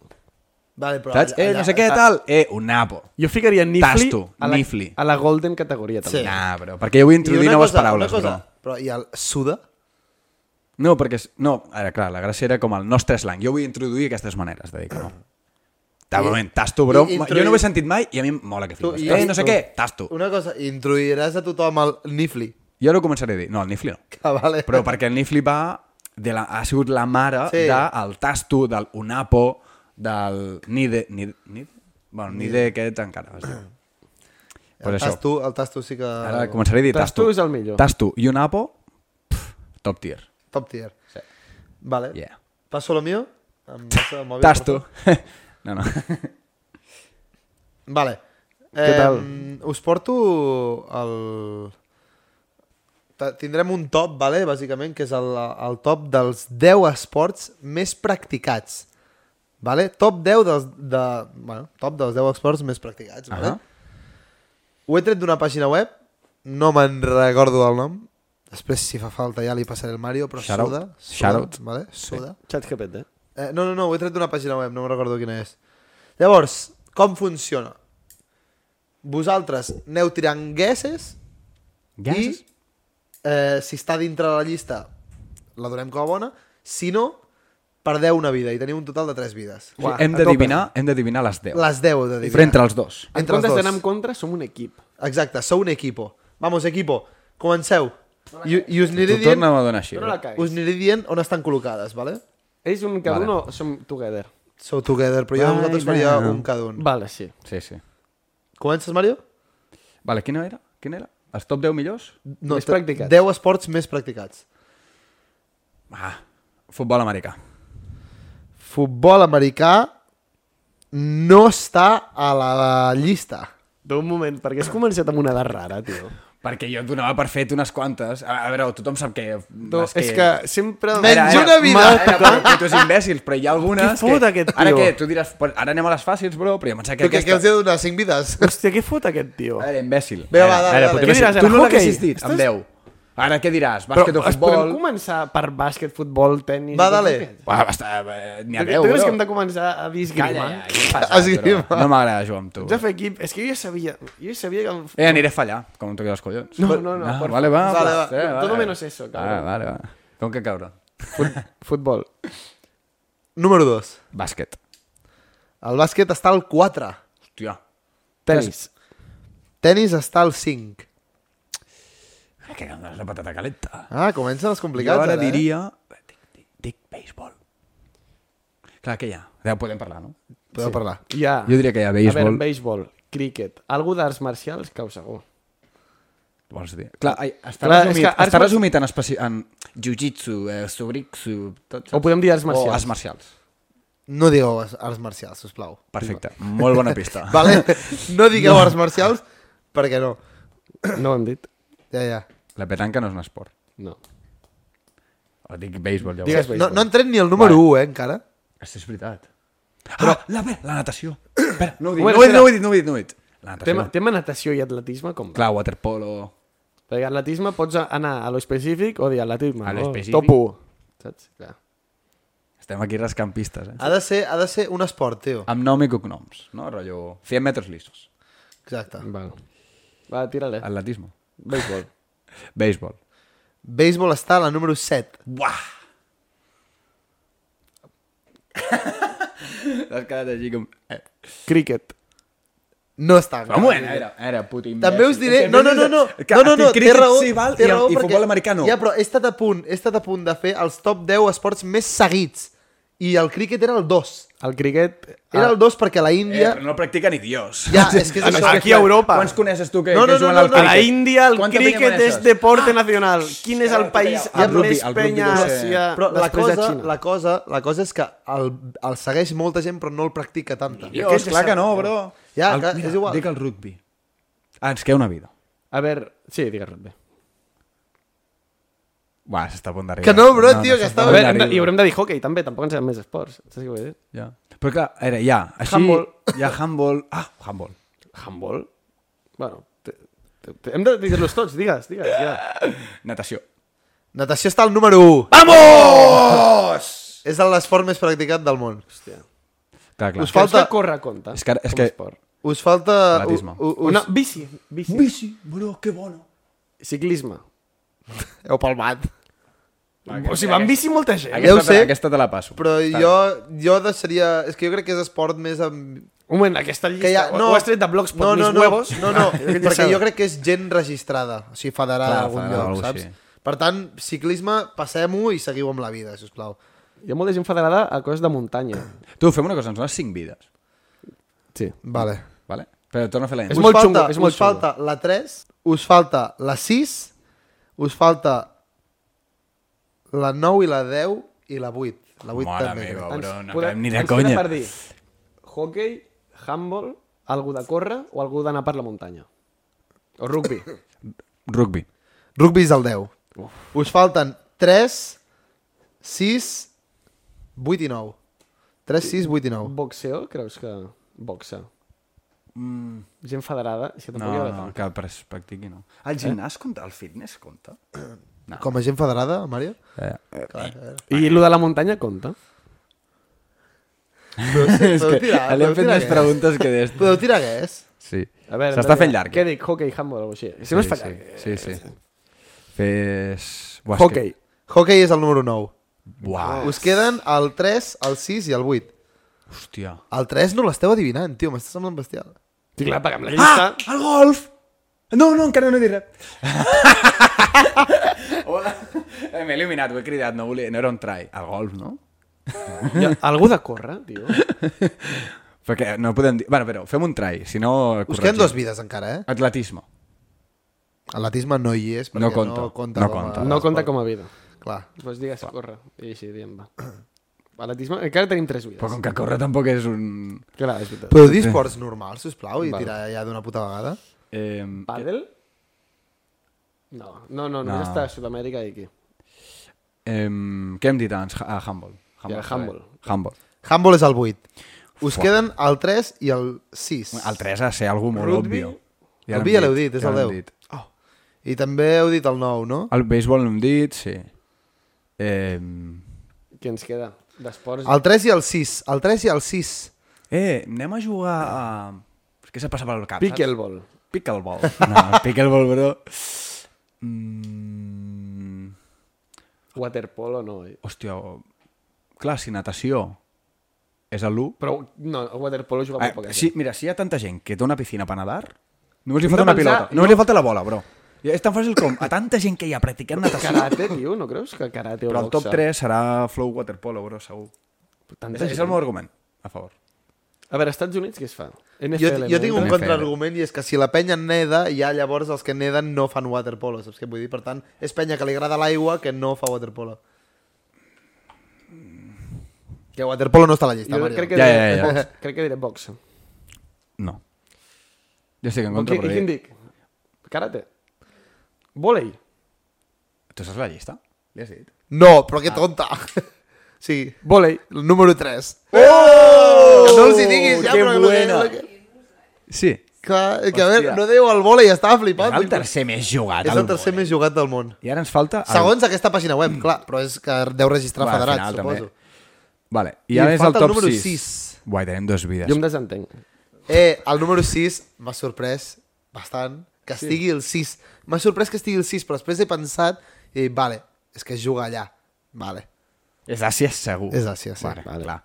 Speaker 1: Vale, però ah.
Speaker 2: Saps? Eh, no sé què, tal. Eh, un apo.
Speaker 6: Jo ficaria nifli,
Speaker 2: Tasto,
Speaker 6: a, la,
Speaker 2: nifli.
Speaker 6: a la golden categoria també.
Speaker 1: Sí.
Speaker 2: Nah, però, perquè jo vull
Speaker 1: Eh. I
Speaker 2: introduir
Speaker 1: una
Speaker 2: noves
Speaker 1: cosa,
Speaker 2: paraules,
Speaker 1: una cosa,
Speaker 2: però...
Speaker 1: però i el suda?
Speaker 2: No, perquè... és- No, ara, clar, la gràcia era com el nostre slang. Jo vull introduir aquestes maneres de dir que no. De moment, tasto, bro.
Speaker 1: i
Speaker 2: Jo
Speaker 1: introduir-
Speaker 2: no ho he sentit mai i a mi em mola que flipes.
Speaker 1: i-
Speaker 2: eh, no sé
Speaker 1: tu-
Speaker 2: què, tasto.
Speaker 1: Una cosa, introduiràs a tothom el nifli. <laughs>
Speaker 2: Jo ara ho començaré a dir. No, el nifli no.
Speaker 1: Que vale.
Speaker 2: Però perquè el Nifli va de la, ha sigut la mare
Speaker 1: Sí.
Speaker 2: sí. del Tasto, del Unapo, del Nide... Nide, Nide? Bueno, Nide aquest encara. Es diu.
Speaker 1: El
Speaker 2: pues això.
Speaker 1: tasto, el tasto sí que...
Speaker 2: Ara començaré a dir
Speaker 6: Tasto
Speaker 2: Tasto.
Speaker 6: és el millor.
Speaker 2: Tasto i Unapo, pff, top tier.
Speaker 1: Top tier. Sí. Vale.
Speaker 2: Yeah.
Speaker 1: Passo lo mío?
Speaker 2: <laughs>
Speaker 1: Em passo el mòbil,
Speaker 2: Tasto. <laughs> No, no.
Speaker 1: Vale.
Speaker 6: Què tal?
Speaker 1: Us porto el... T- Tindrem un top, vale? bàsicament, que és el, el top dels 10 esports més practicats. Vale? Top 10 dels, de, bueno, top dels 10 esports més practicats. Vale?
Speaker 2: Ah.
Speaker 1: Ho he tret d'una pàgina web, no me'n recordo el nom. Després, si fa falta, ja li passaré el Mario, però
Speaker 2: Shoutout.
Speaker 1: suda. suda,
Speaker 2: Shoutout.
Speaker 1: Vale? Suda.
Speaker 6: Xat GPT.
Speaker 1: Eh, no, no, no, ho he tret d'una pàgina web, no me'n recordo quina és. Llavors, com funciona? Vosaltres aneu tirant guesses
Speaker 2: Gases?
Speaker 1: i eh, si està dintre de la llista la donem com a bona, si no, perdeu una vida i teniu un total de 3 vides.
Speaker 2: Uah, hem d'adivinar hem d'adivinar les 10.
Speaker 1: Les 10 de
Speaker 2: Però entre els dos.
Speaker 6: En
Speaker 1: Entre els
Speaker 6: comptes
Speaker 1: dos.
Speaker 6: d'anar en contra, som un equip.
Speaker 1: Exacte, sou un equipo. Vamos, equipo, comenceu. I, i us aniré
Speaker 2: Tu
Speaker 1: dient,
Speaker 2: torna'm a donar així. eh?"
Speaker 6: No la caguis.
Speaker 1: us aniré dient on estan col·locades, vale?
Speaker 6: Ells un cada
Speaker 2: Vale.
Speaker 6: un o som together?
Speaker 1: Sou together, però jo
Speaker 2: Vai,
Speaker 1: vosaltres faria
Speaker 2: va.
Speaker 1: un cada un.
Speaker 6: Vale, sí.
Speaker 2: Sí, sí.
Speaker 1: Comences, Mario?
Speaker 2: Vale, quina era? Quina era? Els top 10 millors?
Speaker 1: No,
Speaker 6: Més
Speaker 1: te-
Speaker 6: practicats.
Speaker 1: 10 esports més practicats.
Speaker 2: Ah, futbol americà.
Speaker 1: Futbol americà no està a la llista.
Speaker 6: D'un moment, perquè has començat amb una edat rara, tio.
Speaker 2: Perquè jo et donava per fet unes quantes. A, a veure, tothom sap que...
Speaker 6: No, és que sempre...
Speaker 1: Menys
Speaker 6: Era, era.
Speaker 1: una vida!
Speaker 2: Mal, era, però, putos imbècils, però hi ha algunes...
Speaker 6: Qui fot aquest
Speaker 2: Ara
Speaker 6: tio?
Speaker 2: què? Tu diràs, "Però ara anem a les fàcils, bro, però jo pensava que
Speaker 1: Tu que,
Speaker 2: aquesta...
Speaker 1: que els he de donar 5
Speaker 2: <laughs>
Speaker 1: vides?
Speaker 6: Hòstia, què fot aquest tio?
Speaker 2: A veure, imbècil.
Speaker 1: Vinga,
Speaker 2: A veure,
Speaker 1: va, dale, dale.
Speaker 2: a veure, puto
Speaker 1: Què
Speaker 2: imbècil.
Speaker 6: diràs,
Speaker 2: Tu
Speaker 6: ara,
Speaker 2: no
Speaker 6: hockey?
Speaker 2: l'haguessis dit, amb 10. Ara què diràs? Bàsquet o
Speaker 6: es podem
Speaker 2: futbol...
Speaker 6: començar per bàsquet, futbol, tennis...
Speaker 1: Va,
Speaker 6: i tot
Speaker 1: dale.
Speaker 6: aquest?
Speaker 2: Va, basta, eh, n'hi ha 10,
Speaker 6: Tu, tu creus que hem
Speaker 2: bro.
Speaker 6: de començar a dir
Speaker 2: Calla,
Speaker 6: esgrima?
Speaker 2: ja, què passa,
Speaker 1: Esgrima.
Speaker 2: però No m'agrada jugar amb tu.
Speaker 6: Ens ha fet equip. És que jo ja sabia... Jo ja sabia que... El...
Speaker 2: Eh, aniré a fallar, com em toqui els collons.
Speaker 6: No, no, no,
Speaker 2: Ah,
Speaker 6: por
Speaker 2: vale, va,
Speaker 1: Vale,
Speaker 2: pues,
Speaker 1: va.
Speaker 2: eh,
Speaker 6: Todo menos eso,
Speaker 2: Vale,
Speaker 6: cabrón.
Speaker 2: vale, va. Com que caure?
Speaker 6: Fut, futbol.
Speaker 1: Número 2.
Speaker 2: Bàsquet.
Speaker 1: El bàsquet està al 4.
Speaker 2: Hòstia.
Speaker 6: Tenis.
Speaker 1: Tenis està al 5.
Speaker 2: Ah, Que és la patata calenta.
Speaker 1: Ah, comencen els
Speaker 2: Jo
Speaker 1: complicats,
Speaker 2: ara
Speaker 1: eh?
Speaker 2: diria... Dic, dic, dic béisbol. Clar que hi ha. Ja podem parlar, no?
Speaker 1: Podeu parlar.
Speaker 6: Hi ha...
Speaker 2: Jo diria que hi ha
Speaker 6: A veure,
Speaker 2: béisbol.
Speaker 6: béisbol, críquet, algú d'arts marcials, cau segur.
Speaker 2: Vols dir? Clar, ai, està,
Speaker 6: Clar,
Speaker 2: Clar,
Speaker 6: és
Speaker 2: resumit,
Speaker 6: que arts
Speaker 2: està
Speaker 6: mar-
Speaker 2: resumit en, especi... en jiu-jitsu, eh, subriksu... Tot,
Speaker 6: O podem dir arts marcials.
Speaker 2: O arts marcials.
Speaker 1: No digueu arts- arts marcials, sisplau.
Speaker 2: Perfecte. Molt bona <laughs> pista.
Speaker 1: Vale? No digueu arts marcials, perquè no.
Speaker 6: No ho hem dit?
Speaker 1: Ja, ja.
Speaker 2: La petanca no és un esport.
Speaker 6: No.
Speaker 2: O dic béisbol, llavors.
Speaker 6: Digues
Speaker 1: No,
Speaker 6: béisbol.
Speaker 1: no entren ni el número
Speaker 2: Vale.
Speaker 1: 1, eh, encara.
Speaker 2: Això és veritat. Però... Ah, la, la <coughs> natació. Espera, no ho he dit,
Speaker 6: Bueno,
Speaker 2: no ho he dit,
Speaker 6: espera.
Speaker 2: no ho he dit, no ho he dit, no ho he dit. La natació.
Speaker 6: Tema, tema natació i atletisme, com va?
Speaker 2: Clar, waterpolo...
Speaker 6: Perquè atletisme pots anar a lo específic o dir atletisme.
Speaker 2: A lo
Speaker 6: oh,
Speaker 2: específic.
Speaker 6: top 1. Saps? Clar.
Speaker 2: Estem aquí rescampistes, eh?
Speaker 1: Ha de ser, ha de ser un esport, tio.
Speaker 2: Amb nom i cognoms, no? Rotllo... 100 metres lisos.
Speaker 1: Exacte.
Speaker 6: Val. Va, tira-la.
Speaker 2: Atletisme.
Speaker 6: Béisbol.
Speaker 2: Béisbol.
Speaker 1: Béisbol està a la número 7.
Speaker 2: Buah! <laughs> T'has quedat així com... Eh.
Speaker 6: Críquet.
Speaker 1: No està.
Speaker 2: Però un moment, a veure, a veure, puto imbècil.
Speaker 1: També us diré... No, no, no, no.
Speaker 2: eh, Que
Speaker 1: no, no, no.
Speaker 2: cricket
Speaker 1: Té raó,
Speaker 2: sí, val,
Speaker 1: té
Speaker 2: i,
Speaker 1: raó
Speaker 2: i
Speaker 1: perquè-
Speaker 2: futbol americà no.
Speaker 1: Ja, però he estat a punt, he estat a punt de fer els top 10 esports més seguits. I el críquet era el 2.
Speaker 6: El críquet...
Speaker 1: Era el 2 perquè la
Speaker 2: Eh,
Speaker 1: Índia...
Speaker 2: però no el practica ni Dios.
Speaker 1: Ja, és que és això.
Speaker 6: Aquí a Europa.
Speaker 2: Quants coneixes tu que,
Speaker 1: No, no,
Speaker 2: que juguen
Speaker 1: no,
Speaker 2: al
Speaker 1: no,
Speaker 6: A la
Speaker 2: cricket?
Speaker 6: Índia el
Speaker 2: Quanta penya
Speaker 6: críquet és
Speaker 2: coneixes?
Speaker 1: Ah,
Speaker 6: deporte nacional. Quin és el país
Speaker 2: El
Speaker 6: amb
Speaker 2: rugby,
Speaker 6: més
Speaker 2: el rugby
Speaker 6: penya
Speaker 2: deu
Speaker 6: a
Speaker 2: ser-
Speaker 6: Àsia
Speaker 1: Però la
Speaker 6: després de
Speaker 1: cosa,
Speaker 6: Xina?
Speaker 1: la, cosa, la cosa és que el, el segueix molta gent però no el practica tanta.
Speaker 2: Dios, clar que no, bro.
Speaker 1: Ja,
Speaker 2: el,
Speaker 1: clar, és igual.
Speaker 2: Dic el rugby. Ah, ens queda una vida.
Speaker 6: A veure, sí, digues bé.
Speaker 2: Buah, s'està a punt d'arribar.
Speaker 1: Que no, bro, tio, que
Speaker 2: s'està
Speaker 1: estava-
Speaker 2: a
Speaker 6: A
Speaker 2: punt
Speaker 6: veure, hem de,
Speaker 2: d'arribar.
Speaker 6: i haurem de dir hockey també, tampoc ens queden més esports. Saps què vull dir?
Speaker 2: Ja. Però clar, a veure, ja, així...
Speaker 6: Handball.
Speaker 2: Ja, handball. Ah, handball.
Speaker 6: Handball? Bueno, te, te, te, hem de dir-los tots, digues, digues, ja.
Speaker 2: Natació.
Speaker 1: Natació està al número 1.
Speaker 2: Vamos!
Speaker 1: És l'esport més practicat del món.
Speaker 6: Hòstia.
Speaker 2: Clar, clar.
Speaker 1: Us fa-
Speaker 6: Falta...
Speaker 1: Falta-
Speaker 6: Creus que córrer compta?
Speaker 2: És que ara- és que-
Speaker 1: Us falta...
Speaker 2: Atletisme.
Speaker 1: U, u, us...
Speaker 6: Una bici, bici.
Speaker 2: Bici, bro, que bona.
Speaker 6: Ciclisme.
Speaker 1: Heu palmat.
Speaker 6: O sigui, va amb bici molta gent.
Speaker 2: Aquesta,
Speaker 1: ho sé,
Speaker 2: te- aquesta te la passo.
Speaker 1: Però jo, jo deixaria... És que jo crec que és esport més... Amb...
Speaker 6: Un moment, aquesta llista,
Speaker 1: Que ja,
Speaker 6: no, ho has tret de blogs per
Speaker 1: no,
Speaker 6: mis
Speaker 1: no, no,
Speaker 6: huevos.
Speaker 1: No,
Speaker 6: <laughs>
Speaker 1: no,
Speaker 6: Ja
Speaker 1: perquè
Speaker 6: sabeu.
Speaker 1: jo crec que és gent registrada, o sigui, federada
Speaker 2: Clar,
Speaker 1: a algun
Speaker 2: federada,
Speaker 1: lloc,
Speaker 2: algo
Speaker 1: saps?
Speaker 2: així.
Speaker 1: Per tant, ciclisme, passem-ho i seguiu amb la vida, sisplau.
Speaker 6: Hi ha molta gent federada a coses de muntanya.
Speaker 2: Tu, fem una cosa, ens dones 5 vides,
Speaker 6: Sí.
Speaker 1: Vale.
Speaker 2: vale? Però torna a fer la
Speaker 6: És
Speaker 1: us
Speaker 6: molt
Speaker 1: falta,
Speaker 6: xungo, és molt
Speaker 1: us falta la 3, us falta la 6, us falta la 9 i la 10 i la 8. La 8
Speaker 2: Mare
Speaker 1: també.
Speaker 2: meva,
Speaker 1: crec.
Speaker 2: bro, no
Speaker 6: podem-
Speaker 2: acabem ni de
Speaker 6: ens queda
Speaker 2: conya.
Speaker 6: per dir hockey, handball, algú de córrer o algú d'anar per la muntanya. O rugby.
Speaker 2: Rugby.
Speaker 1: Rugby és el 10. Us falten 3, 6, 8 i 9. 3, 6, 8 i 9.
Speaker 6: Boxeo, creus que... Boxa. Gent federada, és que tampoc
Speaker 2: No,
Speaker 6: hi ha de
Speaker 2: no,
Speaker 6: tant.
Speaker 2: que pres- practiqui, no. Eh? El gimnàs compta? El fitness compta?
Speaker 1: Com a gent federada, Mario?
Speaker 2: Eh.
Speaker 6: I el de la muntanya compta.
Speaker 1: <laughs>
Speaker 2: és
Speaker 1: podeu
Speaker 2: que
Speaker 1: tirar,
Speaker 2: li
Speaker 1: podeu
Speaker 2: hem fet
Speaker 1: tirar
Speaker 2: més
Speaker 1: què?
Speaker 2: preguntes que d'est.
Speaker 1: <laughs> Podeu tirar què és?
Speaker 2: Sí.
Speaker 6: A veure,
Speaker 2: S'està
Speaker 6: Daniel,
Speaker 2: fent llarg. eh?
Speaker 6: Què dic? Hockey, handball o alguna cosa així. Si no es fa llarg.
Speaker 2: Sí, sí. Fes... Buah, és
Speaker 6: Hockey.
Speaker 1: Hockey és el número 9.
Speaker 2: Que... Buah,
Speaker 1: Us queden el 3, el 6 i el 8.
Speaker 2: hòstia.
Speaker 1: El 3 no l'esteu adivinant, tio, m'està semblant bestial.
Speaker 6: Sí, clar, perquè amb la llista... Ah!
Speaker 2: el golf! No, no, encara no he dit res. <laughs> Hola. Eh, M'he eliminat, ho he cridat, no, volia... no era un try. El golf, no? <laughs>
Speaker 6: Ja, algú de córrer, tio.
Speaker 2: Perquè no podem dir... Bueno, però fem un try, si no...
Speaker 1: Us
Speaker 2: corregim.
Speaker 1: queden dues vides encara, eh?
Speaker 2: Atletisme.
Speaker 1: Atletisme no hi és, perquè
Speaker 2: No compta,
Speaker 1: no compta,
Speaker 2: no
Speaker 1: com a
Speaker 2: compta.
Speaker 6: No
Speaker 1: esport.
Speaker 6: compta com a vida.
Speaker 1: Clar.
Speaker 6: Doncs digues, córrer. I així, diem, va. Atletisme, encara tenim tres vides.
Speaker 2: Però com que córrer tampoc és un...
Speaker 6: Clar, és veritat.
Speaker 1: Podeu dir esports normals, sisplau, i tirar ja d'una puta vegada?
Speaker 2: Eh,
Speaker 6: Pàdel? No, no, no, només
Speaker 2: No.
Speaker 6: està a Sud-amèrica i aquí.
Speaker 2: eh, què hem dit abans? Ha- Ah, handball.
Speaker 6: Ja, handball.
Speaker 2: Handball.
Speaker 1: Handball és el 8. Us queden el 3 i el 6.
Speaker 2: El 3 ha de ser algú molt
Speaker 6: Rugby?
Speaker 2: òbvio.
Speaker 1: El
Speaker 2: l'hem
Speaker 1: vi ja l'heu dit, és el
Speaker 2: l'hem
Speaker 1: 10.
Speaker 2: dit.
Speaker 1: I també heu dit el 9, no?
Speaker 2: El béisbol l'hem dit, sí. Eh,
Speaker 6: Què ens queda? D'esports?
Speaker 1: El 3 i el 6. El 3 i el 6.
Speaker 2: eh, anem a jugar a... És que s'ha passat pel cap,
Speaker 6: Pickleball.
Speaker 2: saps? Pickleball. <laughs> No, pickleball, bro. Mm,
Speaker 6: Waterpolo no, eh?
Speaker 2: hòstia, clar, si natació és l'1...
Speaker 6: Però no, el waterpolo juga molt poca
Speaker 2: Ah, sí, mira, si hi ha tanta gent que té una piscina per nadar, només li
Speaker 6: Hem
Speaker 2: falta
Speaker 6: de
Speaker 2: una
Speaker 6: pensar-
Speaker 2: pilota, només li falta la bola, bro. Ja És tan fàcil com a tanta gent que hi ha practicant
Speaker 6: gent.
Speaker 2: natació,
Speaker 6: Karate, tio, no creus que karate o
Speaker 2: però el
Speaker 6: boxa?
Speaker 2: top 3 serà flow waterpolo, bro, segur. És,
Speaker 6: Tanta
Speaker 2: és
Speaker 6: gent.
Speaker 2: el meu argument, a favor.
Speaker 6: A veure, Estats Units què es fa?
Speaker 1: Jo,
Speaker 6: NFL,
Speaker 1: jo tinc un
Speaker 2: NFL.
Speaker 1: contraargument i és que si la penya neda, ja llavors els que neden no fan waterpolo, saps què vull dir? Per tant, és penya que li agrada l'aigua que no fa waterpolo. Mm. Que waterpolo no està a la llista,
Speaker 6: Jo
Speaker 1: Mario.
Speaker 6: crec que,
Speaker 2: Ja,
Speaker 6: diré,
Speaker 2: ja, ja, ja.
Speaker 6: box- crec que diré boxa.
Speaker 2: No. Jo estic en
Speaker 6: O
Speaker 2: contra,
Speaker 6: qui,
Speaker 2: però...
Speaker 6: I quin
Speaker 2: dir-
Speaker 6: dic? Karate. Volei.
Speaker 2: Tu saps la llista? Li has dit?
Speaker 1: Ah. No, però que tonta. <laughs> Sí,
Speaker 6: Volei.
Speaker 1: el número 3.
Speaker 2: Oh!
Speaker 1: No els hi diguis ja,
Speaker 2: que
Speaker 1: però...
Speaker 2: buena. Sí.
Speaker 1: Clar, que a veure,
Speaker 2: Hòstia.
Speaker 1: no deu al vole i estava flipant.
Speaker 2: És el tercer més jugat.
Speaker 1: És el tercer més jugat del món.
Speaker 2: I ara ens falta... el-
Speaker 1: Segons aquesta pàgina web, clar, però és que deu registrar
Speaker 2: Bueno, al
Speaker 1: federats,
Speaker 2: final, també.
Speaker 1: suposo.
Speaker 2: Vale,
Speaker 1: I
Speaker 2: i ara és el
Speaker 1: falta el
Speaker 2: top
Speaker 1: número
Speaker 2: 6.
Speaker 1: sis.
Speaker 2: Guai, tenim dues vides.
Speaker 6: Jo em desentenc.
Speaker 1: Eh, el número 6 m'ha sorprès bastant que estigui el 6. M'ha sorprès que estigui el 6, però després he pensat i vale, és que es juga allà. Vale.
Speaker 2: És Àsia, segur.
Speaker 1: És Àsia, sí.
Speaker 2: Vale,
Speaker 6: Vale.
Speaker 2: vale. clar.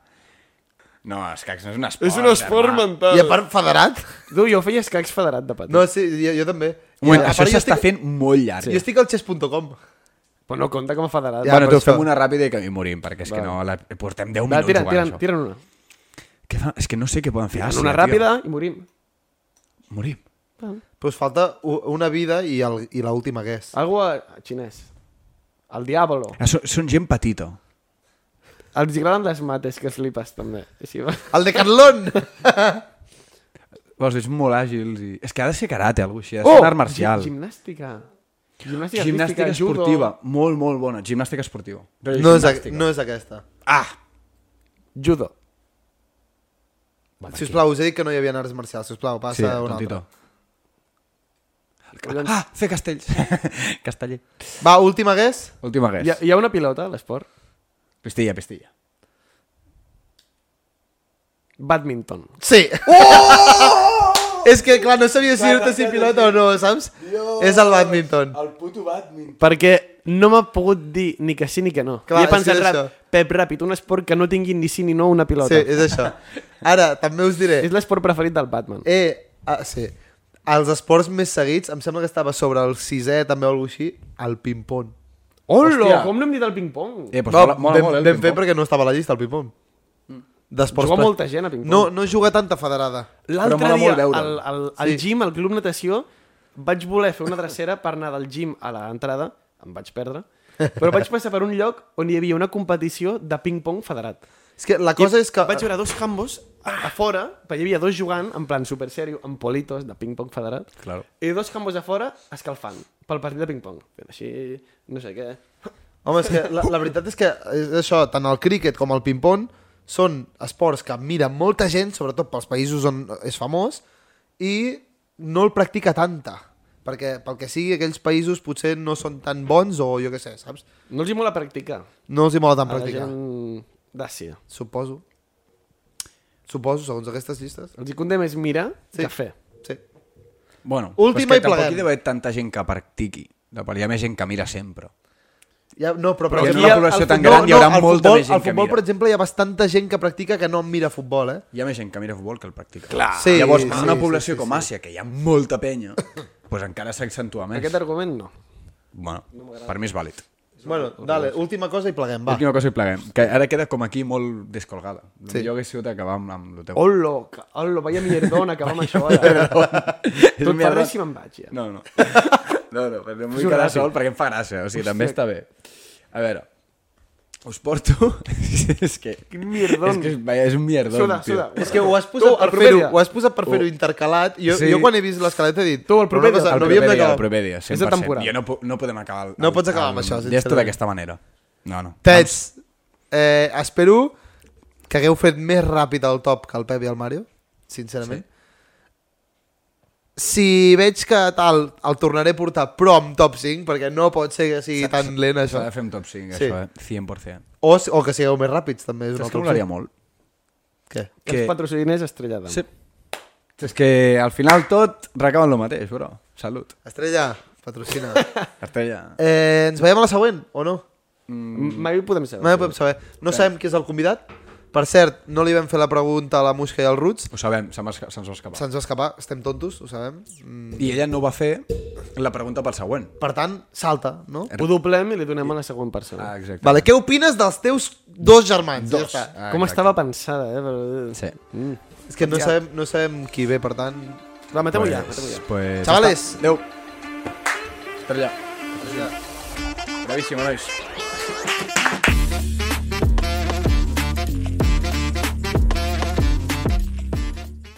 Speaker 2: No, escacs no és un esport. germà.
Speaker 1: I a part federat?
Speaker 6: Tu, jo feia escacs federat de petit.
Speaker 1: No, sí, jo, jo també.
Speaker 2: Un
Speaker 1: I
Speaker 2: moment,
Speaker 1: a- a
Speaker 2: això
Speaker 1: part jo
Speaker 2: s'està
Speaker 1: estic-
Speaker 2: fent molt llarg.
Speaker 1: Jo estic al chess.com.
Speaker 6: Però no compta com a federat.
Speaker 1: Ja,
Speaker 2: bueno,
Speaker 1: per
Speaker 2: tu, fem
Speaker 1: això.
Speaker 2: una ràpida i que hi morim, perquè és que no... La... Portem 10
Speaker 6: Va,
Speaker 2: minuts
Speaker 6: tira,
Speaker 2: jugant,
Speaker 6: tira,
Speaker 2: això.
Speaker 6: tira una.
Speaker 2: Què fa? És que no sé què poden fer
Speaker 6: Tira
Speaker 2: Àsia,
Speaker 6: una
Speaker 2: Ah, tio.
Speaker 6: ràpida i morim.
Speaker 2: Morim.
Speaker 1: Però us falta u- una vida i, el, i l'última que és.
Speaker 6: Algo a- xinès. El
Speaker 2: <laughs>
Speaker 6: diàbolo.
Speaker 2: Ah, són, són gent petita.
Speaker 6: Els agraden les mates que flipes, també. I si va...
Speaker 1: El de Carlón!
Speaker 2: Els veig molt àgils i... És que ha de ser karate, alguna cosa així. Ha de
Speaker 6: Oh!
Speaker 2: ser un art marcial.
Speaker 6: Gi- Gimnàstica. Gimnàstica,
Speaker 2: Gimnàstica
Speaker 6: artística, judo.
Speaker 2: esportiva. Molt, molt bona. Gimnàstica esportiva. Però
Speaker 1: No és, a-
Speaker 2: gimnàstica.
Speaker 1: no és aquesta.
Speaker 2: Ah!
Speaker 6: Judo.
Speaker 1: Si us plau, us he dit que no hi havia arts marcials. Si us plau, passa
Speaker 2: Sí,
Speaker 1: una
Speaker 2: tontito. Ah, fer <laughs> castells. Casteller.
Speaker 1: altra. Va, última que és?
Speaker 2: Última guess.
Speaker 6: Hi ha, hi ha una pilota a l'esport?
Speaker 2: Pistilla, pistilla.
Speaker 6: Badminton.
Speaker 1: Sí. Oh! <laughs> és que, clar, no sabia si dir-te si pilota o no, saps? És el badminton.
Speaker 6: Perquè no m'ha pogut dir ni que sí ni que no.
Speaker 1: Clar,
Speaker 6: Clar, I he
Speaker 1: és
Speaker 6: pensat,
Speaker 1: que és
Speaker 6: rap,
Speaker 1: això.
Speaker 6: Pep, ràpid, un esport que no tingui ni sí ni no una pilota.
Speaker 1: Sí, és això. Ara, també us diré...
Speaker 6: És l'esport preferit del Batman.
Speaker 1: Eh, ah, sí. Els esports més seguits, em sembla que estava sobre el sisè, també o alguna així, el ping-pong.
Speaker 6: Hola,
Speaker 2: hòstia.
Speaker 6: com no hem dit el ping-pong?
Speaker 2: Eh, doncs no, mola, mola
Speaker 1: ben,
Speaker 2: molt, eh, el
Speaker 1: ben fet
Speaker 2: ping-pong.
Speaker 1: perquè no estava a la llista, el ping-pong. D'esports...
Speaker 6: Juga
Speaker 1: pre-
Speaker 6: molta gent a ping-pong.
Speaker 1: No, no juga tanta federada.
Speaker 6: L'altre
Speaker 2: Però mola
Speaker 6: dia,
Speaker 2: molt veure'l.
Speaker 6: al, al, al
Speaker 1: Sí.
Speaker 6: sí. gym, al Club Natació, vaig voler fer una drecera per anar del gym a l'entrada, em vaig perdre, però vaig passar per un lloc on hi havia una competició de ping-pong federat.
Speaker 1: És que la cosa és que... eh,
Speaker 6: Vaig veure dos hambos a, a fora, perquè hi havia dos jugant, en plan super serio, amb politos de ping-pong federat,
Speaker 2: Claro.
Speaker 6: i dos hambos a fora escalfant pel partit de ping-pong. Fent Així, no sé què...
Speaker 1: Home, és que la, la veritat és que és això, tant el críquet com el ping-pong són esports que mira molta gent, sobretot pels països on és famós, i no el practica tanta. Perquè pel que sigui, aquells països potser no són tan bons o jo què sé, saps?
Speaker 6: No els hi mola practicar.
Speaker 1: No els hi mola tant
Speaker 6: A la
Speaker 1: practicar. Gent...
Speaker 6: gent d'Àsia.
Speaker 1: Suposo. Suposo, segons aquestes llistes.
Speaker 6: Els hi conté més mirar
Speaker 1: Sí.
Speaker 6: sí. que fer.
Speaker 1: Sí.
Speaker 2: Bueno,
Speaker 1: Última
Speaker 2: però
Speaker 1: i
Speaker 2: és que tampoc
Speaker 1: pleguem.
Speaker 2: hi deu haver tanta gent que practiqui. No, però hi ha més gent que mira sempre.
Speaker 1: Ja, no, però, per
Speaker 2: Perquè en
Speaker 1: exemple,
Speaker 2: una
Speaker 1: el-
Speaker 2: població
Speaker 1: el
Speaker 2: tan
Speaker 1: futbol-
Speaker 2: gran hi haurà
Speaker 1: el
Speaker 2: molta
Speaker 1: futbol,
Speaker 2: més gent
Speaker 1: Al
Speaker 2: que
Speaker 1: futbol,
Speaker 2: mira.
Speaker 1: per exemple, hi ha bastanta gent que practica que no mira futbol, eh?
Speaker 2: Hi ha més gent que mira futbol que el practica. Clar.
Speaker 1: Sí,
Speaker 2: Llavors, en
Speaker 1: sí,
Speaker 2: una
Speaker 1: sí,
Speaker 2: població
Speaker 1: sí,
Speaker 2: com
Speaker 1: sí.
Speaker 2: Àsia, que hi ha molta penya, doncs encara s'accentua més.
Speaker 6: Aquest argument no.
Speaker 2: Bueno, per mi és vàlid.
Speaker 1: Bueno, dale, última cosa i pleguem, va.
Speaker 2: Última cosa i pleguem, que ara queda com aquí molt descolgada. El
Speaker 1: Sí.
Speaker 2: millor hauria sigut acabar amb, amb el teu.
Speaker 6: Hola, ca- hola, vaya mierdona que vam això ara.
Speaker 2: <laughs> Tot
Speaker 6: Tot parles i me'n vaig ja.
Speaker 2: No, no. No, no, perquè em vull
Speaker 6: un
Speaker 2: quedar
Speaker 6: ràpid.
Speaker 2: sol perquè em fa gràcia. O sigui, també està bé. A veure, us porto... <laughs> és que...
Speaker 6: Quin mierdon.
Speaker 2: És que és, vaja, és un mierdon,
Speaker 6: Suda,
Speaker 2: tio.
Speaker 6: suda.
Speaker 1: És que ho has
Speaker 6: Tu,
Speaker 1: posat
Speaker 6: el
Speaker 1: per
Speaker 6: primer
Speaker 1: fer-ho,
Speaker 6: dia.
Speaker 1: ho has posat per fer-ho intercalat. Jo,
Speaker 2: Oh. Sí.
Speaker 1: jo quan he vist l'escalet he dit...
Speaker 6: Tu, el primer
Speaker 1: però
Speaker 6: dia.
Speaker 1: una cosa,
Speaker 2: El
Speaker 1: no havíem
Speaker 2: primer dia, el
Speaker 1: d'acabar.
Speaker 2: primer dia, 100%.
Speaker 6: És de temporada.
Speaker 2: Jo no, pu- no podem acabar... El,
Speaker 1: No pots acabar amb això,
Speaker 2: Ja està
Speaker 1: sincerament.
Speaker 2: d'aquesta manera. No, no.
Speaker 1: Tets, eh, espero que hagueu fet més ràpid el top que el Pep i el Mario, sincerament. Si veig que tal, el tornaré a portar, però amb top 5, perquè no pot ser que sigui tan lent
Speaker 2: S'ha
Speaker 1: això.
Speaker 2: de fer un top 5,
Speaker 1: Sí.
Speaker 2: això, eh? 100%.
Speaker 1: O, si- o que sigueu més ràpids, també és una
Speaker 2: Saps que
Speaker 1: altra
Speaker 2: m'agradaria
Speaker 1: opció.
Speaker 2: molt?
Speaker 1: Què?
Speaker 6: Que... Els patrociners estrellada.
Speaker 2: Sí. És que al final tot recau en el mateix, bro. Salut.
Speaker 1: Estrella,
Speaker 2: <laughs>
Speaker 1: patrocina.
Speaker 2: Estrella.
Speaker 1: eh, ens veiem a la següent, o no?
Speaker 6: Mm. Mai ho podem saber.
Speaker 1: No, podem saber. no sabem qui és el convidat. Per cert, no li vam fer la pregunta a la Musca i al Ruts.
Speaker 2: Ho sabem, se m'ha esca- se'ns va escapar.
Speaker 1: Se'ns va escapar, estem tontos, ho sabem. Mm.
Speaker 2: I ella no va fer la pregunta pel següent.
Speaker 1: Per tant, salta, no?
Speaker 6: Ho doblem i li donem a la següent persona.
Speaker 2: Ah, exacte.
Speaker 1: Vale, què opines dels teus dos germans? Dos. Ja està.
Speaker 2: Ah,
Speaker 6: Com
Speaker 2: exacte.
Speaker 6: estava pensada, eh? Però...
Speaker 2: Sí.
Speaker 1: És que no sabem, no sabem qui ve, per tant...
Speaker 6: Va, matem-ho ja, matem-ho
Speaker 2: Pues,
Speaker 6: ja.
Speaker 2: pues...
Speaker 1: Chavales!
Speaker 2: Adéu. Estrella. Bravíssima, nois.